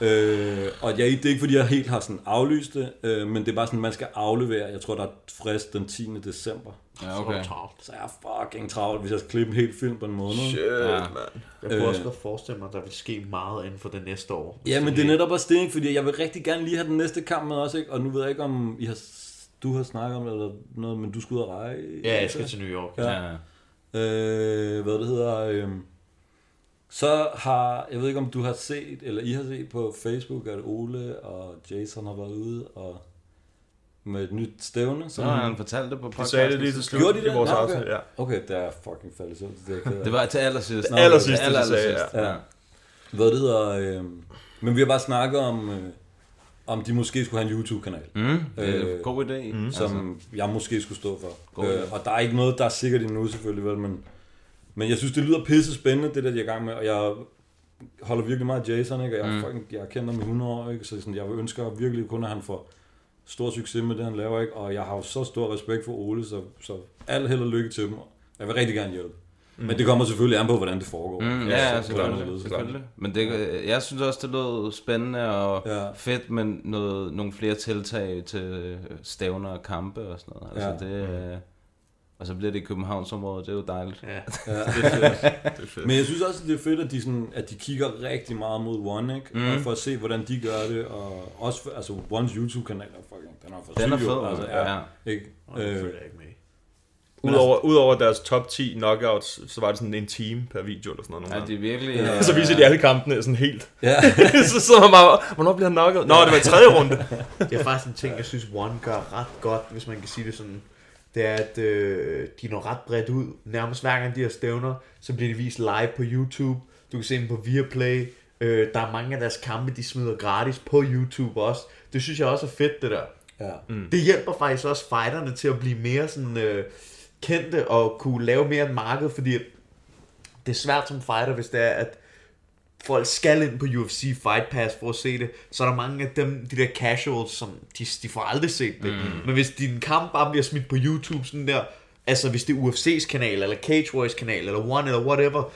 S12: Øh, og jeg, det er ikke, fordi jeg helt har sådan aflyst det, øh, men det er bare sådan, man skal aflevere. Jeg tror, der er frist den 10. december.
S9: Ja, okay.
S12: Så jeg er fucking travlt, hvis jeg skal klippe en hel film på en måned.
S9: Ja.
S11: Jeg kunne også godt forestille mig, at der vil ske meget inden for det næste år.
S12: Øh. Ja, men det er netop også det, ikke? fordi jeg vil rigtig gerne lige have den næste kamp med også, ikke? og nu ved jeg ikke, om I har, du har snakket om det eller noget, men du skal ud og rejse.
S11: Ja, jeg skal til New York.
S12: Ja.
S9: Ja.
S12: Øh, hvad det hedder, øh, så har, jeg ved ikke om du har set, eller I har set på Facebook, at Ole og Jason har været ude og med et nyt stævne.
S9: Så
S12: Som,
S9: har han fortalt det på podcasten.
S10: De sagde det lige til slut
S12: Gjorde de
S10: i
S12: Mm. det?
S10: vores
S12: Nå, okay.
S10: aftale. Ja.
S12: Okay, der er fucking faldet selv. Det er jeg
S9: (laughs)
S12: ked af.
S9: Det var til allersidst.
S12: Det allersidste,
S9: Til
S10: de sagde,
S9: allersidst,
S12: ja.
S9: ja.
S12: hvad det hedder, øh, men vi har bare snakket om, øh, om de måske skulle have en YouTube-kanal.
S9: Mm, det er
S12: Øh,
S9: en god idé. Mm.
S12: som altså. jeg måske skulle stå for.
S9: God idé.
S12: Øh, og der er ikke noget, der er sikkert endnu selvfølgelig, vel, men, men jeg synes, det lyder pisse spændende, det der, de er i gang med, og jeg holder virkelig meget af Jason, ikke? og jeg, mm. fucking, jeg kender ham i 100 år, ikke? så sådan, jeg ønsker virkelig kun, at han får stor succes med det, han laver, ikke? og jeg har jo så stor respekt for Ole, så, så alt held og lykke til dem. Jeg vil rigtig gerne hjælpe. Mm. Men det kommer selvfølgelig an på, hvordan det foregår. Altså,
S9: Mm, ja, ja, selvfølgelig. selvfølgelig. Men det, jeg synes også, det lød spændende og ja. fedt med noget, nogle flere tiltag til øh, stævner og kampe og sådan noget. Altså, ja. det, mm. Og så bliver det i Københavnsområdet, det er jo dejligt. Ja. ja.
S12: det, er fedt. det er fedt. Men jeg synes også, det er fedt, at de, sådan, at de kigger rigtig meget mod One, ikke? Mm. Og for at se, hvordan de gør det. Og også, for, altså, Ones YouTube-kanal er fucking, den er for
S9: Den er fed,
S12: jo, altså, ja. ja. Ikke?
S10: Og øh, følger ikke med Udover, altså, udover deres top 10 knockouts, så var det sådan en time per video eller sådan noget.
S9: Ja, det er virkelig... øh,
S10: Ja. (laughs) så viser de alle kampene sådan helt. Ja. (laughs) så sidder man bare, hvornår bliver han knocket? Nå, det var i tredje runde.
S11: det er faktisk en ting, jeg synes One gør ret godt, hvis man kan sige det sådan. Det er, at øh, de når ret bredt ud. Nærmest hver gang de har stævner, så bliver de vist live på YouTube. Du kan se dem på Viaplay. Øh, der er mange af deres kampe, de smider gratis på YouTube også. Det synes jeg også er fedt, det der. Ja. Mm. Det hjælper faktisk også fighterne til at blive mere sådan... Øh, kendte og kunne lave mere end marked, fordi det er svært som fighter, hvis det er, at folk skal ind på UFC Fight Pass for at se det, så er der mange af dem, de der casuals, som de, de får aldrig set det. Mm. Men hvis din kamp bare bliver smidt på YouTube sådan der, altså hvis det er UFC's kanal, eller Cage Warriors kanal, eller One, eller whatever,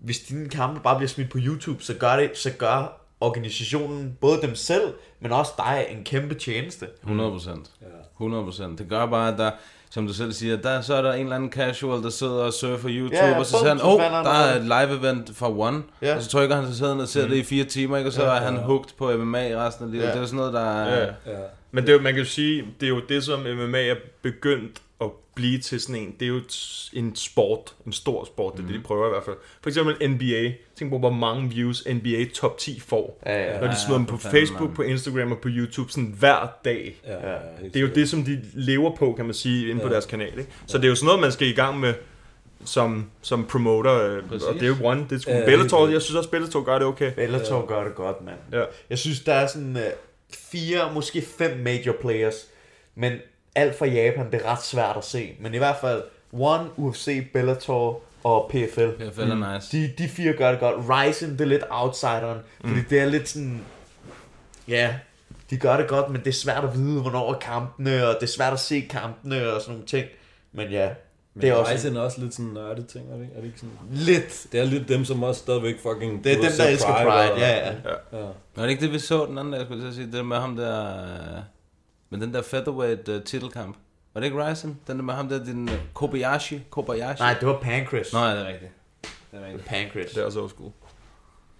S11: hvis dine kampe bare bliver smidt på YouTube, så gør, det, så gør organisationen, både dem selv, men også dig, en kæmpe tjeneste.
S9: 100%. 100%. Det gør bare, at der, som du selv siger, der, så er der en eller anden casual, der sidder og surfer YouTube, ja, ja, og så siger han, åh, oh, der er et live-event fra One, ja. og så trykker han sig sådan og ser mm. det i fire timer, ikke? og så ja, ja. er han hooked på MMA resten af livet. Ja. Det er sådan noget,
S10: (laughs)
S9: der...
S10: Ja. Ja. Men det er jo, man kan jo sige, det er jo det, som MMA er begyndt at blive til sådan en, det er jo en sport, en stor sport, det er mm. det, de prøver i hvert fald. For eksempel NBA, tænk på, hvor mange views NBA top 10 får, ja, ja, når de smider ja, dem på Facebook, mange. på Instagram og på YouTube, sådan hver dag. Ja, ja, det er jo det, som de lever på, kan man sige, inde ja. på deres kanal. Ikke? Så ja. det er jo sådan noget, man skal i gang med som, som promoter, Præcis. og det er jo one, det er sgu ja, Bellator, jeg synes også, Bellator gør det okay.
S11: Bellator ja. gør det godt, mand. Ja. Jeg synes, der er sådan øh, fire, måske fem major players, men alt fra Japan, det er ret svært at se. Men i hvert fald, One, UFC, Bellator og PFL.
S9: PFL er mm. nice.
S11: De, de fire gør det godt. Ryzen, det er lidt outsideren, fordi mm. det er lidt sådan... Ja, de gør det godt, men det er svært at vide, hvornår er kampene, og det er svært at se kampene og sådan nogle ting. Men ja,
S12: men det er også, Ryzen er også lidt sådan nørdet ting, er det, ikke? er det ikke sådan?
S11: Lidt.
S12: Det er lidt dem, som også stadigvæk fucking...
S11: Det er dem, der elsker Pride, Pride. Ja, ja, ja.
S9: ja. Var det ikke det, vi så den anden dag, jeg skulle til sige? Det med ham der... Men den der featherweight uh, titelkamp, var det ikke Ryzen? Den der med ham der, din uh, Kobayashi? Kobayashi?
S11: Nej, det var Pancras.
S9: Nej, det er rigtigt. Det er rigtigt.
S11: Pancras.
S10: Det er altså også overskud.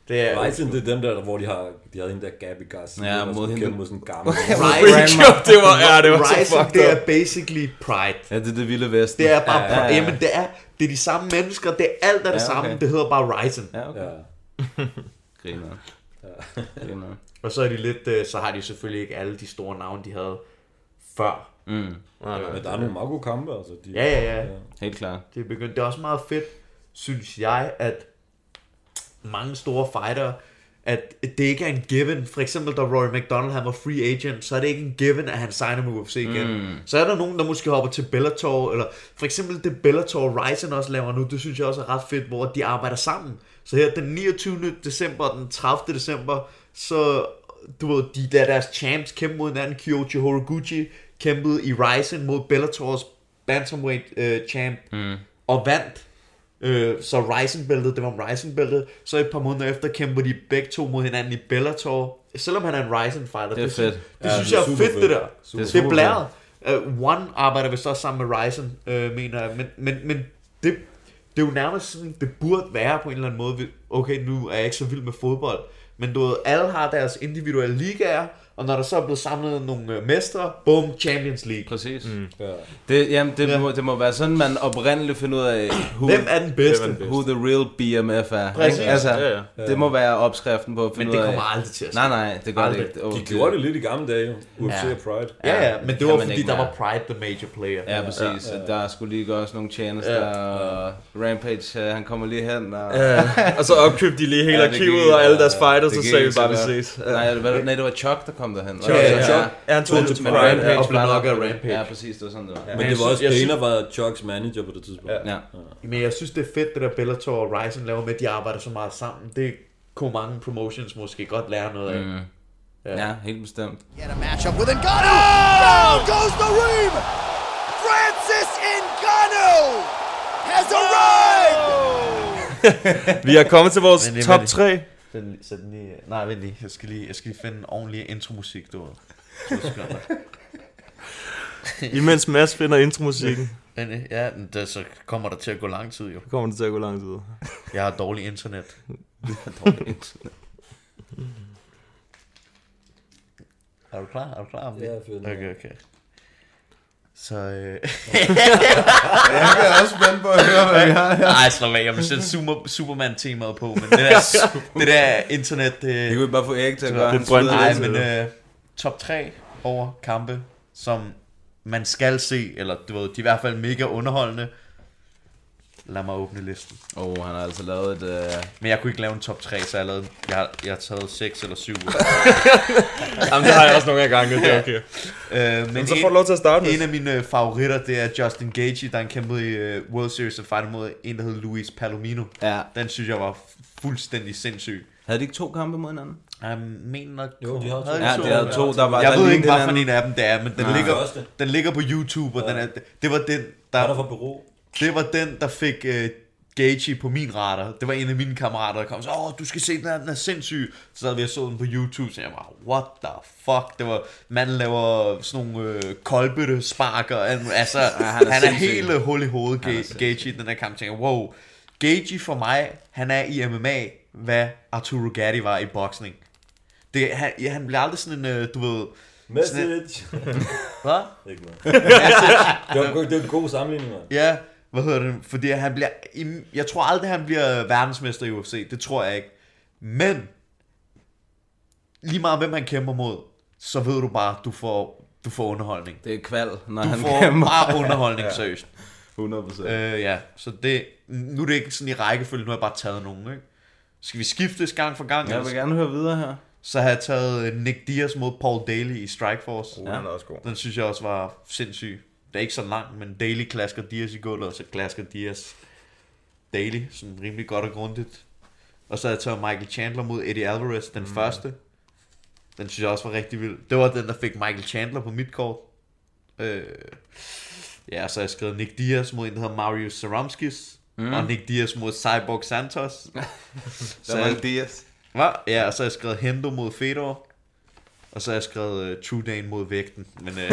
S12: Det er Ryzen, det er dem der, hvor de har, de havde en der Gabby Garcia,
S9: ja, mod hende.
S12: mod sådan en
S11: (laughs)
S12: gammel.
S10: Ryzen, det var, ja, det var Ryzen, så fucked
S11: det er basically Pride.
S9: Ja, det er det vilde vesten.
S11: Det er bare, ja, ja, ja. jamen det er, det er de samme mennesker, det er alt er det ja, okay. samme, det hedder bare Ryzen.
S9: Ja, okay. Ja. Griner. Ja. Griner.
S11: Og så er de lidt, øh, så har de selvfølgelig ikke alle de store navne, de havde før.
S9: Mm. Nej, nej,
S12: øh, men der er nogle meget gode kampe, altså. De,
S11: ja, ja, ja, ja.
S9: Helt klart.
S11: Det er, begyndt. det er også meget fedt, synes jeg, at mange store fighter, at det ikke er en given. For eksempel, da Rory McDonald han var free agent, så er det ikke en given, at han signer med UFC igen. Mm. Så er der nogen, der måske hopper til Bellator, eller for eksempel det Bellator Ryzen også laver nu, det synes jeg også er ret fedt, hvor de arbejder sammen. Så her den 29. december og den 30. december, så du ved, de der deres champs kæmpe mod hinanden, Kyoji Horiguchi kæmpede i Ryzen mod Bellators bantamweight øh, champ mm. og vandt. Øh, så Ryzen bæltet, det var om Ryzen bæltet. Så et par måneder efter kæmpede de begge to mod hinanden i Bellator. Selvom han er en Ryzen fighter.
S9: Det er fedt.
S11: Det, det ja, synes det er jeg er fedt, fedt, det der. Super det er blæret. Uh, One arbejder vist også sammen med Ryzen, øh, mener jeg. Men, men, men det, det er jo nærmest sådan, det burde være på en eller anden måde. Okay, nu er jeg ikke så vild med fodbold. Men du ved, alle har deres individuelle ligaer, og når der så er blevet samlet nogle øh, mestre, boom, Champions League.
S9: Præcis. Mm. Ja. Det, jamen, det, ja. må, det må være sådan, man oprindeligt finder ud af,
S11: who, hvem er den bedste?
S9: Hvem er den bedste? Who the real BMF er.
S11: Præcis. Ikke?
S9: Altså, ja, ja. ja. Det må være opskriften på at
S11: finde
S9: ud af.
S11: Men det kommer aldrig til at
S9: ske. Nej, nej, det gør aldrig. det ikke.
S12: Oh, de gjorde det lidt i gamle dage, UFC ja. Pride.
S11: Ja, ja, men det, det var fordi, der var Pride the major player.
S9: Ja, præcis. Ja, ja. Der skulle lige gøres nogle tjenester, ja. og Rampage, øh, han kommer lige hen. Og,
S10: ja. og så opkøbte de lige hele arkivet og alle deres fighters, og så sagde vi bare, vi ses.
S9: Nej, det var Chuck, der kom derhen.
S10: Chuck, ja, ja, ja. ja, han tog
S9: til Pride
S11: ja, og blev nok af Rampage.
S9: Ja, præcis, det var sådan, det var.
S12: Ja. Men det var også, Dana var Chucks manager på det tidspunkt.
S9: Ja. ja.
S11: Men jeg synes, det er fedt, det der Bellator og Ryzen laver med, at de arbejder så meget sammen. Det, kunne mange promotions måske godt lære noget af. Mm.
S9: Ja. ja, helt bestemt.
S14: Get a matchup with Ngannou! Oh! Down goes the ream! Francis Ngannou has arrived!
S10: Vi er kommet til vores
S11: Men det-
S10: top
S11: men-
S10: 3.
S11: Den, så den lige, nej, vent lige. Jeg skal lige, jeg skal lige finde en ordentlig intromusik, du ved. To sekunder.
S10: Imens Mads finder intromusikken,
S11: Men, øh, ja, men det, så kommer der til at gå lang tid jo.
S10: kommer det til at gå lang tid.
S11: Jeg har dårlig
S15: (laughs)
S11: internet. Er du klar? Er du klar?
S12: Ja, jeg er fedt.
S11: Okay, okay.
S15: (laughs)
S11: Så... Øh...
S15: Jeg er også spændt på at høre, hvad vi har her.
S11: Nej, slap af. Jeg vil sætte super, Superman-temaet på, men det der,
S15: (laughs)
S11: det der internet...
S9: Det kunne vi bare få Erik til at gøre.
S10: Det brændte
S11: Nej,
S10: lidt.
S11: men øh, top 3 over kampe, som man skal se, eller du ved, de er i hvert fald mega underholdende. Lad mig åbne listen.
S9: Åh, oh, han har altså lavet et... Øh...
S11: Men jeg kunne ikke lave en top 3, så jeg, lavede, jeg, har, jeg har taget 6 eller
S12: (laughs)
S11: 7.
S10: Jamen, det har jeg også nogle gange, det er okay.
S11: øh, men
S10: Så får du lov til at starte med.
S11: en af mine øh, favoritter, det er Justin Gage, der han kæmpede i øh, World Series og fighter mod en, der hed Luis Palomino.
S9: Ja.
S11: Den synes jeg var fuldstændig sindssyg. Øhm,
S9: Havde de ikke to kampe mod hinanden?
S11: Jeg mener...
S12: Jo, de har to.
S9: Ja, de havde to, der var...
S11: Jeg
S9: der
S11: ved ikke,
S9: lignede
S11: hvad for en
S9: hinanden.
S11: af dem det er, men den,
S12: Nej.
S11: ligger,
S12: Første.
S11: den ligger på YouTube, og den er, det var den,
S12: Hvad er der
S11: der,
S12: for bureau?
S11: det var den, der fik uh, Gagey på min radar. Det var en af mine kammerater, der kom og sagde, åh, du skal se den her, den er sindssyg. Så sad vi og så den på YouTube, så jeg var, what the fuck? Det var, manden laver sådan nogle øh, kolbete sparker, altså, ja,
S9: han
S11: han
S9: er
S11: er, han er
S9: sindssyg.
S11: helt øh, hul i hovedet, Ga- Gagey, i den her kamp, tænker, jeg, wow. Gagey for mig, han er i MMA, hvad Arturo Gatti var i boksning. Det, han, ja, han bliver aldrig sådan en, øh, du ved... Sådan, en-
S12: Message.
S11: hvad?
S12: Ikke noget. (laughs) det, var, en god- det var en god sammenligning, mand.
S11: Ja, hvad hedder det? Fordi han bliver... i- Jeg tror aldrig, han bliver verdensmester i UFC. Det tror jeg ikke. Men... Lige meget hvem han kæmper mod, så ved du bare, du får, du får underholdning.
S9: Det er kval, når
S11: Du
S9: han
S11: får
S9: kæmper.
S11: bare
S9: (laughs)
S11: underholdning, seriøst.
S9: 100 procent.
S11: Øh, ja, så det... Nu er det ikke sådan i rækkefølge, nu har jeg bare taget nogen, ikke? Skal vi skiftes gang for gang?
S9: Jeg
S11: eller-
S9: vil gerne høre videre her.
S11: Så har jeg taget øh, Nick Diaz mod Paul Daly i Strikeforce.
S10: Han er også god.
S11: Den synes jeg også var sindssyg. Det er ikke så langt, men Daily klasker Dias i gulvet, og så klasker Dias Daily, sådan rimelig godt og grundigt. Og så havde jeg taget Michael Chandler mod Eddie Alvarez, den mm. første. Den synes jeg også var rigtig vild. Det var den, der fik Michael Chandler på mit kort. Øh, ja, så har jeg skrevet Nick Diaz mod en, der hedder Marius Saramskis. Mm. Og Nick Diaz mod Cyborg (laughs) Santos.
S9: Der var en Dias.
S11: Hvad? Ja, og så har jeg skrevet Hendo mod Fedor. Og så har jeg skrevet uh, True Dane mod vægten. Men, uh,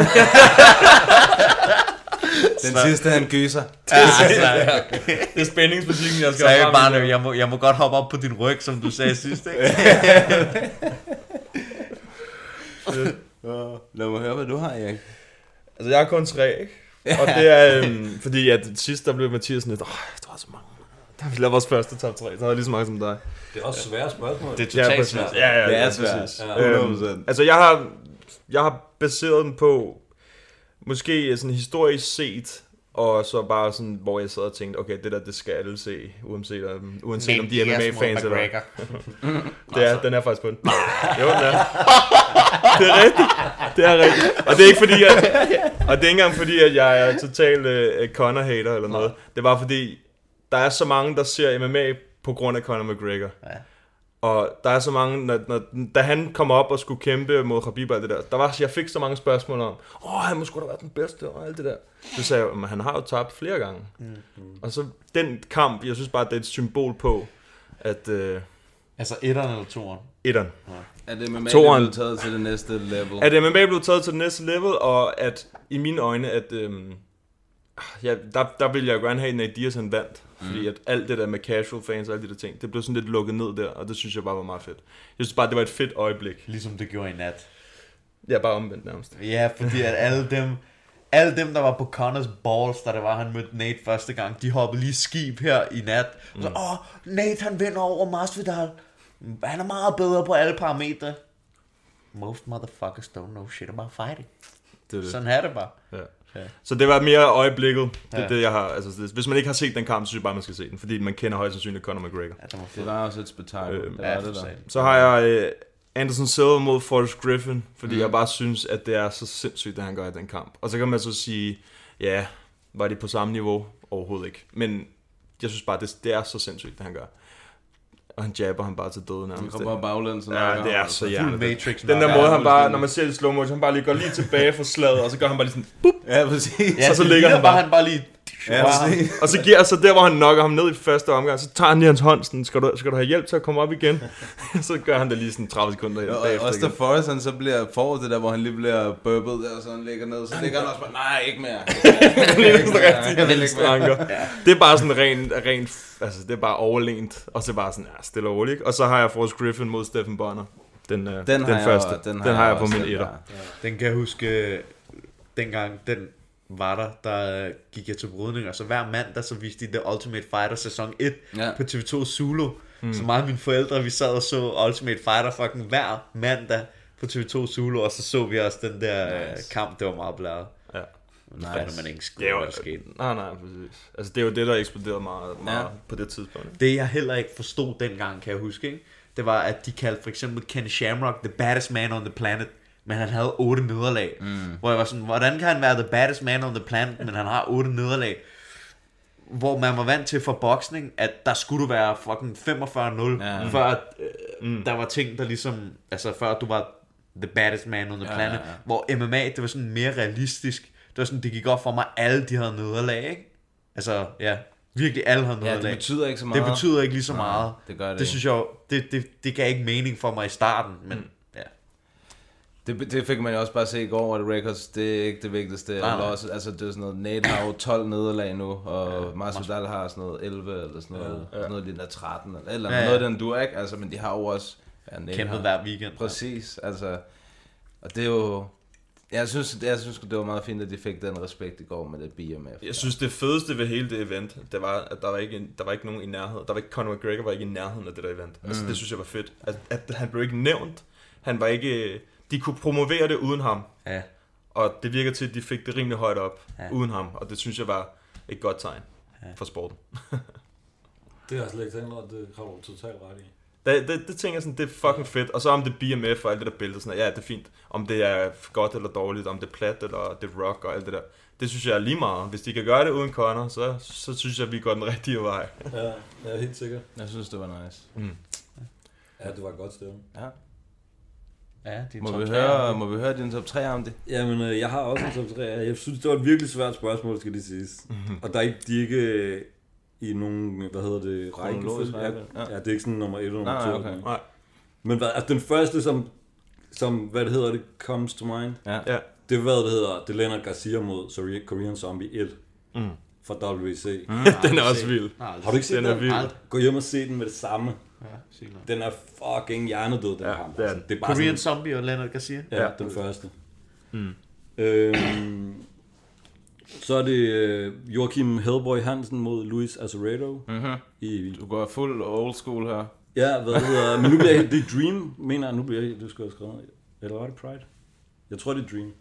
S9: Den sidste, han gyser.
S11: altså,
S10: Det er spændingsmusikken, jeg skal
S11: så jeg,
S10: have frem.
S11: bare, jeg, må, jeg må godt hoppe op på din ryg, som du sagde sidst. Ikke?
S9: Lad mig høre, hvad du har, Erik.
S10: Altså, jeg har kun tre, ikke? Og det er, øhm, fordi at sidst der blev Mathias sådan lidt, åh, der var så mange. Der har vi lavet vores første top 3, så havde jeg lige så mange som dig.
S12: Det er også svære spørgsmål.
S11: Det er
S10: Ja,
S11: totalt
S10: præcis.
S11: svært.
S10: Ja, ja,
S9: Det
S10: ja,
S9: er svært.
S10: præcis.
S12: Ja.
S10: Øhm, altså, jeg har, jeg har baseret den på, måske sådan historisk set, og så bare sådan, hvor jeg sad og tænkte, okay, det der, det skal alle se, uanset om, uanset om de er MMA-fans eller
S11: McGregor.
S10: det er, den er faktisk på den. jo, den er. Det er rigtigt. Det er rigtigt. Og det er ikke fordi, at, og det er ikke engang fordi, at jeg er total øh, Conor-hater eller noget. Det er bare fordi, der er så mange, der ser MMA på grund af Conor McGregor. Ja. Og der er så mange, når, når, da han kom op og skulle kæmpe mod Khabib og alt det der, der var, jeg fik så mange spørgsmål om, åh, han må sgu da være den bedste og alt det der. Så sagde jeg, men han har jo tabt flere gange. Mm. Og så den kamp, jeg synes bare, det er et symbol på, at øh,
S11: Altså etteren eller toeren.
S10: etteren,
S9: Er det med
S10: Toeren.
S9: Toren. taget til det næste level?
S10: at MMA blev taget til det næste level, og at i mine øjne, at øhm, ja, der, der ville jeg jo gerne have, at Nate Diaz han vandt. Fordi at alt det der med casual fans og alle de der ting, det blev sådan lidt lukket ned der, og det synes jeg bare var meget fedt. Jeg synes bare, det var et fedt øjeblik.
S11: Ligesom det gjorde i nat.
S10: Jeg er bare omvendt nærmest.
S11: Ja, fordi at alle dem, alle dem, der var på Connors Balls, da det var, han mødte Nate første gang, de hoppede lige skib her i nat. Og så, åh, Nate han vinder over Masvidal. Han er meget bedre på alle parametre. Most motherfuckers don't know shit about fighting.
S10: Det er det.
S11: Sådan er det bare.
S10: Ja.
S11: Ja.
S10: Så det var mere øjeblikket. Det, er
S11: Ja.
S10: det, jeg har, altså, det, hvis man ikke har set den kamp, så synes jeg bare, man skal se den, fordi man kender højst sandsynligt Conor McGregor.
S11: Ja, det var fedt.
S9: Det var også et spektakel.
S10: Øh,
S9: det var
S11: Ja,
S9: det
S11: for
S9: der.
S11: satan.
S10: Så har jeg øh, Anderson Silva mod Forrest Griffin, fordi mm. jeg bare synes, at det er så sindssygt, det han gør i den kamp. Og så kan man så sige, ja, var det på samme niveau? Overhovedet ikke. Men jeg synes bare, det, det er så sindssygt, det han gør. Og han jabber ham bare til døde nærmest. Han
S9: kommer bare baglæns
S10: og Ja, det er så hjernet.
S11: Matrix
S10: Den der måde, han bare, når man ser det i slow motion, han bare lige går lige tilbage fra slaget, og så gør han bare lige sådan, bup,
S9: Ja, præcis.
S10: ja, og så ligger han bare.
S11: han bare lige...
S10: Ja, og (laughs) så giver, så der hvor han nokker ham ned i første omgang, så tager han lige hans hånd, sådan, skal du, skal du have hjælp til at komme op igen? (laughs) så gør han det lige sådan 30 sekunder her,
S9: Og
S10: bagefter
S9: også da
S10: igen.
S9: Forrest, han så bliver for det der, hvor han lige bliver burpet der, og så han ligger ned, så ligger han også bare, nej, ikke
S10: (laughs)
S9: mere.
S10: Det er sådan rigtig venstre (laughs) Det er bare sådan rent, rent, altså det er bare overlænt, og så bare sådan, ja, stille og roligt. ikke? Og så har jeg Forrest Griffin mod Stephen Bonner. Den, den, den
S9: har jeg
S10: første.
S9: også- den
S10: den,
S9: har
S10: den har
S9: jeg
S10: jeg på
S9: også,
S10: min
S9: den
S10: etter.
S9: der.
S11: Den kan jeg huske, øh, dengang den var der, der øh, gik jeg til brydning, og så hver mandag, så viste de The Ultimate Fighter sæson 1
S9: Ja.
S11: ja. på TV2 Zulu. Mm. Så meget mine forældre, vi sad og så Ultimate Fighter fucking hver mandag på TV2 Zulu, og så så vi også den der nice. kamp, det var meget blæret.
S10: Ja.
S11: Men nice. fandt man ikke skud,
S10: Det er
S11: hvad
S10: jo,
S11: der skete.
S10: nej, nej, præcis. Altså det er jo det, der eksploderede meget, meget
S9: Ja.
S10: på det tidspunkt. ikke?
S11: Det jeg heller ikke forstod dengang, kan jeg huske, ikke? det var, at de kaldte for eksempel Ken Shamrock the baddest man on the planet, men han havde otte nederlag. Mm. Hvor jeg var sådan, hvordan kan han være the baddest man on the planet, men han har otte nederlag? Hvor man var vant til for boksning, at der skulle du være fucking 45-0,
S9: Ja. Mm.
S11: ja. før øh, mm. der var ting, der ligesom, altså før du var the baddest man on the planet.
S9: ja,
S11: ja, ja. Hvor MMA, det var sådan mere realistisk. Det var sådan, det gik op for mig, alle de havde nederlag, ikke? Altså, ja, virkelig alle havde nederlag.
S9: Ja, det betyder ikke så meget.
S11: Det betyder ikke lige så meget.
S9: det gør det
S11: Det
S9: ikke.
S11: synes jeg, jo- det, det, det gav ikke mening for mig i starten, men mm. ja.
S9: Det, det fik man jo også bare se i går, at records, det er ikke det vigtigste.
S11: nej.
S9: Eller også, altså, det er sådan noget, Nate har jo 12 nederlag nu, og ja, Masvidal har sådan noget 11, eller sådan noget, ja, ja. noget lignende 13, eller, et eller andet,
S11: Ja,
S9: ja,
S11: ja.
S9: ja. noget i den du ikke, altså, men de har jo også ja, Nate
S11: Kæmpet
S9: har-
S11: hver weekend.
S9: Præcis, altså, og det er jo, jeg synes, jeg synes det var meget fint, at de fik den respekt i går med det BMF.
S10: Jeg synes, det fedeste ved hele det event, det var, at der var ikke, en, der var ikke nogen i nærheden. Der var ikke, Conor McGregor var ikke i nærheden af det der event. Altså, det synes jeg var fedt. At, at han blev ikke nævnt. Han var ikke... De kunne promovere det uden ham.
S11: Ja.
S10: Og det virker til, at de fik det rimelig højt op
S11: Ja.
S10: ja. uden ham. Og det synes jeg var et godt tegn ja. for sporten.
S12: Det har jeg slet ikke tænkt over, det har du totalt ret i.
S10: Det, det, det tænker jeg sådan, det er fucking fedt. Og så om det er BMF og alt det der billede, sådan, ja, det er fint. Om det er godt eller dårligt, om det er plat eller det er rock og alt det der. Det synes jeg er lige meget. Hvis de kan gøre det uden Connor, så, så synes jeg, vi går den (laughs) rigtige vej.
S12: Ja, jeg er helt sikker.
S9: Jeg synes, det var nice.
S11: Mm.
S12: Ja, det var godt stemme.
S9: Ja.
S11: Ja, det er
S9: Må, vi høre, må vi høre din top 3 om det?
S12: Jamen, øh, jeg har også en top 3. Jeg synes, det var et virkelig svært spørgsmål, skal det siges. Mm-hmm. Og der er ikke, de er ikke øh, i nogen, hvad hedder det,
S9: Kronologisk
S12: rækkefølge. Ja,
S9: rækkefølge.
S12: ja, det er ikke sådan nummer 1 og nummer 2.
S9: Nej, nej, okay.
S10: Nej.
S12: Men hvad, altså, den første, som, som, hvad det hedder det, comes to mind,
S10: Ja.
S12: det er, hvad det hedder, det er Leonard Garcia mod Sor- Korean Zombie 1 mm. fra WC. Mm.
S10: den er også vild.
S12: Har du ikke set
S10: Den
S12: den?
S10: er vild.
S12: Gå hjem og se den med det samme.
S11: høre?
S12: Den er fucking hjernedød, den ja, kamp.
S10: det er
S12: Altså, det er bare
S11: Korean
S12: sådan,
S11: Zombie og Leonard Garcia.
S12: ja, ja, den første. Mm. Øhm, så er det øh, Joachim Hellboy Hansen mod Luis Azeredo. Mm-hmm. I,
S9: Du går fuld old school her.
S12: ja, hvad det hedder Men nu bliver jeg, det er Dream, mener jeg. Nu bliver jeg, det skulle jeg have skrevet. Eller var det Pride? Jeg tror, det er Dream.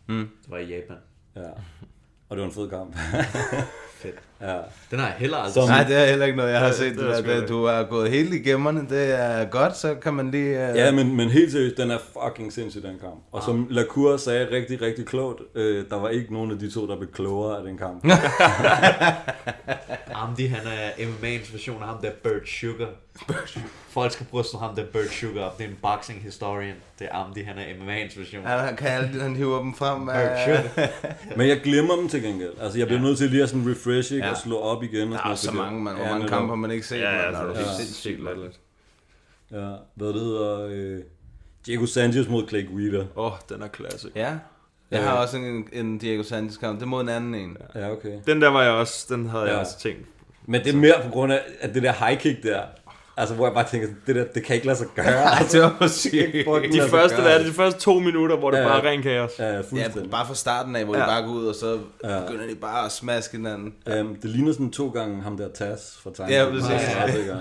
S11: Det var i Japan.
S12: Ja. Og det var en fed kamp.
S11: Den har jeg heller aldrig
S12: (laughs) Som-
S11: set.
S9: Nej, det er heller ikke noget, jeg har
S10: Det-
S9: set.
S10: det
S9: Det,
S10: er
S9: der,
S10: sgu da
S9: det, du er gået helt i gemmerne, det er godt, så kan man lige... Uh...
S12: Ja, men, men helt seriøst, den er fucking sindssyg, den kamp. Og som Lacour sagde rigtig, rigtig klogt, øh, der var ikke nogen af de to, der blev klogere af den (laughs) kamp.
S11: Amdi, han er MMA's version af ham der Bird (laughs) Sugar. Folk skal bryste ham der Bird Sugar op. Det er en boxing historian. Det er Amdi, han er MMA's version.
S9: Ja, han kan alle, han hiver dem frem. Uh...
S11: Bird Sugar.
S12: men jeg glemmer dem til gengæld. Altså, jeg bliver nødt til lige at sådan refresh, ikke? Ja. Og slå op igen. Og
S9: Der er
S12: sådan
S9: så
S12: noget,
S9: mange, man.
S12: fordi-
S9: Hvor mange
S12: netop.
S9: kampe har man ikke set?
S10: Ja,
S9: mand?
S10: altså,
S9: er du
S10: det er
S9: helt
S10: sindssygt
S9: sindssyg, mand.
S10: latterligt.
S12: Ja, hvad det hedder... Øh, Diego Sanchez mod Clay Guida.
S10: Åh, oh, den er klasse.
S9: Ja. Jeg har også en, en Diego Sanchez kamp. Det er mod en anden en.
S12: Ja, okay.
S10: Den der var jeg også, den havde ja. jeg
S12: Ja.
S10: også tænkt.
S12: Men det er mere på grund af at det der high kick der. Altså, hvor jeg bare tænker, det der, det kan ikke lade sig (laughs) gøre.
S9: det var for sygt.
S12: fucking
S10: De
S12: lade sig
S10: første,
S12: gøre.
S10: hvad er det, de første to minutter, hvor det
S12: Ja,
S10: bare er
S12: ja.
S10: ren kaos.
S12: Ja, ja,
S9: Ja,
S12: fuldstændig.
S9: bare fra starten af, hvor de
S10: Ja.
S9: bare går ud, og så begynder de bare at smaske hinanden.
S12: Øhm, det ligner sådan to gange ham der Tas fra Time.
S9: Ja, præcis.
S12: Ja.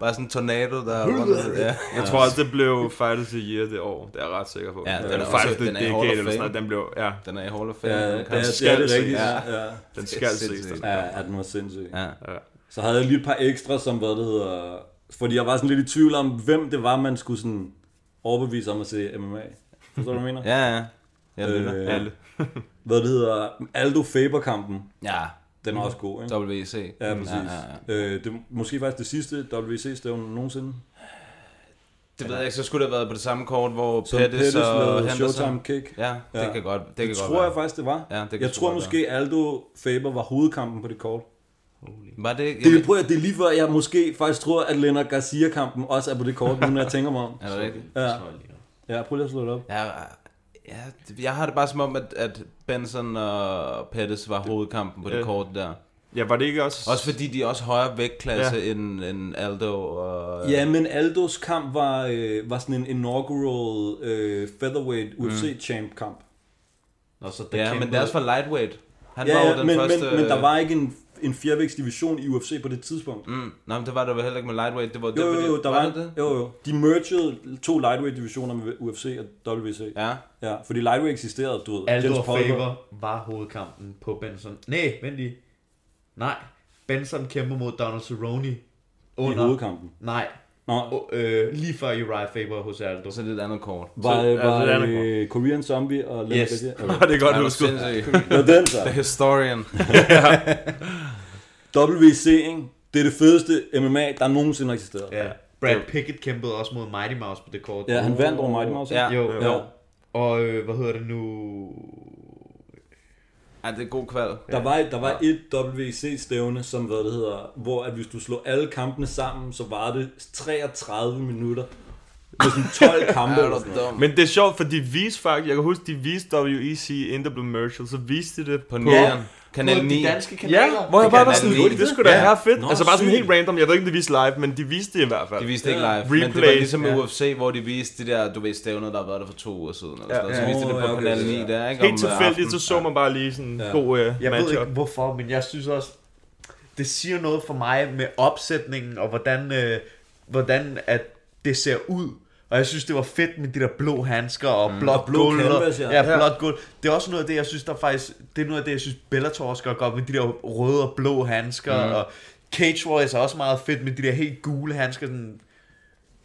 S9: Bare sådan en tornado, der er rundt. Ja.
S10: Jeg tror også, det blev Fight of the Year det år. Det er jeg ret sikker på.
S9: Ja, den er
S10: Eller
S9: også-
S10: Fight of the
S9: den er i Hall of
S10: Decade eller sådan
S9: Fame.
S10: noget. Den blev, ja,
S9: Den er i Hall of Fame.
S12: Ja,
S9: den
S12: det,
S9: kamp.
S12: er, det, er
S10: skal
S12: det rigtigt.
S10: ses.
S12: Ja. Ja.
S10: den skal ses.
S9: sindssygt.
S10: Den.
S12: Ja, ja, den var sindssyg. Ja.
S9: Ja.
S12: Så havde jeg lige et par ekstra, som hvad det hedder... Fordi jeg var sådan lidt i tvivl om, hvem det var, man skulle sådan overbevise om at se MMA. Forstår du, hvad jeg mener?
S9: Ja, ja. Jeg lytter.
S12: Øh,
S10: Alle.
S12: Hvad det hedder... Aldo Faber-kampen.
S9: Ja, E
S12: Den er også god, ikke?
S9: WC.
S12: Ja, præcis. Ja, ja, ja. Øh, det er måske faktisk det sidste WC-stævne nogensinde.
S9: Det ved jeg ikke, så skulle det have været på det samme kort, hvor
S12: Som Pettis
S9: Pettis og
S12: lavede
S9: Henderson...
S12: Showtime Kick.
S9: Ja, det kan godt det, kan
S12: det
S9: godt
S12: tror
S9: være.
S12: jeg faktisk, det var.
S9: Ja, det kan
S12: jeg
S9: sgu
S12: tror
S9: godt
S12: måske, Aldo Faber var hovedkampen på det kort.
S9: Var det ikke?
S12: Det,
S9: Jamen,
S12: er- prøv at, det er lige før, jeg måske faktisk tror, at Leonard Garcia-kampen også er på det kort, nu når jeg tænker mig om.
S9: (laughs) Er det rigtigt?
S12: Ja. ja, prøv lige at slå det op.
S9: Ja, ja, det- jeg har det bare som om, at, at Benson og Pettis var hovedkampen på det
S2: Ja.
S9: kort der.
S2: Ja, var det ikke også...
S9: Også fordi de er også højere vægtklasse ja. end, end Aldo og...
S12: Ja, men Aldos kamp var, øh, var sådan en inaugural øh, featherweight
S9: Mm.
S12: UFC-champ-kamp.
S11: Nå, så der
S9: ja
S11: kæmpede-
S9: men deres var lightweight. Han
S12: Ja,
S9: var jo
S12: ja
S9: den
S12: men,
S9: første...
S12: men, men der var ikke en, en fjerdevægtsdivision i UFC på det tidspunkt.
S9: Mm, nej, men det var der vel heller ikke med lightweight. Det var, det,
S12: Jo,
S9: var
S12: jo,
S9: det-
S12: jo, der var,
S9: det
S12: var
S9: det?
S12: jo, jo. De mergede to lightweight-divisioner med UFC og WC.
S9: Ja.
S12: ja fordi lightweight eksisterede, du ved.
S11: Aldo
S12: Jens
S11: og
S12: Paul-
S11: Faber var hovedkampen på Benson. Nej, vent lige. Nej, Benson kæmper mod Donald Cerrone under...
S12: hovedkampen?
S11: Nej.
S12: Nå.
S11: O- øh, lige før Uriah Faber hos Aldo.
S9: Så det er et andet kort.
S12: Var,
S11: Så-
S12: var,
S11: altså,
S12: var
S11: det er
S12: øh, Korean Zombie og Leonard
S11: Yes.
S12: Garcia?
S11: Nå, det er godt
S9: Ej, hvor
S11: husket.
S9: sindssygt.
S12: Nå, den så.
S9: (laughs) The historian.
S12: (laughs) WC, ikke? Det er det fedeste MMA, der nogensinde har eksisteret.
S11: Ja. Brad Pickett kæmpede også mod Mighty Mouse på det kort.
S12: Ja, han vandt over Mighty Mouse, ikke?
S11: Ja. Jo,
S12: Ja.
S11: jo. Og øh, hvad hedder det nu?
S9: Ja, det er god kval.
S12: Der var, der var et WC-stævne, som hvad det hedder, hvor at hvis du slog alle kampene sammen, så var det 33 minutter. Med sådan 12 kampe. eller sådan noget.
S2: Men det er sjovt, for de viste faktisk, jeg kan huske, de E viste WEC inden der blev merged, så viste de det på,
S9: nieren. Kanal
S2: på de
S9: 9.
S2: danske
S9: kanaler.
S2: Ja, hvor jeg bare
S9: Det kan
S2: var
S9: man
S2: sådan,
S9: ikke.
S2: det skulle da
S9: Ja.
S2: ja. fedt.
S9: Nå,
S2: altså bare sådan
S9: sygt.
S2: helt random, jeg ved ikke, om de viste live, men de viste det i hvert fald.
S9: De viste det ikke live,
S2: Replay.
S9: men det var ligesom med
S2: Ja.
S9: UFC, hvor de viste det der, du ved, stævnet, der har været der for to uger siden, eller sådan
S2: Ja.
S9: noget. så
S2: Ja.
S9: viste de det
S2: Åh,
S9: på
S2: Oh, ja, okay,
S9: kanal
S2: det
S9: 9
S2: der.
S9: der, ikke?
S2: Helt
S9: Om, øh,
S2: tilfældigt, så
S9: aftenen.
S2: så man bare lige sådan en
S9: Ja.
S2: god øh,
S11: Jeg ved
S2: matchup.
S11: ikke hvorfor, men jeg synes også, det siger noget for mig med opsætningen, og hvordan, øh, hvordan at det ser ud. Og jeg synes, det var fedt med de der blå handsker og mm. blåt
S12: Og blå
S11: gulv. og-
S12: canvas, ja.
S11: ja,
S12: Ja.
S11: blåt gulv. Det er også noget af det, jeg synes, der faktisk... Det er noget af det, jeg synes, Bellator skal gøre godt med de der røde og blå handsker.
S9: Mm.
S11: Mm. Og Cage Warriors er også meget fedt med de der helt gule handsker. Sådan,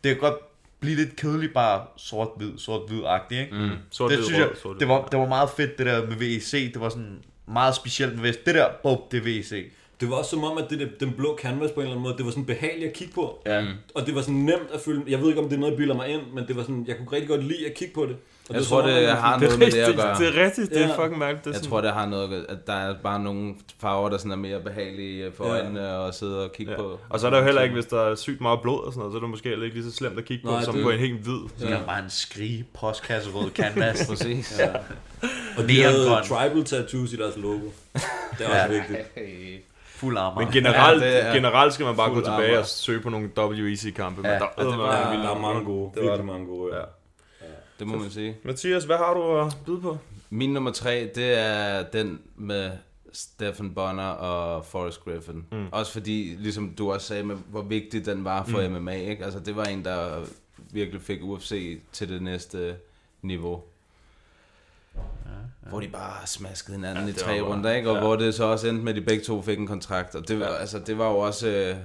S11: det kan godt blive lidt kedeligt bare sort-hvid, sort-hvid-agtigt, ikke?
S9: Mm.
S11: det
S2: Sort-hvid,
S11: synes jeg,
S2: rød, sort-hvid.
S11: det var, det var meget fedt, det der med VEC. Det var sådan meget specielt med VEC. Det der, bop, det er E VEC.
S12: Det var også som om, at det, der- den blå canvas på en eller anden måde, det var sådan behageligt at kigge på.
S11: Ja.
S12: Og det var sådan nemt at følge. Jeg ved ikke, om det er noget, jeg bilder mig ind, men det var sådan, jeg kunne rigtig godt lide at kigge på det. Og
S9: Jeg
S12: er
S9: tror,
S12: som om,
S9: det
S12: at-
S9: har
S2: Det er
S9: noget med det at
S2: rigtigt,
S9: gøre.
S2: det er rigtigt, det er
S12: Ja.
S2: fucking mærkeligt. det er
S9: Jeg
S2: sådan-
S9: tror, det har noget at gøre- at der er bare nogle farver, der sådan er mere behagelige for
S12: Ja.
S9: øjnene og sidde og kigge
S2: Ja.
S9: på.
S2: Og så er der jo heller ikke, hvis der er sygt meget blod og sådan noget, så er det måske heller ikke lige så slemt at kigge på,
S12: Nej,
S2: som
S12: det-
S2: på en helt hvid.
S11: Så ja. bare en skrige postkasserød
S2: (laughs)
S11: canvas.
S9: Præcis.
S11: Ja.
S12: Og de havde tribal tattoos i deres (laughs) logo. Det er også
S11: Ja.
S12: vigtigt.
S11: Fuld armor.
S2: Men generelt,
S9: Ja, det er
S2: ja, generelt skal man bare gå
S9: fuld
S2: tilbage
S9: armor.
S2: og søge på nogle E WEC-kampe.
S9: Ja,
S2: Ja, der,
S9: og det var-
S12: Ja, der er mange gode. Virkelig mange gode, ja.
S9: Det må man sige.
S2: Mathias, hvad har du at byde på?
S9: Min nummer tre, det er den med Stephen Bonner og Forrest Griffin. Mm. Også fordi, ligesom du også sagde, med, hvor vigtig den var for mm. MMA. Ikke? Altså, det var en, der virkelig fik UFC til det næste niveau. Hvor de bare smaskede hinanden ja, i
S2: det
S9: tre
S2: var bare-
S9: runder, ikke? og ja. hvor det så også endte med, at de begge to fik en kontrakt. Og det, var, altså, det var jo også... Øh,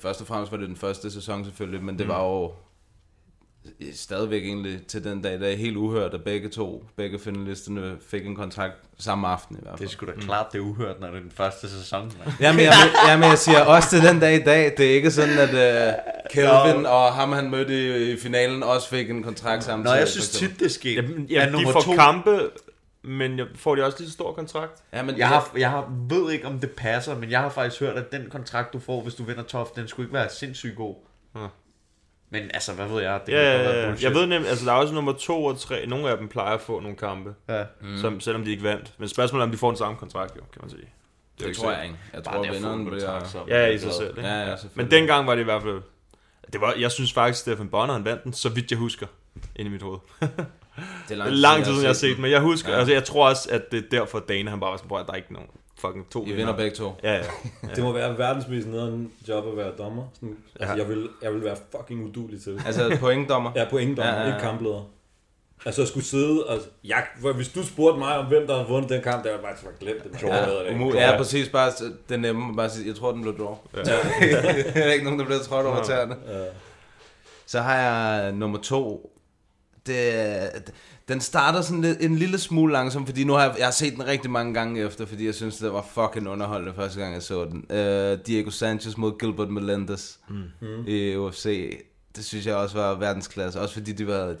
S9: først og fremmest var det den første sæson selvfølgelig, men det mm. var jo stadigvæk egentlig til den dag i dag helt uhørt, at begge to, begge finalisterne fik en kontrakt samme aften i hvert
S11: Det er
S9: fald.
S11: sgu da
S2: Mm.
S11: klart, det er uhørt, når det er den første sæson.
S2: (laughs)
S11: Man.
S9: Jamen jeg, jamen, jeg siger også til den dag i dag, det er ikke sådan, at uh, Kelvin og ham, han mødte i, i finalen, også fik en kontrakt sammen.
S11: Nå, jeg synes tit, det sker.
S2: Jamen, mm, ja,
S11: At
S2: de får to. kampe, men jeg- får de også lige så stor kontrakt?
S9: Ja, men
S11: Jeg, har, jeg har, ved ikke, om det passer, men jeg har faktisk hørt, at den kontrakt, du får, hvis du vinder tof, den skulle ikke være sindssygt god.
S2: Ja.
S11: Men altså, hvad ved jeg? Det
S2: Ja,
S11: kan
S2: ja,
S11: godt være
S2: ja, ja.
S11: bullshit.
S2: Jeg ved nemlig, altså der er også nummer to og tre, nogle af dem plejer at få nogle kampe,
S11: Ja.
S2: mm. som, selvom de ikke vandt. Men spørgsmålet er, om de får den samme kontrakt, jo, kan man sige.
S9: det, det tror jeg ikke. Jeg tror,
S11: Bare det at
S9: at
S11: få
S9: vinderen
S11: en kontrakt,
S9: bliver...
S11: så
S2: Ja, i sig selv. Ikke?
S9: Ja, ja,
S2: Men
S9: selvfølgelig.
S2: dengang var det i hvert fald... Det var, jeg synes faktisk, Stefan Bonner han vandt den, så vidt jeg husker, ind i mit hoved.
S9: Det er
S2: Det er lang tid siden, jeg har set
S9: den.
S2: den, men jeg husker,
S9: Ja.
S2: ja. altså jeg tror også, at det er derfor Dana, han bare var sådan, "Bror, der er ikke nogen fucking to
S9: I vinder begge to.
S2: Ja, ja.
S12: Det må være verdens mest nederen job at være dommer. Sådan, altså, jeg, vil, jeg vil være fucking udulig til det.
S9: Altså pointdommer.
S12: Jeg er pointdommer,
S9: Ja,
S12: ja,
S9: ja,
S12: ja,
S9: ja.
S12: ja. ikke kampleder. Altså, jeg skulle sidde og... Jeg, for hvis du spurgte mig om, hvem der havde vundet den kamp, der var jeg faktisk bare glemt det. Man. Jeg ved det
S9: Ja,
S12: ikke.
S9: umuligt. ja, præcis. Bare, s- det er nemme. Bare sige, jeg tror, den blev draw. Ja. (laughs) der er ikke nogen, der bliver trådt over tæerne. Så har jeg nummer to. Det, den starter sådan lidt, en lille smule langsomt, fordi nu har jeg, jeg har set den rigtig mange gange efter, fordi jeg synes, det var fucking underholdende Øh, første gang, jeg så den. Uh, Diego Sanchez mod Gilbert Melendez mm. i UFC. det synes jeg også var verdensklasse. Også fordi de var,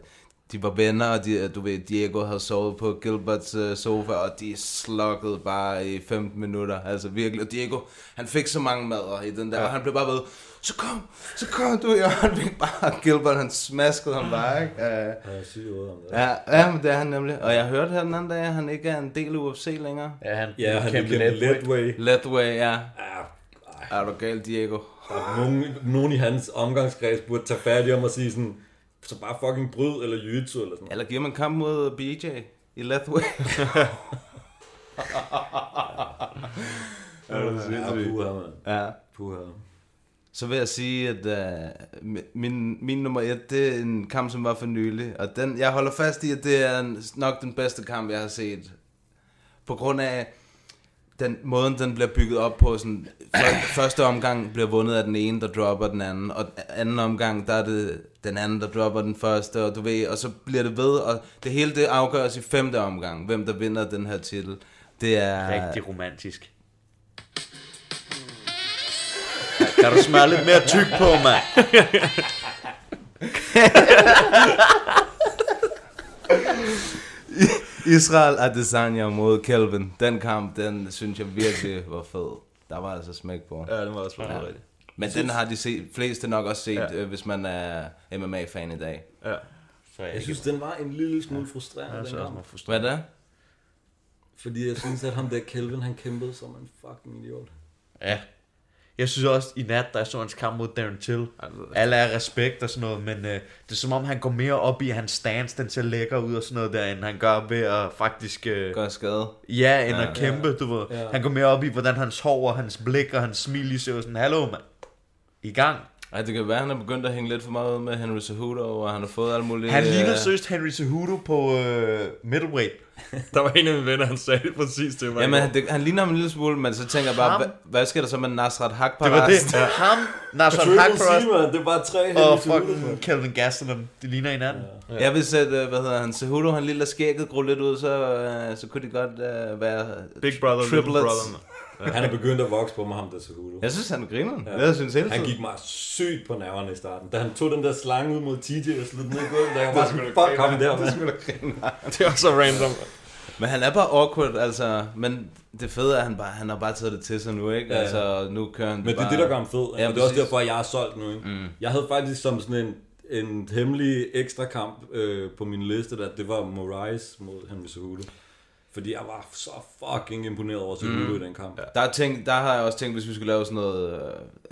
S9: de var venner, og de, du ved, Diego havde sovet på Gilberts øh, sofa, og de slukkede bare i 15 minutter. Altså virkelig. Og Diego, han fik så mange mader i den der, ja. og han blev bare ved, så kom, så kom du, (laughs) og han fik bare, Gilbert, han smaskede ham bare, ikke? Uh, ja,
S12: jeg syg ud om det.
S9: Ja, ja, men det er han nemlig. Og jeg hørte her den anden dag, at han ikke er en del af UFC længere.
S11: Ja, han,
S12: ja, han kæmpe Letway.
S9: Letway, ja.
S12: ja.
S9: Er du gal, Diego?
S12: Nogen, nogen i hans omgangskreds burde tage fat i ham og sige sådan, så bare fucking bryd eller jiu-jitsu eller sådan
S9: Eller giver man kamp mod BJ i Lathway?
S12: ja, det er puha, mand.
S9: (laughs) Ja.
S12: Puha.
S9: Så vil jeg sige, at uh, min, min nummer et, det er en kamp, som var for nylig. Og den, jeg holder fast i, at det er en, nok den bedste kamp, jeg har set. På grund af, den måden, den bliver bygget op på, sådan, første omgang bliver vundet af den ene, der dropper den anden, og anden omgang, der er det den anden, der dropper den første, og du ved, og så bliver det ved, og det hele det afgøres i femte omgang, hvem der vinder den her titel. Det er...
S11: Rigtig romantisk. Kan du smøre lidt mere tyk på, mand?
S9: Israel Adesanya mod Kelvin. Den kamp, den synes jeg virkelig var fed. Der var altså smæk på.
S10: Ja, den var også meget ja. rigtig.
S9: Men den har de set, fleste nok også set, ja. øh, hvis man er MMA-fan i dag.
S10: Ja.
S12: Så jeg, jeg synes, den var en lille smule frustrerende, ja,
S9: den
S12: kamp.
S9: Hvad er det?
S12: Fordi jeg synes, at ham der Kelvin, han kæmpede som en fucking idiot.
S11: Ja. Jeg synes også, i nat, der så hans kamp mod Darren Till. Alle er respekt og sådan noget, men øh, det er som om, han går mere op i hans stance, den ser lækker ud og sådan noget der, end han gør ved at faktisk... Øh,
S9: Gør skade.
S11: ja, end ja, at kæmpe, ja. du ved. Ja. Han går mere op i, hvordan han sover, hans blik og hans smil lige ser ud sådan, hallo mand, i gang.
S9: Ej, det kan være, han er begyndt at hænge lidt for meget ud med Henry Cejudo, og han har fået alle mulige...
S11: Han
S9: øh,
S11: ligner seriøst Henry Cejudo på øh, middleweight.
S10: Der var en af mine venner, han sagde det præcis. Det var
S9: Jamen, han, det, han ligner ham en lille smule, men så tænker jeg bare,
S11: Ham?
S9: hvad, hvad sker der så med Nasrat Hakparast?
S11: Det var det. Ja. Ham, Nasser Hakparast
S12: Hakparast. Det er bare tre
S11: og
S12: helt
S11: fucking Calvin Gastelum. De ligner hinanden. Ja.
S9: Ja. Jeg vil sætte, øh, hvad hedder han, Cejudo, han lige lader skægget gro lidt ud, så, øh, så kunne det godt øh, være
S10: Big brother, little brother.
S11: (laughs)
S10: mand.
S12: Han er begyndt at vokse på mig, ham der Cejudo.
S9: Jeg synes, han griner. Ja. Jeg synes hele
S12: Han
S9: tiden.
S12: gik mig sygt på nerverne i starten. Da han tog den der slange ud mod TJ og slog den ned i gulvet, der jeg bare sådan, fuck ham der, mand.
S10: Det er også så random.
S9: Men han er bare awkward, altså. Men det fede er, at han, bare, han har bare taget det til sig nu, ikke? Ja. Altså, nu kører han
S12: Men det er
S9: bare...
S12: det, der gør ham fed.
S9: Ja,
S12: Ja, og det er også
S9: præcis.
S12: derfor, at jeg er solgt nu. Ikke? Mm. Jeg havde faktisk som sådan en, en hemmelig ekstra kamp øh, på min liste, der, det var Moraes mod Henry Cejudo. Fordi jeg var så fucking imponeret over Cejudo mm. i den kamp. Ja.
S9: Der, er ting, der har jeg også tænkt, hvis vi skulle lave sådan noget, øh,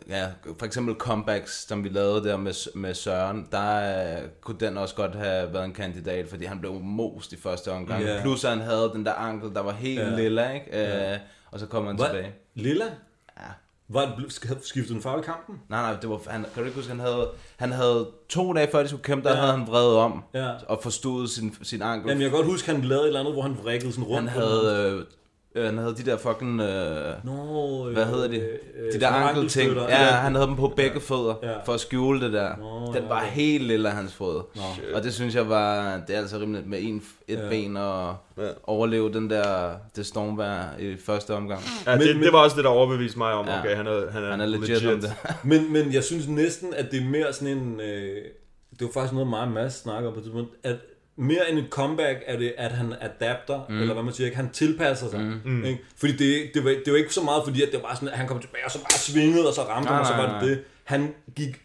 S9: ja, for eksempel comebacks, som vi lavede der med, med Søren, der øh, kunne den også godt have været en kandidat, fordi han blev most i første omgang.
S12: Ja.
S9: Yeah. Plus at han havde den der ankel, der var helt
S12: Ja.
S9: yeah. lilla, ikke? Øh, Og så kommer han
S12: Hvad?
S9: tilbage.
S12: Lilla?
S9: Ja.
S12: Var det, bl- sk- skiftede den farve i kampen?
S9: Nej, nej, det var, han, kan du ikke huske, han havde, han havde to dage før de skulle kæmpe, der ja. havde han vredet om
S12: Ja.
S9: og forstået sin, sin ankel.
S12: Jamen, jeg kan godt huske, han lavede et eller andet, hvor han vrikkede sådan rundt.
S9: han,
S12: på den.
S9: havde, øh, han havde de der fucking... Øh,
S12: Nå, øh,
S9: Hvad hedder de?
S12: øh, øh,
S9: de der
S12: sådan
S9: ankelting.
S12: ankelstøtter.
S9: Ja, han havde dem på begge fødder
S12: Ja.
S9: for at skjule det der. den var helt lille af hans fod. Og det synes jeg var, det er altså rimeligt med en, et ben og overleve den der, det stormvær i første omgang.
S10: Ja, det, det var også det, der overbeviste mig om,
S9: Ja.
S10: okay, han er, han er,
S9: Han er legit, om det.
S12: Men, men jeg synes næsten, at det er mere sådan en... Øh, det var faktisk noget, mig og Mads snakker om på et tidspunkt, at mere end et comeback er det, at han adapter, mm. eller hvad man siger, ikke? han tilpasser sig. Mm. Ikke? Fordi det, det, var, det var ikke så meget, fordi at det var sådan, at han kom tilbage, og så bare svingede, og så ramte han, og så
S9: nej,
S12: var det
S9: nej.
S12: det. Han gik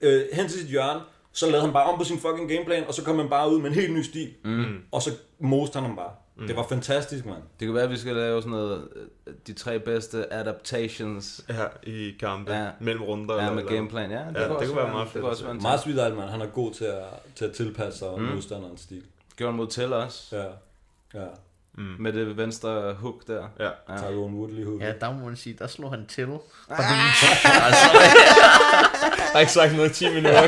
S12: øh, hen til sit hjørne, så lavede han bare om på sin fucking gameplan, og så kom han bare ud med en helt ny stil, mm. og så moste han ham bare. Mm. Det var fantastisk, mand.
S9: Det kan være, at vi skal lave sådan noget, øh, de tre bedste adaptations
S10: Ja, i kampe.
S9: Ja.
S10: Ja. Mellem runder.
S9: ja,
S10: eller-
S9: med
S10: eller-
S9: gameplan. Ja, det,
S10: det
S9: også
S10: kunne være meget
S9: det kunne
S10: fedt.
S9: også være en
S12: Mars Vidal, man, han er god til at, til at tilpasse sig mm. modstanderens stil.
S9: Gjorde han mod til også,
S12: Ja. Ja.
S9: med det venstre hook der.
S10: Ja.
S12: Tyrone Woodley hook.
S11: Ja, der må man sige, der slog han til.
S10: Jeg har ikke sagt noget i 10 (laughs) minutter.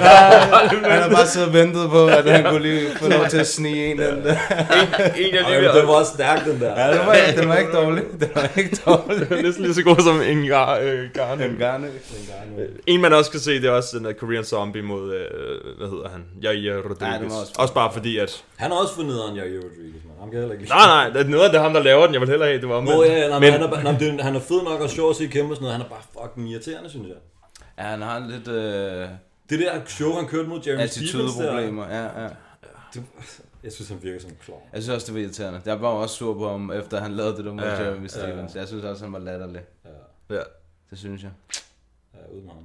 S9: Han har bare siddet og ventet på, at han kunne lige få lov til at snige en
S10: en,
S9: den der.
S10: jeg lige
S12: Ej, men den var også stærk, den der.
S9: Ja, den var, ikke- den var ikke dårlig. Den var ikke dårlig.
S10: Det er næsten lige så god som en gar, øh, garne.
S9: Den gerne.
S10: En man også kan se, det er også den der Korean Zombie mod, øh, hvad hedder han? Jair
S9: Ja, det
S10: Rodriguez.
S9: var
S10: Ja,
S9: også-
S10: også, også bare fordi, at...
S12: Han har også fundet nederen, Jair Rodriguez, man. Ham kan jeg heller ikke lide.
S10: Nej, nej, det er noget af det er ham, der laver den. Jeg vil hellere have, det var omvendt.
S12: Nå, ja, ja, nej, men,
S10: men,
S12: han, er, bare- nej, men det er jo- han er fed nok og sjov at se kæmpe og sådan noget. Han er bare fucking irriterende, synes jeg.
S9: Ja, han har en lidt... Øh,
S12: Det der show, han kørte mod Jeremy Stevens der.
S9: problemer, ja, ja.
S12: Det, jeg synes, han virker som en klovn.
S9: Jeg synes også, det var irriterende. Jeg var også sur på ham, efter han lavede det der mod ja, Jeremy Stevens. Ja. Jeg synes også, han var latterlig.
S2: Ja. ja.
S9: Det synes jeg.
S12: Ja, ud med ham.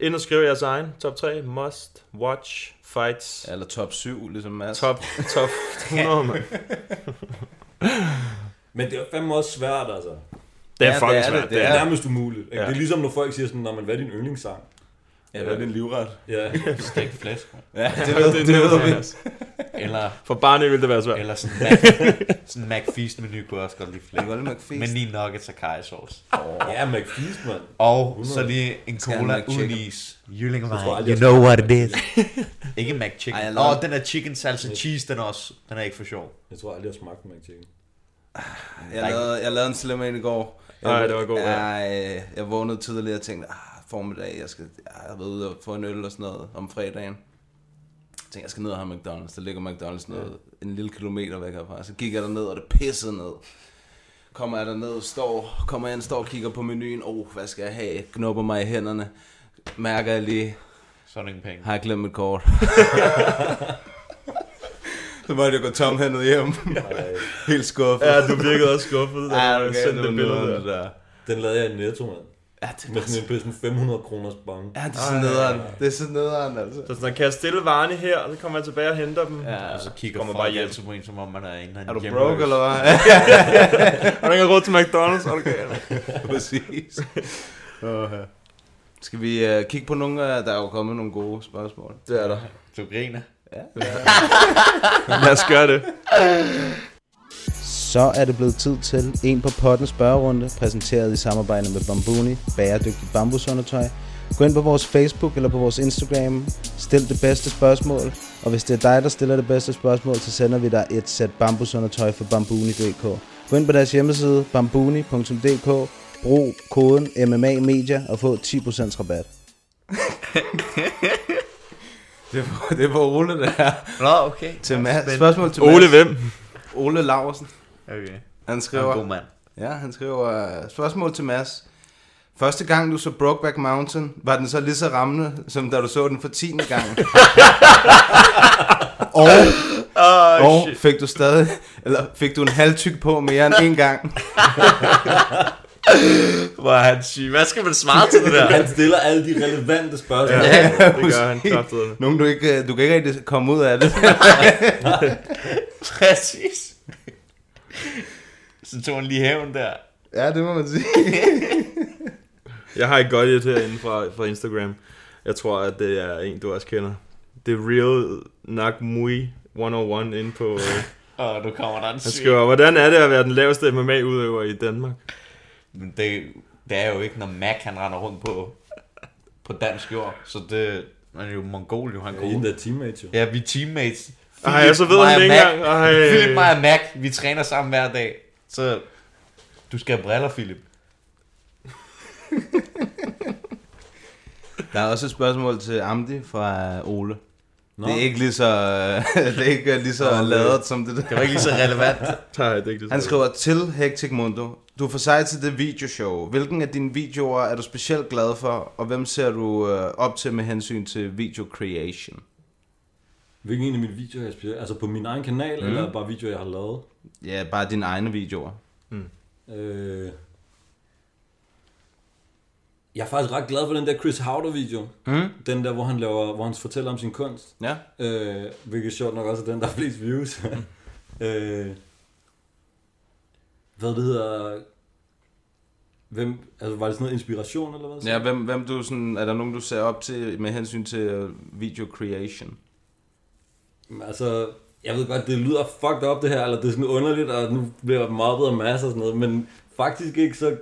S2: Ind og skriv jeres egen top 3 must watch fights.
S9: Eller top 7, ligesom Mads.
S2: Top, top 100, mand.
S12: Men det er fandme også svært, altså.
S2: Det er ja, fucking svært.
S12: Det er nærmest umuligt. Ikke? Ja. Det er ligesom, når folk siger sådan, når man, hvad er din yndlingssang?
S9: Ja, hvad er din livret?
S12: Ja.
S11: Stegt flæsk.
S9: Ja, det ved, det, det ved vi.
S11: Eller,
S2: For barnet ville det være svært.
S11: eller sådan, Mac, sådan McFeast menu kunne jeg også godt lide flæsk.
S9: Golden McFeast.
S11: Men lige nuggets og kajsauce.
S12: Ja, McFeast, mand.
S11: Og så lige en cola uden is. Jylling og You know what it is. ikke McChicken.
S9: Ej, jeg
S11: Åh,
S9: laver-
S11: oh, den der chicken salsa cheese, den er også. Den er ikke for sjov.
S12: Jeg tror aldrig, jeg har smagt en McChicken.
S9: Jeg lavede, jeg lavede en slem en i går. Jeg,
S2: Ej, det var god, ja.
S9: Ej, jeg vågnede tidligere og tænkte, ah, formiddag, jeg skal ah, jeg har været ude og få en øl og sådan noget om fredagen. Jeg tænkte, jeg skal ned og have McDonald's. Der ligger McDonald's noget, en lille kilometer væk herfra. Så gik jeg derned, og det pissede ned. Kommer jeg derned, står, kommer jeg ind, står og kigger på menuen. Åh, oh, hvad skal jeg have? Knupper mig i hænderne. Mærker jeg lige,
S11: Sådan ingen penge.
S9: har jeg glemt mit kort? (laughs) så måtte jeg gå tomhændet hjem. (laughs) Helt skuffet.
S2: Ja, du virkede også skuffet, da
S9: Ja,
S2: du sendte det billede der.
S9: der.
S12: Den lavede jeg i Netto, mand.
S9: Ja, det
S12: Med sådan en pisse 500 kroners bange.
S9: Ja, det er sådan nederen. Det er sådan nederen, altså.
S2: Så sådan, kan jeg stille varerne her, og så kommer jeg tilbage og henter dem. Ja.
S11: Og så kigger
S2: Kommer
S11: folk
S2: bare
S11: bare
S2: hjem.
S11: altid på en, som om man er en eller anden
S9: Er du
S11: hjemløs.
S9: broke, eller hvad?
S2: (laughs) Har du ikke råd til McDonald's? Okay.
S9: (laughs) Præcis. Åh, ja. Skal vi øh, kigge på nogle af, der er jo kommet nogle gode spørgsmål.
S2: Det er der.
S11: Du griner.
S2: Lad os gøre det.
S15: Så er det blevet tid til en på potten spørgerunde, præsenteret i samarbejde med Bambuni, bæredygtigt bambusundertøj. Gå ind på vores Facebook eller på vores Instagram, stil det bedste spørgsmål, og hvis det er dig, der stiller det bedste spørgsmål, så sender vi dig et sæt bambusundertøj fra bambuni.dk. Gå ind på deres hjemmeside, bambuni.dk, brug koden MMA Media og få 10% rabat.
S9: (laughs) Det var, det var Ole, der er.
S11: Nå, okay.
S9: Til Mads. Spørgsmål til
S2: Ole
S9: Mads.
S2: hvem?
S9: Ole Laursen.
S11: Okay.
S9: Han
S11: Du er en
S9: skriver,
S11: god mand.
S9: ja, han skriver øh, spørgsmål til Mads. Første gang du så Brokeback Mountain, var den så lige så rammende, som da du så den for tiende gang? og, oh, og fik du stadig, eller fik du en halv tyk på mere end en gang?
S11: Hvor er han syg. Hvad skal man svare til det der?
S12: (laughs) Han stiller alle de relevante spørgsmål. Ja.
S2: Det gør han kraftedeme.
S9: Nogen du ikke, øh, du kan ikke rigtig komme ud af det.
S11: (laughs) Præcis. Så tog han lige hævn der.
S9: ja, det må man sige.
S2: Jeg har et godt et herinde fra, fra Instagram. Jeg tror, at det er en, du også kender. The Real Nakmui 101 inde på... Øh,
S11: Og nu kommer der en
S2: han
S11: syg.
S2: skriver, hvordan er det at være den laveste MMA-udøver i Danmark?
S11: Men det, det er jo ikke, når Mac han render rundt på, på dansk jord. Så det han er jo mongol, jo han
S12: I den
S11: går.
S12: der teammate, jo.
S11: Ja, vi er teammates.
S2: Ej, jeg så ved
S11: mig
S2: han
S11: og
S2: det ikke
S11: Mac-
S2: engang. Ej.
S11: Philip, mig og Mac, vi træner sammen hver dag. Så du skal have briller, Philip.
S9: Der er også et spørgsmål til Amdi fra øh, Ole.
S12: Nå.
S9: Det er ikke lige så, øh, (laughs) det er ikke lige så ladet som det
S11: Det
S9: der.
S11: var ikke lige så relevant.
S2: (laughs) Nej, det er ikke det.
S9: Han skriver til Hectic Mundo. Du er for sej til det videoshow. Hvilken af dine videoer er du specielt glad for, og hvem ser du øh, op til med hensyn til video creation?
S12: Hvilken en af mine videoer, jeg spiller? Altså på min egen kanal, mm.
S9: Mhm.
S12: eller bare videoer, jeg har lavet?
S9: Ja, bare dine egne videoer.
S12: Øh... Jeg er faktisk ret glad for den der Chris Howder-video.
S9: Mhm.
S12: Mm. Den der, hvor han, laver, hvor han fortæller om sin kunst.
S9: Ja,
S12: Øh, hvilket sjovt nok også er den, der har flest views.
S9: Mhm.
S12: (laughs) øh, hvad det hedder... Hvem, altså var det sådan noget inspiration eller hvad?
S9: ja hvem, hvem du sådan, er der nogen, du ser op til med hensyn til øh, video creation?
S12: Men Altså, jeg ved godt, det lyder fucked up det her, eller det er sådan underligt, og nu bliver jeg mobbet og masser og sådan noget, men faktisk ikke så,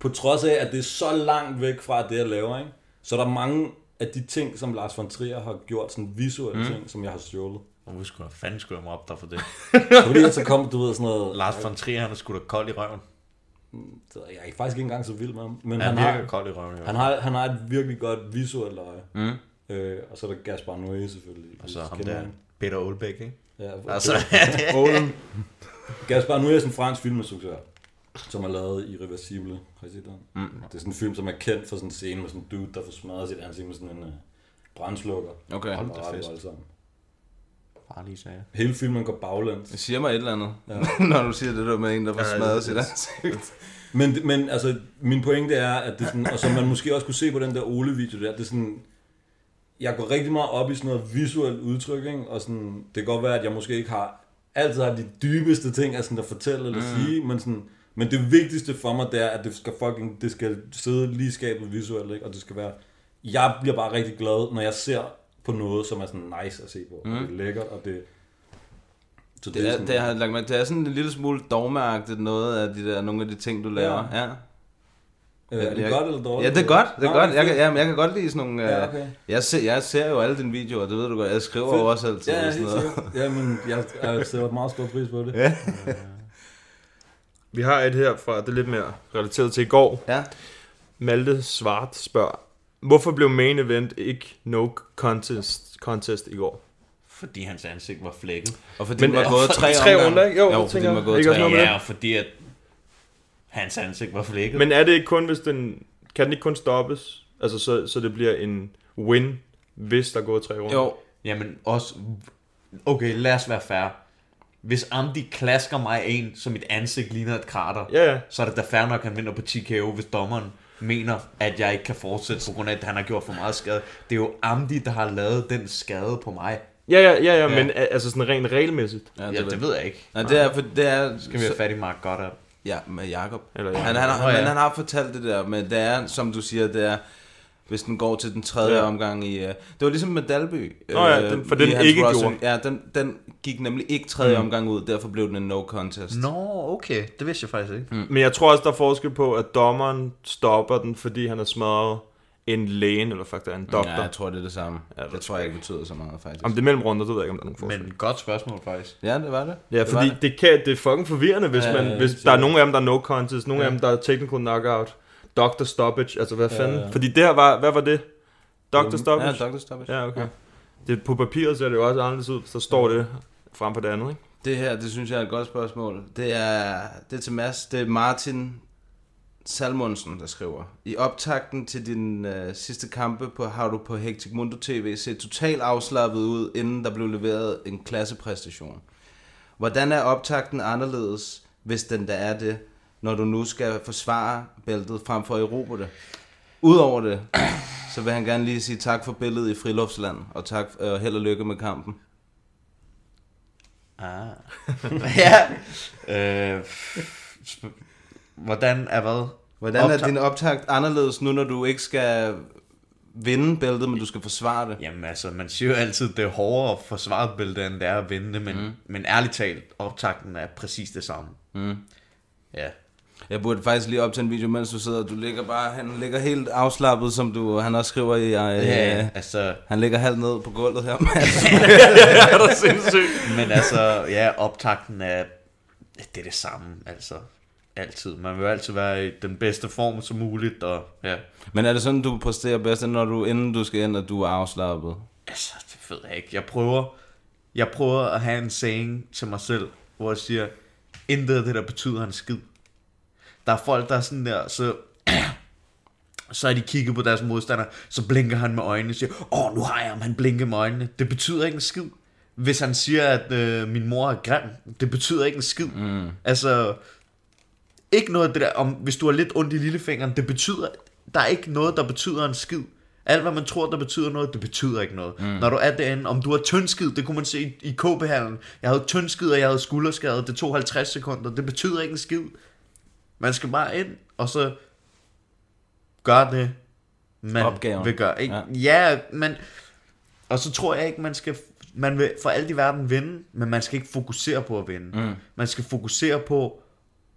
S12: på trods af, at det er så langt væk fra det, jeg laver, ikke? så er der mange af de ting, som Lars von Trier har gjort, sådan visuelle mm. ting, som jeg har stjålet.
S11: Og hvor skulle fanden skulle jeg mig op der for det?
S12: Fordi ellers så kom, du ved, sådan noget,
S11: Lars von Trier, han er sgu da kold i røven.
S12: jeg er faktisk ikke engang så vild med ham,
S11: Han,
S12: men han,
S11: han virker
S12: har,
S11: kold i røven, jo.
S12: han, har, han har et virkelig godt visuelt øje. Mm. Øh, og så er der Gaspar Noé selvfølgelig.
S11: Og så ham
S12: Kender
S11: der,
S12: han?
S11: Peter Olbæk, ikke?
S12: Ja,
S11: Altså, (laughs)
S12: Olden. (laughs) Gaspar, nu er jeg sådan en fransk filminstruktør, som er lavet i Reversible. Har I set den? Mm. Det er sådan en film, som er kendt for sådan en scene med sådan en dude, der får smadret sit ansigt med sådan en uh, brændslukker.
S9: Okay,
S12: hold da fest. Voldsomt.
S11: Farlige sager.
S12: Hele filmen går baglæns.
S9: Det siger mig et eller andet, ja. (laughs) når du siger det der med en, der får ja, smadret sit ansigt.
S12: Men, men altså, min pointe er, at det sådan, og som man måske også kunne se på den der Ole-video der, det er sådan, jeg går rigtig meget op i sådan noget visuelt udtryk, ikke? og sådan, det kan godt være, at jeg måske ikke har, altid har de dybeste ting at, sådan, at fortælle eller mm. sige, men sådan, men det vigtigste for mig, det er, at det skal, fucking, det skal sidde lige skabet visuelt, ikke? og det skal være, jeg bliver bare rigtig glad, når jeg ser på noget, som er sådan nice at se på, mm. og det er lækkert, og det,
S9: så det, det, er, sådan, det, jeg har lagt med, det er sådan en lille smule dogmagtigt noget af de der, nogle af de ting, du laver. Ja. ja.
S12: Øh, er det jeg, godt eller dårligt?
S9: Ja, det er godt. Det er Nå, godt. Jeg, kan, ja, jeg kan godt lide sådan nogle... Ja, okay. jeg, ser, jeg ser jo alle dine videoer, det ved du godt. Jeg skriver Fedt. også altid.
S12: Ja,
S9: og sådan noget.
S12: ja, men jeg, jeg sætter meget stor pris på det.
S9: Ja.
S10: Vi har et her fra, det er lidt mere relateret til i går.
S9: Ja.
S10: Malte Svart spørger, hvorfor blev main event ikke no contest, contest i går?
S11: Fordi hans ansigt var flækket.
S9: Og fordi men, den var gået tre,
S10: tre runder, ikke? Jo,
S9: jo
S10: fordi den
S9: var gået tre
S11: Ja,
S9: runder.
S11: og fordi at hans ansigt var flækket.
S10: Men er det ikke kun, hvis den... Kan den ikke kun stoppes? Altså, så, så det bliver en win, hvis der går tre runder?
S11: Jo. Jamen, også... Okay, lad os være fair. Hvis Amdi klasker mig en, så mit ansigt ligner et krater,
S10: ja, ja.
S11: så er det da fair nok, at han vinder på TKO, hvis dommeren mener, at jeg ikke kan fortsætte på grund af, at han har gjort for meget skade. Det er jo Amdi, der har lavet den skade på mig.
S10: Ja, ja, ja, ja, men altså sådan rent regelmæssigt.
S11: Ja, det, ja, det ved jeg ikke.
S9: Nej, det er, for det er...
S11: Skal vi have fat i Mark Goddard?
S9: Ja, med Jakob.
S10: Eller
S9: Eller
S10: Jacob.
S9: Han, han, har,
S11: Nå, ja.
S9: Men han har fortalt det der, men det er, som du siger, det er, hvis den går til den tredje
S10: Ja.
S9: ja. omgang i... øh, Det var ligesom med Dalby. øh,
S10: Nå ja, den- for den
S9: i hans
S10: ikke
S9: wrestling. Ja, den, den gik nemlig ikke tredje mm. omgang ud, derfor blev den en no contest.
S11: Nå, okay. Det vidste jeg faktisk ikke. Mm.
S10: Men jeg tror også, der er forskel på, at dommeren stopper den, fordi han har smadret en lægen, eller faktisk er en doktor.
S9: Ja,
S10: Ja,
S9: jeg tror, det er det samme. Ja, det, det tror jeg ikke betyder så meget, faktisk.
S10: Om det er mellem runder, det ved jeg ikke, om der er nogen forskel.
S11: Men godt spørgsmål faktisk.
S9: Ja, det var det.
S10: Ja,
S9: det var
S10: fordi
S9: det.
S10: det, kan, det er fucking forvirrende, hvis, man, hvis der er nogle af dem, der er no contest, nogle af dem, der er technical knockout, doctor stoppage, altså hvad fanden? Fordi det her var, hvad var det? Doctor
S9: Ja,
S10: stoppage?
S9: Dr. Stoppage.
S10: Ja, okay. Det, på papiret ser det jo også anderledes ud, så står det frem på det andet, ikke?
S9: Det her, det synes jeg er et godt spørgsmål. Det er, det er til Mads. Det er Martin Salmonsen, der skriver. I optakten til din øh, sidste kampe på, har du på Hectic Mundo TV set totalt afslappet ud, inden der blev leveret en klassepræstation. Hvordan er optakten anderledes, hvis den der er det, når du nu skal forsvare bæltet frem for at erobre det? Udover det, så vil han gerne lige sige tak for billedet i friluftsland, og tak øh, held og lykke med kampen.
S11: Ah. (laughs) ja. Øh, sp- hvordan er hvad?
S9: Hvordan er din optakt anderledes nu, når du ikke skal vinde bæltet, men du skal forsvare det?
S11: Jamen altså, man siger jo altid, det er hårdere at forsvare et bælte, end det er at vinde, det, men, mm. men ærligt talt, optakten er præcis det samme.
S9: Mm.
S11: Ja.
S9: Jeg burde faktisk lige op til en video, mens du sidder, du ligger bare, han ligger helt afslappet, som du, han også skriver i, øh,
S11: ja
S9: yeah.
S11: altså,
S9: han ligger halvt ned på gulvet her. Mads. (laughs)
S11: men altså, ja, optakten er, det er det samme, altså, altid. Man vil altid være i den bedste form som muligt, og ja,
S9: men er det sådan, du præsterer bedst, når du, inden du skal ind, at du er afslappet?
S11: Altså, det ved jeg ikke. Jeg prøver, jeg prøver at have en saying til mig selv, hvor jeg siger, intet af det der betyder en skid. Der er folk, der er sådan der, så (clears throat) så har de kigget på deres modstander, så blinker han med øjnene og siger, åh, nu har jeg ham, han blinker med øjnene. Det betyder ikke en skid. Hvis han siger, at øh, min mor er grim, det betyder ikke en skid. Mm. Altså, ikke noget af det der, om, hvis du har lidt ondt i lillefingeren, det betyder, der er ikke noget, der betyder en skid. Alt, hvad man tror, der betyder noget, det betyder ikke noget. Mm. Når du er derinde, om du har tyndskid, det kunne man se i, i KB-hallen. Jeg havde tyndskid, og jeg havde skulderskade, det tog 50 sekunder, det betyder ikke en skid. Man skal bare ind, og så gøre det, man
S9: Opgaven.
S11: vil gøre. Ikke? Ja. ja, men... Og så tror jeg ikke, man skal... Man vil for alt i verden vinde, men man skal ikke fokusere på at vinde. Mm. Man skal fokusere på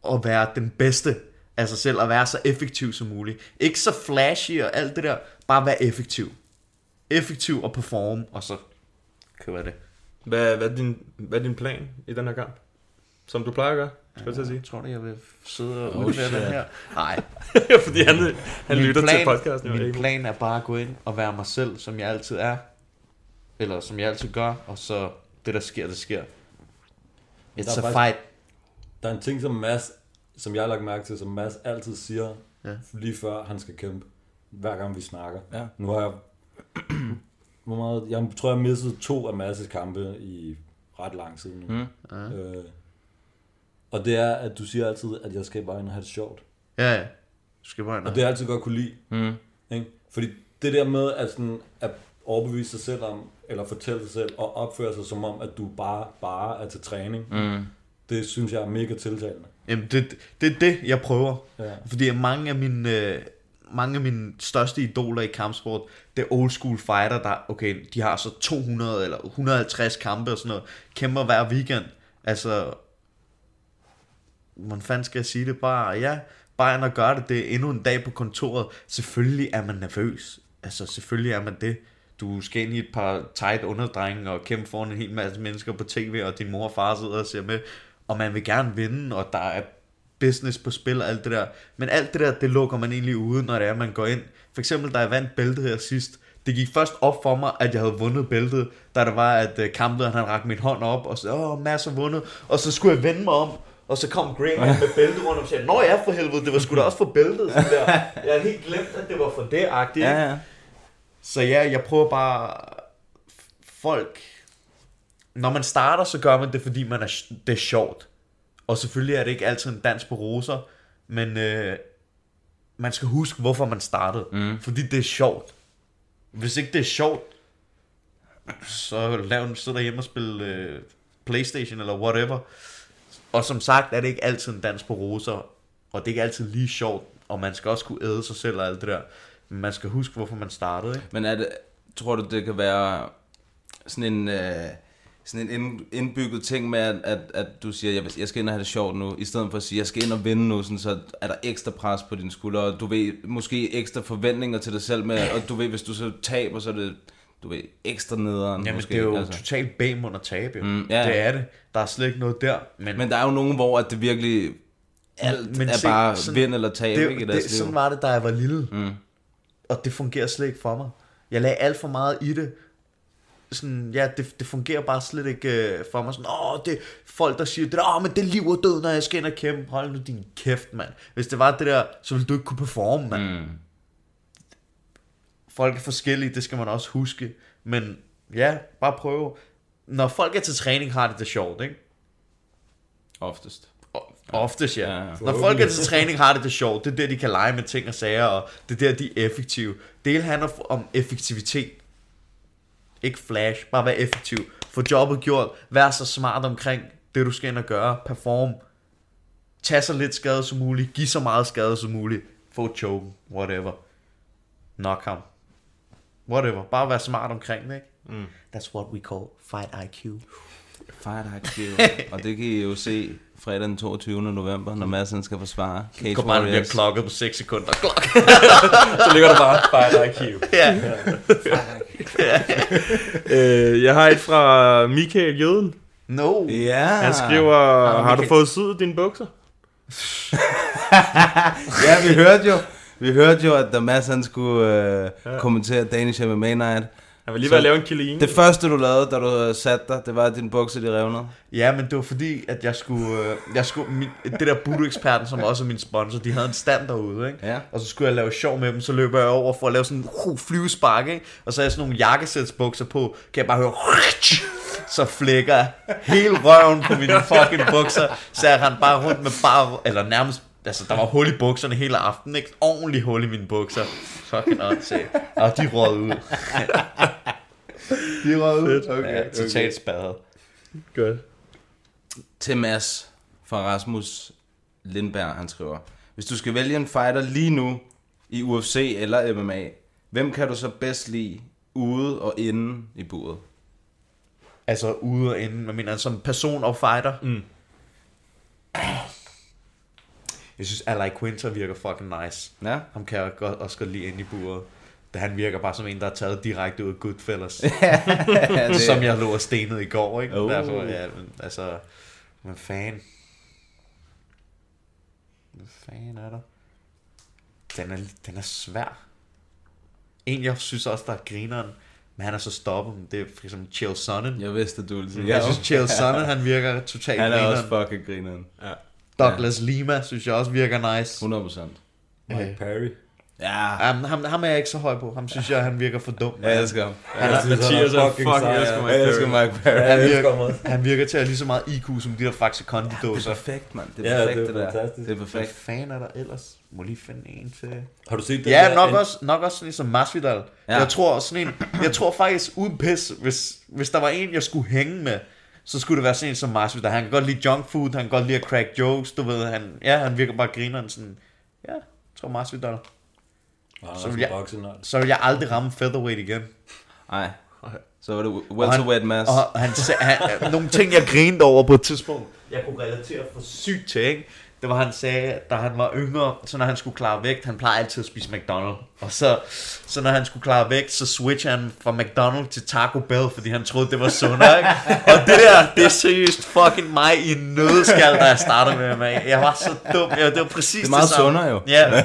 S11: at være den bedste af sig selv, og være så effektiv som muligt. Ikke så flashy og alt det der, bare være effektiv. Effektiv og perform, og så kører det.
S10: Hvad, hvad, er din, hvad er din plan i den her kamp? Som du plejer at gøre, skal jeg til at sige.
S11: Jeg tror du, jeg vil sidde og udlevere oh, den her? Nej.
S10: (laughs) Fordi han, han lytter til podcasten. jo,
S11: Min
S10: ikke?
S11: plan er bare at gå ind og være mig selv, som jeg altid er. Eller som jeg altid gør, og så det, der sker, det sker. It's
S12: Der er
S11: a
S12: faktisk-
S11: fight.
S12: Der er en ting, som Mads, som jeg har lagt mærke til, som Mads altid siger,
S11: Ja.
S12: ja. lige før han skal kæmpe, hver gang vi snakker.
S9: Ja.
S12: Nu har jeg (clears throat) hvor meget, jeg tror, jeg missede to af Masses kampe i ret lang tid nu. Mm. Ja. Øh, og det er, at du siger altid, at jeg skal bare ind og have det sjovt.
S11: Ja, ja. Du skal bare ind
S12: Og det har jeg altid godt kunne lide. Mm. Ikke? Fordi det der med at, sådan, at overbevise sig selv om, eller fortælle sig selv, og opføre sig som om, at du bare, bare er til træning, mm. det synes jeg er mega tiltalende.
S11: Jamen, det, det er det, jeg prøver. Ja. Fordi mange af mine... Øh, mange af mine største idoler i kampsport, det er old school fighter, der, okay, de har så 200 eller 150 kampe og sådan noget, kæmper hver weekend. Altså, hvordan fanden skal jeg sige det? Bare, ja, bare end at gøre det, det er endnu en dag på kontoret. Selvfølgelig er man nervøs. Altså, selvfølgelig er man det. Du skal ind i et par tight underdrenge og kæmpe foran en hel masse mennesker på tv, og din mor og far sidder og ser med, og man vil gerne vinde, og der er business på spil og alt det der. Men alt det der, det lukker man egentlig ude, når det er, man går ind. For eksempel, da jeg vandt bæltet her sidst, det gik først op for mig, at jeg havde vundet bæltet, da det var, at øh, kamplederen han rakte min hånd op, og så, åh, Mads har vundet, og så skulle jeg vende mig om, og så kom Graham med bæltet rundt og sagde, Nå ja, for helvede, det var sgu da også for bæltet. Sådan der. Jeg havde helt glemt, at det var for det agtigt.
S9: Ja, ja.
S11: Så ja, jeg prøver bare... Folk... Når man starter, så gør man det, fordi man er, det er sjovt. Og selvfølgelig er det ikke altid en dans på roser, men øh, man skal huske, hvorfor man startede. Mm. Fordi det er sjovt. Hvis ikke det er sjovt, så lav en sidder hjemme og spille øh, Playstation eller whatever. Og som sagt er det ikke altid en dans på roser, og det er ikke altid lige sjovt, og man skal også kunne æde sig selv og alt det der. Men man skal huske, hvorfor man startede. Ikke?
S9: Men er det, tror du, det kan være sådan en... Øh sådan en ind- indbygget ting med, at, at, at du siger, jeg, jeg skal ind og have det sjovt nu, i stedet for at sige, jeg skal ind og vinde nu, sådan, så er der ekstra pres på dine skuldre, og du ved, måske ekstra forventninger til dig selv med, og du ved, hvis du så taber, så er det, du ved, ekstra nederen.
S11: Jamen,
S9: måske,
S11: det er jo altså. totalt bag under tabe. jo.
S9: Mm, ja.
S11: Det er det. Der er slet ikke noget der. Men,
S9: Men der er jo nogen, hvor at det virkelig, alt men er se, bare sådan, vind eller tab,
S11: det,
S9: ikke, i
S11: det,
S9: deres
S11: det,
S9: liv.
S11: sådan var det, da jeg var lille.
S9: Mm.
S11: Og det fungerer slet ikke for mig. Jeg lagde alt for meget i det. Sådan, ja, det, det fungerer bare slet ikke øh, for mig. Sådan, åh, det er folk, der siger, det der, åh, men det er liv og død, når jeg skal ind og kæmpe. Hold nu din kæft, mand. Hvis det var det der, så ville du ikke kunne performe, mand. Mm. Folk er forskellige, det skal man også huske. Men ja, bare prøve. Når folk er til træning, har de det sjovt, ikke?
S9: Oftest.
S11: Oftest, ja.
S9: Ja, ja.
S11: Når folk er til træning, har det det sjovt. Det er der, de kan lege med ting og sager, og det er der, de er effektive. Det hele handler f- om effektivitet. Ikke flash, bare være effektiv. Få jobbet gjort. Vær så smart omkring det, du skal ind og gøre. Perform. Tag så lidt skade som muligt. Giv så meget skade som muligt. Få choken. Whatever. Knock ham. Whatever. Bare vær smart omkring det, ikke? Mm. That's what we call fight IQ.
S9: Fight IQ. (laughs) og det kan I jo se fredag den 22. november, når Madsen skal forsvare Cage
S11: Kom bare, bliver
S9: Warriors.
S11: klokket på 6 sekunder. Klok.
S12: Så ligger der bare Fight
S11: (laughs)
S12: IQ.
S11: Ja.
S2: Øh, jeg har et fra Michael Jøden.
S11: No.
S9: Ja.
S2: Han
S10: Ah.
S2: skriver, har du fået syet dine bukser?
S9: Ja, vi hørte jo, vi hørte jo at der Mads han skulle øh, kommentere Danish MMA Night.
S2: Han var lige
S9: Så-
S2: ved at lave en kilde
S9: Det første du lavede, da du øh, satte dig, det var at din bukser de revnede.
S11: Ja, men det var fordi, at jeg skulle... Øh, jeg skulle min, det der budo-eksperten, som også er min sponsor, de havde en stand derude, ikke?
S9: Ja.
S11: Og så skulle jeg lave sjov med dem, så løber jeg over for at lave sådan en uh, flyvespark, ikke? Og så har jeg sådan nogle jakkesætsbukser på, kan jeg bare høre... (laughs) Så flækker hele røven på mine fucking bukser, så jeg rendte bare rundt med bare... Eller nærmest... Altså, der var hul i bukserne hele aftenen, ikke? Ordentlig hul i mine bukser. Fucking åndssigt. Og de røg ud.
S9: De revnede.
S11: Ja, totalt spadet.
S2: Godt.
S9: Til Mads fra Rasmus Lindberg, han skriver, hvis du skal vælge en fighter lige nu i UFC eller MMA, hvem kan du så bedst lide ude og inde i buret?
S11: Altså ude og inde, man mener som person og fighter. Mm. Jeg synes, Ally Quinter virker fucking nice.
S9: (laughs) Ja.
S11: Ham kan jeg godt, også godt lide inde i buret. Da han virker bare som en, der er taget direkte ud af
S9: (laughs)
S11: Goodfellas.
S9: det-
S11: som jeg lå og stenede i går, ikke?
S9: Oh.
S11: Derfor, ja, men, altså... Men fan... Hvad fanden er der? Den er, den er svær. En, jeg synes også, der er grineren, men han er så stoppet, men det er for eksempel Chael Sonnen.
S9: Jeg vidste, at du ville sige.
S11: Mm. Jeg synes, Chael Sonnen, han virker totalt
S9: Han er også
S11: grineren.
S9: fucking grineren.
S11: Douglas Lima, synes jeg også virker nice.
S9: 100%.
S12: Mike Perry.
S11: Ja. Um, ham, ham er jeg ikke så høj på. Ham synes jeg, han virker for dum.
S9: Jeg elsker ham.
S11: Han er,
S9: Mathias er fucking sej. Jeg elsker Mike Perry.
S11: Han virker, han virker til at have lige så meget IQ som de der Faxe Kondi
S9: Det er perfekt, mand. Det er perfekt, det, der. Det er
S11: Hvad
S9: perfekt.
S11: fanden er der ellers? Må lige finde en til.
S12: Har du set det?
S11: Ja, nok også, nok også sådan en som Masvidal.
S9: Ja.
S11: Ja. Jeg tror sådan en, jeg tror faktisk uden pis, hvis, hvis der var en, jeg skulle hænge med, så skulle det være sådan en som Masvidal. Han kan godt lide junk food, han kan godt lide at crack jokes, du ved, han, ja, han virker bare grineren sådan, ja, jeg tror Masvidal. Så vil, jeg, så vil jeg aldrig ramme featherweight igen.
S9: Nej. Så var det welterweight mass.
S11: Og han, sa-
S9: (laughs)
S11: han, nogle ting, jeg grinede over på et tidspunkt, jeg kunne relatere for sygt til, ikke? Det var, han sagde, da han var yngre, så når han skulle klare vægt, han plejer altid at spise McDonald's. Og så, så når han skulle klare vægt, så switchede han fra McDonald's til Taco Bell, fordi han troede, det var sundere, ikke? Og det der, det er seriøst fucking mig i en nødskal, da jeg startede med MMA. Jeg var så dum. Jeg, det var præcis
S9: Det er meget
S11: samme.
S9: sundere jo. (laughs)
S11: Ja.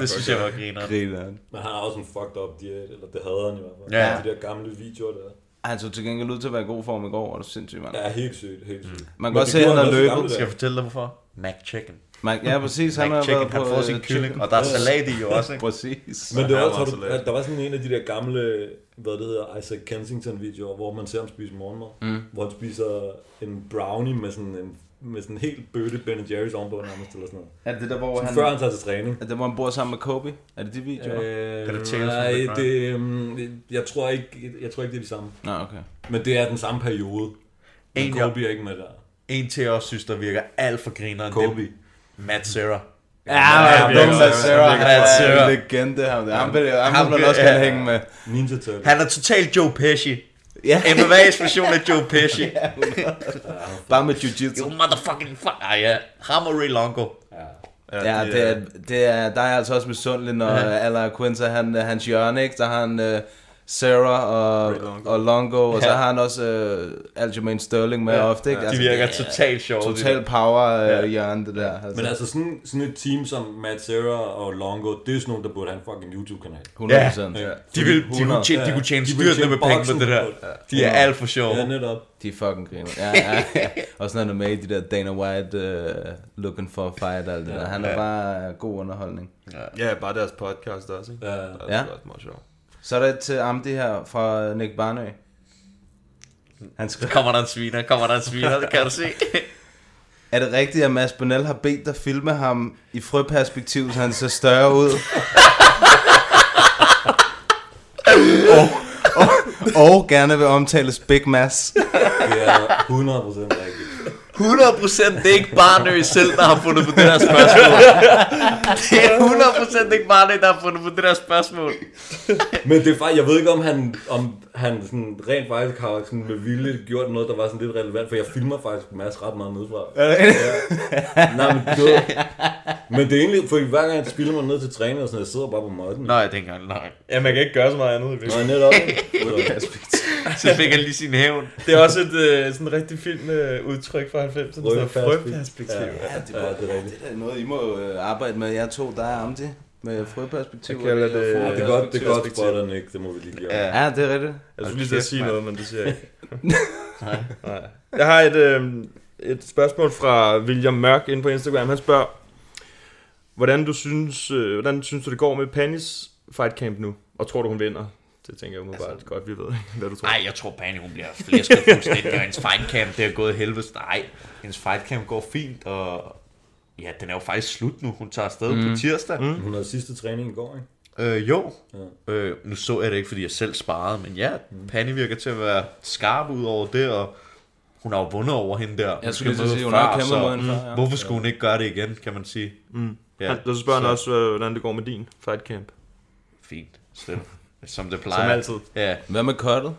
S11: det synes jeg var griner.
S9: Grineren.
S12: Men han har også en fucked up diæt, eller det havde han i hvert fald.
S11: Ja.
S12: De der gamle videoer der.
S9: Han så til gengæld ud til at være i god form i går, og det er sindssygt, mand.
S12: Ja, helt sygt, helt sygt. Men
S9: Man kan godt
S12: det
S9: se, at
S12: gjorde
S9: han har
S12: også i gamle
S9: løbet.
S11: Skal jeg
S12: dage.
S11: fortælle dig hvorfor? McChicken.
S9: Man, ja, præcis. Han har
S11: McChicken,
S9: været
S11: han
S9: på
S11: får sin
S9: øh,
S11: kylling,
S9: chicken.
S11: og der er salat
S9: (laughs)
S11: i jo også, ikke?
S9: Præcis.
S12: Men det var,
S10: Ja,
S12: også, har
S10: meget
S12: du,
S10: salat.
S12: at der var sådan en af de der gamle, hvad det hedder, Isaac Kensington videoer, hvor man ser ham spise morgenmad, mm. hvor han spiser en brownie med sådan en, med sådan en helt bøtte Ben Jerry's ovenpå nærmest, eller sådan noget.
S9: Er det der, hvor
S12: Som
S9: han...
S12: før han tager til træning.
S9: Er det, hvor han bor sammen med Kobe? Er det de videoer?
S12: Øh,
S11: Kan det tales
S12: nej,
S11: from the crime?
S12: det, øhm, jeg, tror ikke, jeg tror ikke, det er de samme.
S9: Nå, okay.
S12: Men det er den samme periode. Men
S11: En,
S12: Kobe er ikke med der.
S11: En til jeg også synes, der virker alt for grineren.
S12: Kobe.
S11: Det er Matt Serra.
S9: Ja, men
S10: virkelig,
S9: Matt
S10: han
S9: Serra,
S11: virkelig
S9: han er
S11: Matt Serra.
S9: en legende, ham der. Ham vil jeg ham
S11: Ham
S9: vil man
S11: kan-
S9: også gerne
S11: ja.
S9: hænge med.
S12: Ninja Turtle.
S11: Han er totalt Joe Pesci. (laughs)
S9: Ja.
S11: MMA's version af Joe
S9: (laughs)
S11: Pesci.
S9: Bare med
S11: You
S9: jiu-jitsu.
S11: motherfucking fuck. Ah ja, ham og Ray Longo.
S9: Ja, det er, det er, der er jeg altså også misundelig, når Ala Quinta, han, øh, hans hjørne, ikke? Der har han øh, Sarah og Longo, og, Longo, og så
S11: Ja.
S9: har han også øh, Aljamain Sterling med ofte, ikke?
S11: De
S9: Altså,
S11: virker
S9: det er
S11: totalt sjove. de
S9: Total
S11: der.
S9: power øh, hjørne, det der. Altså.
S12: Men altså sådan, sådan et team som Matt Serra og Longo, det er sådan nogle, der burde have en fucking YouTube-kanal.
S9: 100%.
S12: Ja.
S9: Ja.
S11: De, vil, de, kunne
S9: 100.
S11: tjene, de kunne tjene styrtende med penge på det der. De er alt for sjove.
S12: Ja, netop.
S9: De er fucking griner. Ja, ja, ja. (laughs) Og sådan er det med i de der Dana White uh, looking for a fight og alt det der. Han er bare øh, god underholdning.
S10: Ja, bare deres podcast også, ikke?
S12: Ja.
S10: Det er
S9: Ja.
S10: ja. også meget sjovt.
S9: Så er der et til Amdi her fra Nick Barnø. Han skriver,
S11: Kommer der en sviner, kommer der en sviner, det kan du se. (laughs)
S9: er det rigtigt, at Mads Bonnell har bedt dig filme ham i frøperspektiv, så han ser større ud? og, og, og gerne vil omtales Big (laughs) Mass.
S12: Det er 100% rigtigt.
S11: 100% det er ikke Barnø selv, der har fundet på det der
S9: (laughs)
S11: spørgsmål. Det er 100% ikke Barnø, der har fundet på det der spørgsmål.
S12: Men det er faktisk, jeg ved ikke, om han, om han sådan rent faktisk har sådan med vilje gjort noget, der var sådan lidt relevant, for jeg filmer faktisk Mads ret meget nedefra. Nej, men det var, men det er egentlig, for hver gang jeg spiller mig ned til træning og sådan noget, jeg sidder bare på måtten.
S11: Nej, det er ikke engang, nej.
S10: Ja, man kan ikke gøre så meget andet i
S12: Nej, netop. Så,
S11: Så fik han lige sin hævn.
S10: Det er også et øh, sådan rigtig fint øh, udtryk fra 90'erne, sådan noget
S12: Frøperspektiv.
S10: frøperspektiv. Ja.
S9: Ja, det,
S12: Ja, det er rigtigt.
S9: det er noget, I må øh, arbejde med. Jeg to, der er Amdi med frøperspektiv.
S10: Jeg kalder
S9: og-
S10: det-
S9: og
S12: Ja, det er godt, det er godt
S10: Perspektiv.
S12: spotter, Nick, det må vi lige gøre.
S11: Ja.
S9: Ja, det er
S10: Jeg
S9: rigtigt.
S11: Hold
S10: skulle lige til at
S11: kæft,
S10: sige
S11: mand.
S10: noget, men det siger jeg ikke. (laughs) Nej. Jeg har et, øh, et spørgsmål fra William Mørk inde på Instagram. Han spørger, hvordan du synes, øh, hvordan synes du det går med Panis fight camp nu? Og tror du, hun vinder? Det tænker jeg umiddelbart altså, godt, vi ved, hvad du tror.
S11: Nej, jeg tror Bani, hun bliver flæsket fuldstændig, og hendes fightcamp, det er gået helvedes. Nej, hendes fightcamp går fint, og ja, den er jo faktisk slut nu. Hun tager afsted mm. på tirsdag. Mm.
S12: Hun havde sidste træning i går, ikke?
S11: Øh, jo. Ja. Øh, nu så jeg det ikke, fordi jeg selv sparede, men ja, mm. Pani virker til at være skarp ud over det, og hun har jo vundet over hende der. Hun
S9: Jeg skulle lige til
S11: møde
S9: at sige, hun har
S11: før,
S9: kæmpet
S11: så
S9: mod hende før, ja.
S11: Hvorfor skulle hun ikke gøre det igen, kan man sige? Mm. Ja,
S10: Han, og så spørger han også, øh, hvordan det går med din fight camp.
S11: fint. Så, som det plejer.
S10: altid.
S11: Ja,
S9: Hvad med kottet?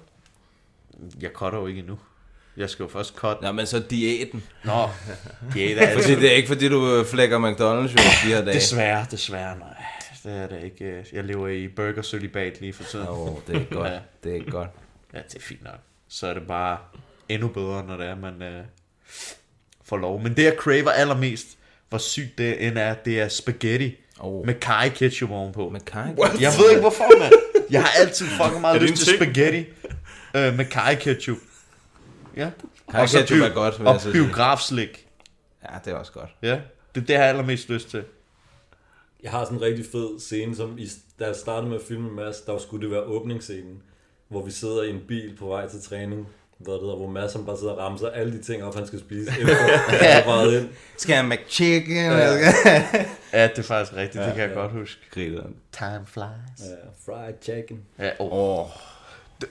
S11: jeg cutter jo ikke endnu. Jeg skal jo først cut.
S9: Nå, men så diæten.
S11: Nå, ja, det er
S9: Fordi det er ikke, fordi du øh, flækker McDonald's jo de her dage.
S11: Desværre, desværre, nej. Det er det ikke. Jeg lever i burger lige for tiden.
S9: Åh, oh, det er ikke godt.
S11: Ja.
S9: Det er ikke godt.
S11: Ja, det er fint nok. Så er det bare endnu bedre, når det er, man øh, får lov. Men det, jeg craver allermest, hvor sygt det end er, det er spaghetti
S9: Åh.
S11: oh. med kaj ketchup ovenpå.
S9: Men Kai,
S11: Jeg ved ikke, hvorfor, mand. Jeg har
S9: (laughs)
S11: altid fucking meget
S10: det
S11: lyst til
S10: en ting?
S11: spaghetti øh, med kaj ketchup. Ja.
S9: Kaj
S11: Og så
S9: ketchup
S11: bio-
S9: er godt, vil
S11: Og
S9: jeg så sige.
S11: biografslik.
S9: Ja, det er også godt.
S11: Ja, det er det, jeg har allermest lyst til.
S12: Jeg har sådan en rigtig fed scene, som i, da jeg startede med at filme med Mads, der skulle det være åbningsscenen, hvor vi sidder i en bil på vej til træning, hvad det hedder, hvor Mads han bare sidder og ramser alle de ting op, han skal spise,
S11: (laughs)
S12: inden han
S9: ind. Skal han McChicken?
S11: Ja. ja, det er faktisk rigtigt, ja, det kan ja. jeg godt huske.
S9: Grillen.
S11: Time flies.
S12: Ja, fried chicken.
S11: Ja, oh. oh.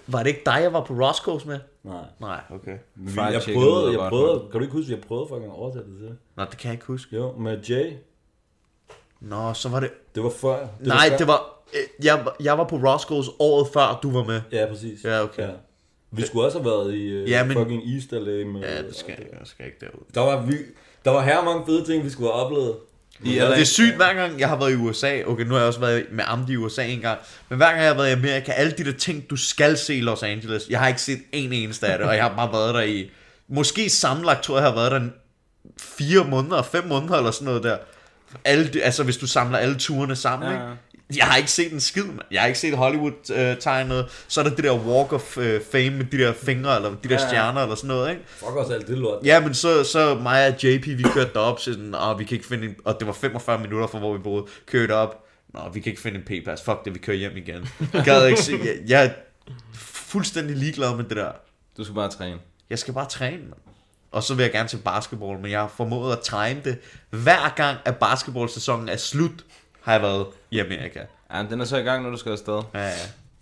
S11: Var det ikke dig, jeg var på Roscoe's med?
S12: Nej.
S11: Nej, okay.
S12: Vi, jeg prøvede, jeg prøvede, kan du ikke huske, jeg prøvede for at oversætte det til?
S11: Nej, det kan jeg ikke huske.
S12: Jo, med Jay.
S11: Nå, så var det...
S12: Det var før.
S11: Det Nej, var før. det var... øh, Jeg, jeg var på Roscoe's året før, du var med.
S12: Ja, præcis.
S11: Ja, okay. Ja.
S12: Vi skulle også have været i uh, ja, men, fucking East LA med...
S11: Ja, det skal jeg, jeg skal ikke derud.
S12: Der var, vi, der var her mange fede ting, vi skulle have oplevet.
S11: I LA. Det er sygt, hver gang jeg har været i USA, okay, nu har jeg også været med Amdi i USA en gang, men hver gang jeg har været i Amerika, alle de der ting, du skal se i Los Angeles, jeg har ikke set en eneste af det, og jeg har bare været der i, måske sammenlagt tror jeg, jeg har været der fire måneder, fem måneder eller sådan noget der. Alle, altså hvis du samler alle turene sammen, ja. ikke? Jeg har ikke set en skid, man. Jeg har ikke set Hollywood-tegnet. Øh, så er der det der Walk of øh, Fame med de der fingre, eller de der ja, ja. stjerner, eller sådan noget, ikke?
S12: Fuck også alt det lort.
S11: Ja, men så, så mig og JP, vi kørte derop, sådan, og vi kan ikke finde en, og det var 45 minutter fra, hvor vi boede, kørte op. Nå, vi kan ikke finde en p-pass. Fuck det, vi kører hjem igen. Gad ikke se. Jeg, jeg er fuldstændig ligeglad med det der.
S9: Du skal bare træne.
S11: Jeg skal bare træne, man. Og så vil jeg gerne til basketball, men jeg har formået at time det. Hver gang, at basketballsæsonen er slut, har jeg været i Amerika.
S9: Ja, den er så i gang, når du skal afsted.
S11: Ja, ja. øh,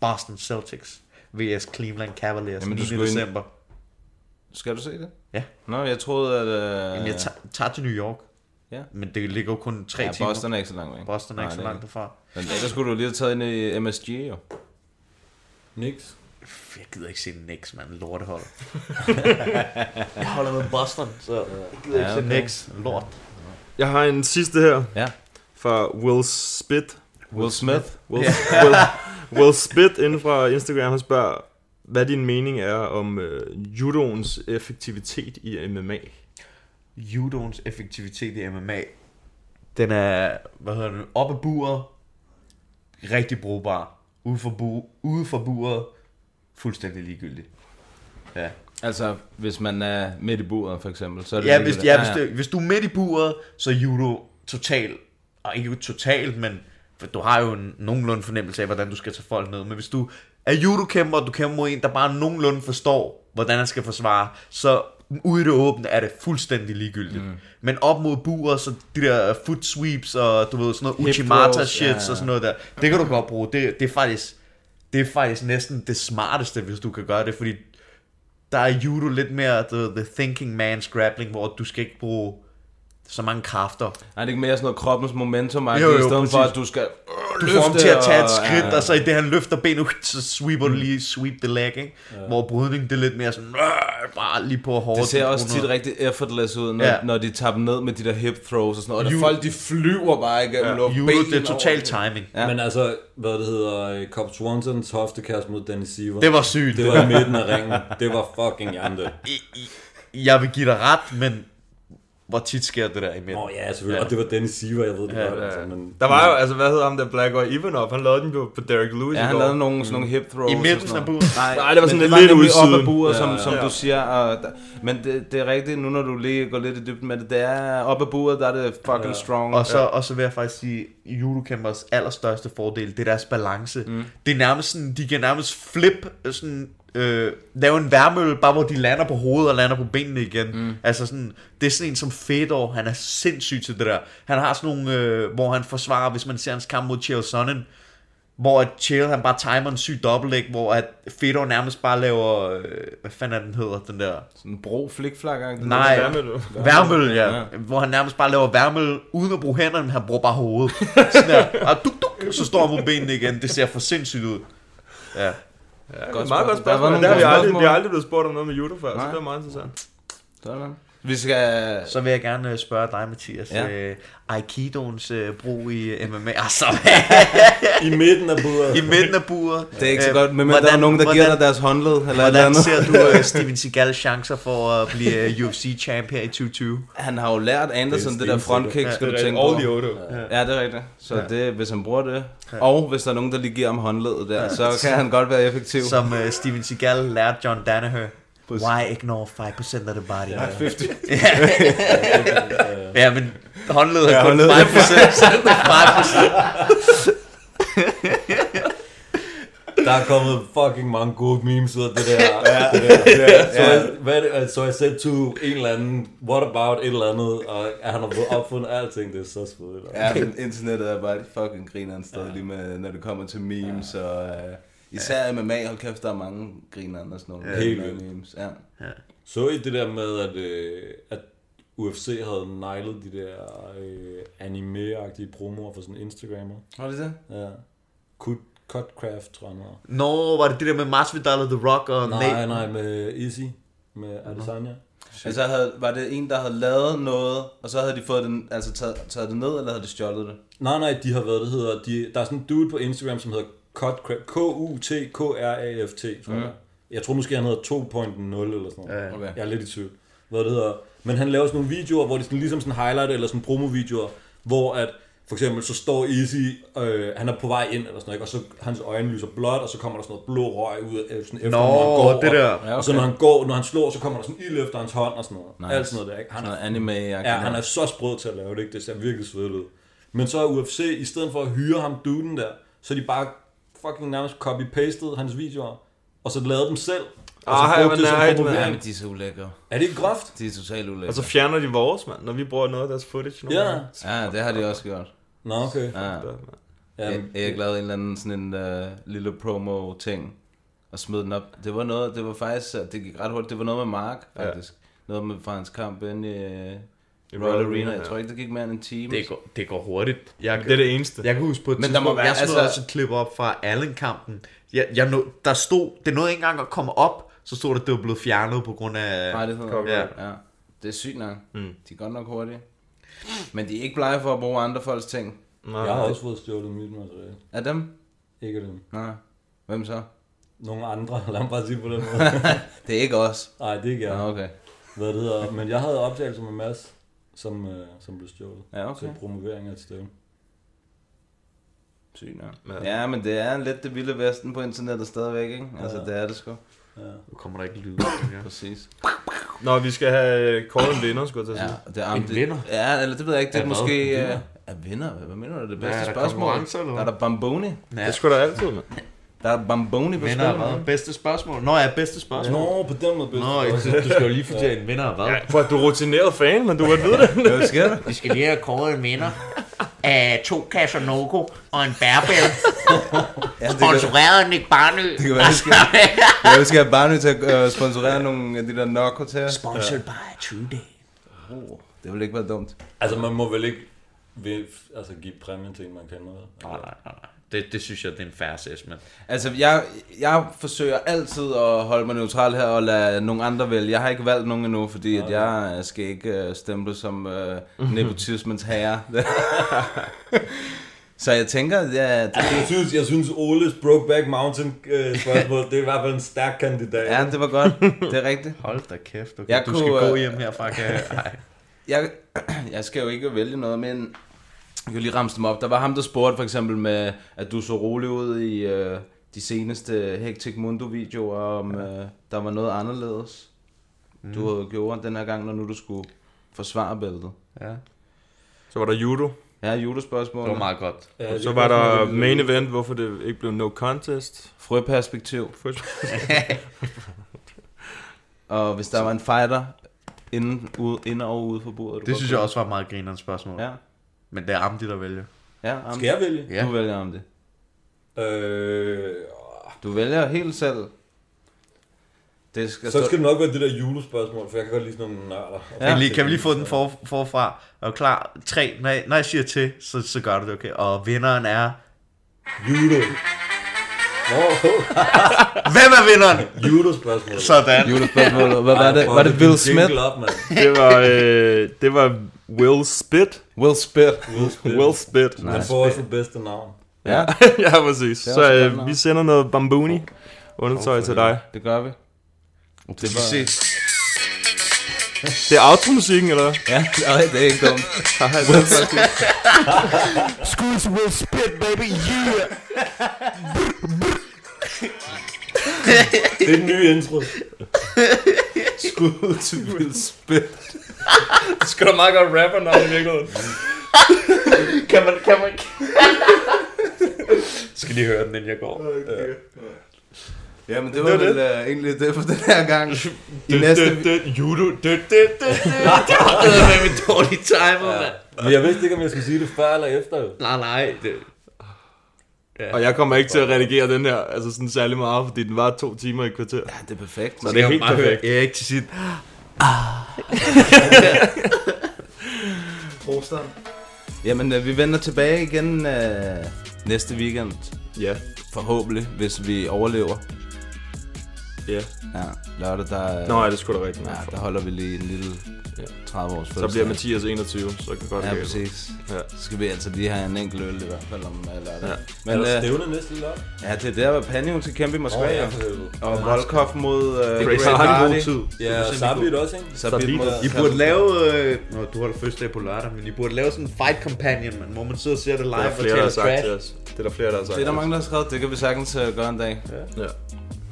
S11: Boston Celtics vs. Cleveland Cavaliers Jamen, 9. Du december.
S9: Ind... Skal du se det?
S11: Ja.
S9: Nå, jeg troede, at...
S11: Øh... Jamen, jeg tager, tager til New York.
S9: Ja.
S11: Men det ligger jo kun tre ja,
S9: timer. Boston er ikke så langt væk.
S11: Boston er Nej, ikke så langt derfra.
S9: Men ellers skulle du lige have taget ind i MSG, jo.
S12: Nix.
S11: Jeg gider ikke se Nix, mand. Lortehold. (laughs) jeg holder med Boston, så øh, jeg gider ja, ikke okay. se Nix. Lort.
S2: Jeg har en sidste her.
S9: Ja
S2: fra Will Spit.
S9: Will Smith.
S2: Will, yeah.
S10: (laughs)
S2: Will, Will Spit inden fra Instagram, han spørger, hvad din mening er om øh, judoens effektivitet i MMA?
S11: Judoens effektivitet i MMA, den er, hvad hedder den, oppe buret, rigtig brugbar. Ude for, bu- ude for buret, fuldstændig ligegyldig. Ja.
S9: Altså, hvis man er midt i buret, for eksempel, så er det
S11: ja, hvis, ja, hvis, det, hvis du er midt i buret, så er judo totalt og ikke totalt, men du har jo en nogenlunde fornemmelse af, hvordan du skal tage folk ned. Men hvis du er judokæmper, og du kæmper mod en, der bare nogenlunde forstår, hvordan han skal forsvare, så ude i det åbne er det fuldstændig ligegyldigt. Mm. Men op mod buer, så de der foot sweeps og du ved, sådan noget uchimata shit ja. og sådan noget der, det kan du godt bruge. Det, det, er faktisk, det er faktisk næsten det smarteste, hvis du kan gøre det, fordi der er judo lidt mere the, the thinking man's grappling, hvor du skal ikke bruge så mange kræfter.
S9: Nej, det er ikke mere sådan noget kroppens momentum, jo, jo, i stedet præcis. for at du skal øh,
S11: Du får ham til at tage et skridt, og, ja. og så i det han løfter benet, (laughs) så sweeper mm. du lige sweep the leg, ikke? Ja. Hvor brydning det er lidt mere sådan, øh, bare lige på hårdt.
S9: Det ser også tit noget. rigtig effortless ud, når, ja. når de tager dem ned med de der hip throws og sådan noget. Og Judo. folk de flyver bare igennem ja. luften.
S11: det er total timing.
S12: Ja. Men altså, hvad det hedder, øh, Cobb Swansons hoftekast mod Danny Siever.
S11: Det var sygt.
S12: Det var i midten af ringen. Det var fucking jante.
S11: Jeg vil give dig ret, men hvor tit sker det der i midten? Åh
S12: oh, ja, selvfølgelig. Ja. Og det var Dennis Siever, jeg ved det ja, godt. Ja. Altså, men...
S2: Der var jo, altså hvad hedder ham der, Black og Ivanov, han lavede den jo på Derek Lewis
S9: Ja, han lavede nogle, mm. sådan nogle hip throws.
S11: I midten af buret?
S9: Nej, Nej, det var sådan det lidt, lidt ude op af buret, ja, som, som ja. du siger. Og der, men det, det, er rigtigt, nu når du lige går lidt i dybden med det, det er op af buret, der er det fucking ja. strong.
S11: Og så, ja. og så vil jeg faktisk sige, judokæmpers allerstørste fordel, det er deres balance. Mm. Det er nærmest sådan, de kan nærmest flip, sådan øh, lave en værmølle, bare hvor de lander på hovedet og lander på benene igen. Mm. Altså sådan, det er sådan en som Fedor, han er sindssyg til det der. Han har sådan nogle, øh, hvor han forsvarer, hvis man ser hans kamp mod Chael Sonnen, hvor at Chael han bare timer en syg dobbeltlæg, hvor at Fedor nærmest bare laver, øh, hvad fanden er den hedder, den der?
S9: Sådan en bro flikflak
S11: Nej, værmølle. værmølle, ja. ja. Hvor han nærmest bare laver værmølle, uden at bruge hænderne, han bruger bare hovedet. sådan der, og duk, duk, så står han på benene igen, det ser for sindssygt ud. Ja.
S2: Ja, godt meget godt spørgsmål. Der, der, der vi, aldrig, vi har aldrig blevet spurgt om noget med judo før, Nej. så det er meget interessant.
S9: Sådan. Vi skal...
S11: Så vil jeg gerne øh, spørge dig, Mathias. Ja. Øh, Aikidoens øh, brug i MMA. Altså,
S12: I midten af buret.
S11: I midten af buret.
S9: Det er ikke så godt, men Øh, hvordan, der er nogen, der hvordan, giver dig deres håndled. Eller
S11: hvordan eller andet. ser du øh, Steven Seagal chancer for at blive øh, UFC-champ her i 2020?
S9: Han har jo lært Anderson det, det der frontkick, ja, skal
S2: det
S9: du tænke
S2: all på. All the
S9: ja. ja, det er rigtigt. Så ja. det, hvis han bruger det, ja. og hvis der er nogen, der lige giver ham håndledet der, ja. så kan han godt være effektiv.
S11: Som øh, Steven Seagal lærte John Danaher. Why ignore 5% of the body?
S12: Ja, 50.
S11: (laughs) ja, men håndledet er kun 5%, så det er 5%.
S12: Der er kommet fucking mange gode memes ud af det der. (laughs) ja, det der. Det der. Så, jeg, hvad er det, altså, så jeg sendte to en eller anden, what about et eller andet, og han har fået opfundet alting, det er så svedigt.
S9: Ja, men internettet er bare de fucking griner sted ja. lige med, når det kommer til memes ja. og... Uh, især ja. MMA, hold kæft, der er mange griner og sådan noget.
S12: Ja, helt vildt.
S9: Memes. Ja. ja.
S12: Så I det der med, at, øh, at UFC havde nejlet de der øh, anime-agtige promoer for sådan Instagrammer.
S9: Var det det?
S12: Ja. Cut, Cutcraft, tror jeg
S11: Nå, no, var det det der med Masvidal og The Rock og
S12: Nej, Nate? nej, med Easy, med Adesanya.
S9: Shit. Altså havde, var det en, der havde lavet noget, og så havde de fået den, altså taget, taget det ned, eller havde de stjålet det?
S12: Nej, nej, de har været, det hedder, de, der er sådan en dude på Instagram, som hedder Cutcraft, K-U-T-K-R-A-F-T, tror mm. jeg. Jeg tror måske, han hedder 2.0 eller sådan noget. Ja, okay. Jeg er lidt i tvivl. Hvad det hedder. Men han laver sådan nogle videoer, hvor det sådan, ligesom sådan highlight eller sådan promo-videoer, hvor at, for eksempel så står Easy, øh, han er på vej ind, eller sådan noget, og så hans øjne lyser blåt, og så kommer der sådan noget blå røg ud af, øh, sådan efter,
S11: Nå, når han
S12: går.
S11: det der.
S12: Og, ja, okay. og, så når han går, når han slår, så kommer der sådan ild efter hans hånd og sådan noget.
S9: Nice.
S12: Alt sådan noget der, ikke? Han,
S9: er, noget anime
S12: ja, han er så sprød til at lave det, ikke? Det ser virkelig svedigt ud. Men så er UFC, i stedet for at hyre ham duden der, så de bare fucking nærmest copy-pasted hans videoer, og så lavede dem selv.
S9: Ah,
S12: og så brugte det som
S9: Ja,
S12: promovering.
S9: men de er så ulækre.
S12: Er det ikke groft?
S9: De er totalt ulækre.
S10: Og så fjerner de vores, mand, når vi bruger noget af deres footage. nogle
S12: Ja.
S10: gange.
S9: Ja, det har de også gjort.
S12: Nå, okay.
S9: Ja.
S10: Der, mand.
S12: Ja,
S9: Ah. Jeg, jeg lavede en eller anden sådan en uh, lille promo-ting og smed den op. Det var noget, det var faktisk, uh, det gik ret hurtigt, det var noget med Mark faktisk. Noget med fra hans kamp inde i uh, Royal
S10: Royal Arena,
S9: Arena. Jeg
S10: ja.
S9: tror ikke, det gik mere end en time.
S11: Det går, det går hurtigt. Jeg,
S10: Det er det eneste.
S11: Jeg kan huske på et
S9: Men
S11: men
S9: der
S11: der
S9: må være-
S11: jeg smed
S9: altså-
S11: også et klip op fra Allen-kampen. Jeg, jeg nå, der stod, det nåede ikke engang at komme op, så stod det, at det var blevet fjernet på grund af...
S9: Nej, det hedder
S11: Copyright.
S9: ja. ja. Det er sygt nok. Mm. De er godt nok hurtige. Men de er ikke blege for at bruge andre folks ting.
S12: Jeg har også fået stjålet mit materiale.
S9: Er dem?
S12: Ikke dem.
S9: Nej. Hvem så?
S12: Nogle andre, (laughs) lad mig bare sige på den måde.
S9: Det er ikke os.
S12: Nej, det er ikke jeg.
S9: Ja, okay.
S12: Hvad det hedder. Men jeg havde optagelser med Mads, som, øh, som blev stjålet.
S9: Ja, okay.
S12: Til promovering af et stævne.
S9: Sygt nok. Ja, men det er lidt det vilde vesten på internettet stadigvæk, ikke? Altså, det er det sgu.
S11: Nu kommer der ikke lyd. Ja.
S9: (laughs) Præcis.
S10: Nå, vi skal have øh, kåret en vinder, skulle jeg til at
S9: Ja,
S10: sige.
S9: det er, om
S11: En
S9: det,
S11: vinder?
S9: Ja, eller det ved jeg ikke. Det er,
S11: Er hvad?
S9: måske...
S11: En vinder?
S9: øh, Er vinder? Hvad mener du?
S11: Hvad,
S9: Det bedste
S11: er der
S9: spørgsmål.
S11: konkurrence, eller
S9: der
S11: hvad?
S9: er der Bamboni.
S11: Ja.
S10: Det skulle da altid, mand.
S9: Der er Bamboni på
S11: Vinder af
S9: spil.
S11: hvad? Bedste spørgsmål? Nå ja, bedste spørgsmål.
S12: Nå, på den måde.
S11: Nå, jeg synes, du skal jo lige fortælle en vinder af hvad?
S10: Ja, for at du er rutineret fan, men du kan vide det.
S9: Hvad sker der?
S11: (laughs) Vi skal lige have kåret en vinder af to kasser Nogo og en (laughs) bærbæl.
S9: Ja, det kan,
S11: Sponsoreret af Nick Barnø.
S9: det kan være, det skal, jeg skal have Barney til at øh, sponsorere nogle af de der narkotager.
S11: (laughs) Sponsored by True Day.
S9: Oh, det ville ikke være dumt.
S12: Altså, man må vel ikke ved, altså, give præmien til en, man kender. vel?
S11: Nej, nej, nej, nej. Det, det synes jeg, det er en færre assessment.
S9: Altså, jeg, jeg forsøger altid at holde mig neutral her og lade nogle andre vælge. Jeg har ikke valgt nogen endnu, fordi at jeg øh, skal ikke øh, stemple som øh, nepotismens herre. (laughs) Så jeg tænker, at ja, det,
S12: Altså, jeg synes, jeg synes Oles Brokeback Mountain øh, spørgsmål, det er i hvert fald en stærk kandidat.
S9: ja, det var godt. Det er rigtigt.
S11: Hold da kæft, okay.
S9: Jeg
S11: du
S9: kunne,
S11: skal gå
S9: øh,
S11: hjem herfra, (laughs) kan jeg?
S9: jeg, (clears throat) jeg skal jo ikke vælge noget, men jeg kan lige ramse dem op. Der var ham, der spurgte for eksempel med, at du så rolig ud i øh, de seneste Hectic Mundo-videoer, om øh, der var noget anderledes, mm. du havde gjort den her gang, når nu du skulle forsvare bæltet.
S11: Ja.
S10: Så var der judo.
S9: Ja, judo-spørgsmål.
S11: Det var meget godt.
S12: Ja,
S10: Så
S12: det
S10: var
S12: kan jeg
S10: der
S12: godt lide.
S10: main event, hvorfor det ikke blev no contest.
S11: (laughs)
S9: Frøperspektiv. Og hvis der var en fighter inden, ude, inde og ude for bordet. du
S11: Det
S9: godt
S11: synes jeg også var et meget grinerende spørgsmål.
S9: kunne- Ja,
S11: Men det er Amdi, der vælger.
S9: ja. Am,
S12: Skal jeg vælge?
S11: Ja.
S9: Du vælger om det.
S12: Øh,
S9: Du vælger helt selv. Det skal
S12: så
S9: stå-
S12: skal det nok være det der julespørgsmål, for jeg kan godt lide sådan nogle nørder.
S11: Ja, lige, kan vi lige få den for, forfra? Er du klar? Tre. Når jeg, når jeg siger til, så, så gør du det, okay? Og vinderen er...
S12: Judo. Nå,
S11: Hvem er vinderen?
S12: judo-spørgsmål.
S11: Sådan.
S9: Julespørgsmålet. Hvad var det?
S10: Ah,
S9: Var det Will Smith?
S12: Jingle op, mand.
S10: Det var, øh, det var Will Spit.
S9: Will Smith.
S12: Will Smith.
S10: Will Spit.
S12: Han får også det bedste navn.
S9: (laughs) Ja,
S10: (laughs) ja, præcis.
S9: er
S10: Så
S9: også et godt
S10: øh,
S9: navn.
S10: vi sender noget bambuni undertøj til dig.
S9: det gør vi. Det var...
S10: Det er automusikken, (laughs) eller hvad?
S9: Ja, (laughs) nej, det er ikke dumt.
S11: Schools will spit, baby, yeah!
S12: det er den nye intro.
S9: Skud til Will Smith.
S10: det skal da meget godt rapper navn i virkeligheden.
S11: (laughs) kan man, kan man... (laughs) skal lige høre den, inden jeg går. Okay.
S9: Ja, men det var vel uh, egentlig det for den her
S10: (laughs)
S9: gang.
S10: I næste... Judo... Det
S11: (laughs) var med dårlig timer, ja. mand.
S12: Men jeg vidste ikke, om jeg skulle sige det før eller efter.
S11: Nej, nej. Det...
S10: Ja. Og jeg kommer ikke til at redigere den her altså sådan særlig meget, fordi den var to timer i kvarter.
S9: Ja, det er perfekt.
S10: Så det er helt perfekt.
S11: Jeg er ikke til sit... Ah.
S9: Prosteren. Jamen, øh, vi vender tilbage igen øh, næste weekend.
S10: Ja.
S9: Forhåbentlig, hvis vi overlever.
S10: Ja.
S9: Ja, lørdag der... øh,
S10: Nå, ja, det skulle da rigtigt.
S9: Ja, der holder vi lige en lille ja. 30 års
S10: fødselsdag. Så bliver Mathias 21, så kan godt
S9: Ja,
S10: lide det.
S9: præcis.
S10: Ja.
S9: Så skal vi altså lige have en enkelt øl i hvert fald om øh, lørdag.
S10: Ja.
S12: Men, er der
S9: øh,
S12: stævne næste lørdag?
S9: ja, det er der, hvor Panio skal kæmpe i Moskva.
S12: Åh, ja,
S9: ja.
S12: for helvede.
S9: og Volkov mod øh,
S10: Great
S9: Great
S10: Hardy.
S9: Hardy.
S10: God tid.
S12: Ja, og Sabit også, ikke?
S9: Sabit mod...
S11: I burde lave... Øh... Nå, du holder første dag på lørdag, men I burde lave sådan en fight companion, man, hvor man sidder og ser det live
S10: Det er
S11: og
S10: der flere, der har
S11: taler
S10: sagt
S11: crap.
S10: til os. Det er der flere, der har sagt
S9: Det er
S10: til
S9: der
S10: os.
S9: mange, der har skrevet. Det kan vi sagtens øh, gøre en dag.
S10: Ja.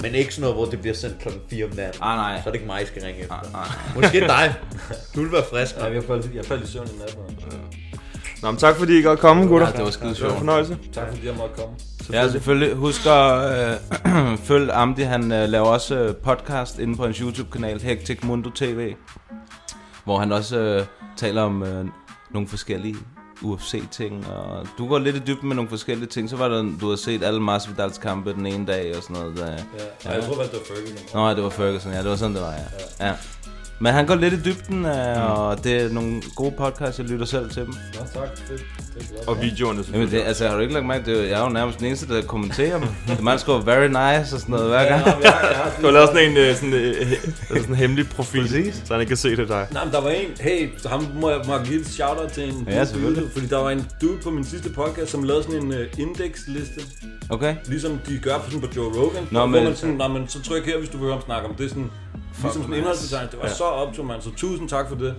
S11: Men ikke sådan noget, hvor det bliver sendt klokken 4 om natten.
S9: Ah, nej.
S11: Så er det ikke mig, I skal ringe efter.
S9: Ah, nej.
S11: Måske dig. Du vil være frisk.
S12: Ja, jeg faldt, jeg faldt i søvn i nat, mand.
S10: Nå, men tak fordi I godt komme, gutter.
S9: Ja, det var skide
S10: Det var en
S9: sjovt.
S10: fornøjelse.
S12: Tak fordi jeg måtte komme.
S9: Ja, selvfølgelig. Husk at øh, (clears throat) følge Amdi. Han øh, laver også øh, podcast inde på hans YouTube-kanal, Hectic Mundo TV. Hvor han også øh, taler om øh, nogle forskellige UFC-ting. Og du går lidt i dybden med nogle forskellige ting. Så var der, du har set alle Masvidals kampe den ene dag og sådan noget. Der.
S12: Ja. Ej, jeg tror, at det var Ferguson.
S9: Nå, det var Ferguson. Ja, det var sådan, det var, ja. ja. Men han går lidt i dybden, øh, og det er nogle gode podcasts. Jeg lytter selv til dem.
S12: Nå, tak. Det, det er glad.
S10: Og videoerne
S9: Jamen, det, altså, har du ikke lagt mærke til, det? er jo- jeg er jo nærmest den eneste, der kommenterer dem. (laughs) Det man skriver very nice og sådan noget hver gang.
S10: Du har lavet sådan en, øh, sådan, øh, øh, sådan en hemmelig profil, så han ikke kan se det dig.
S12: Nej, men der var en, hey, så ham må jeg, må jeg give et shout-out til en
S9: Ja, selvfølgelig.
S12: dude, fordi der var en dude på min sidste podcast, som lavede sådan en uh, indeksliste,
S9: Okay.
S12: ligesom de gør på, sådan på Joe Rogan.
S9: Nå,
S12: Nå,
S9: men-
S12: men, man sådan, nej, men så tryk her, hvis du vil høre om snakke om det. Sådan, ligesom sådan indholdsdesign. Det var ja. så optur, mand. Så tusind tak for det.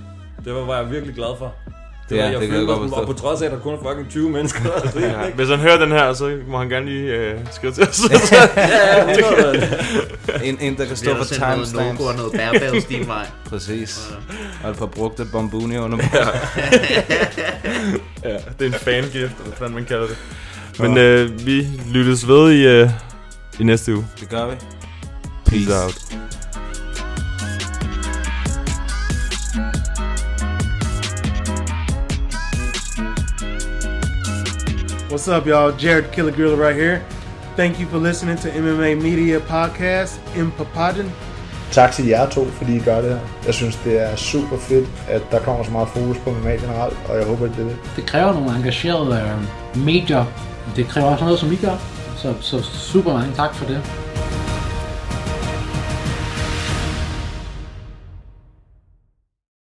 S12: Det var, var jeg virkelig glad for.
S9: Ja,
S12: var,
S9: det
S12: jeg
S9: kan jeg
S12: følte
S9: godt
S12: mig sådan,
S9: forstå.
S12: Og på trods af, at der kun er fucking 20
S9: (laughs)
S12: mennesker, der har set den, ikke?
S10: Hvis han hører den her, så må han gerne lige øh, skrive til
S9: (laughs)
S10: os.
S12: Ja, ja, 100, mand.
S9: En, en der kan
S11: Vi
S9: stå
S11: har
S9: for
S11: sendt noget
S9: timestamps.
S11: logo og noget bærbælls din vej.
S9: Præcis. Og et par brugte bombuni under ja.
S10: ja, det er en fangift, eller hvordan man kalder det. Men øh, vi lyttes ved i, øh, i næste uge.
S9: Det gør vi.
S10: Peace out.
S16: What's up, y'all? Jared Killigreeler right here. Thank you for listening to MMA Media Podcast in Papadon.
S17: Tak til jer to, fordi I gør det her. Jeg synes, det er super fedt, at der kommer så meget fokus på MMA generelt, og jeg håber, at det er det.
S18: det kræver nogle engagerede øh, medier, og det kræver også noget, som I gør. Så, så super mange tak for det.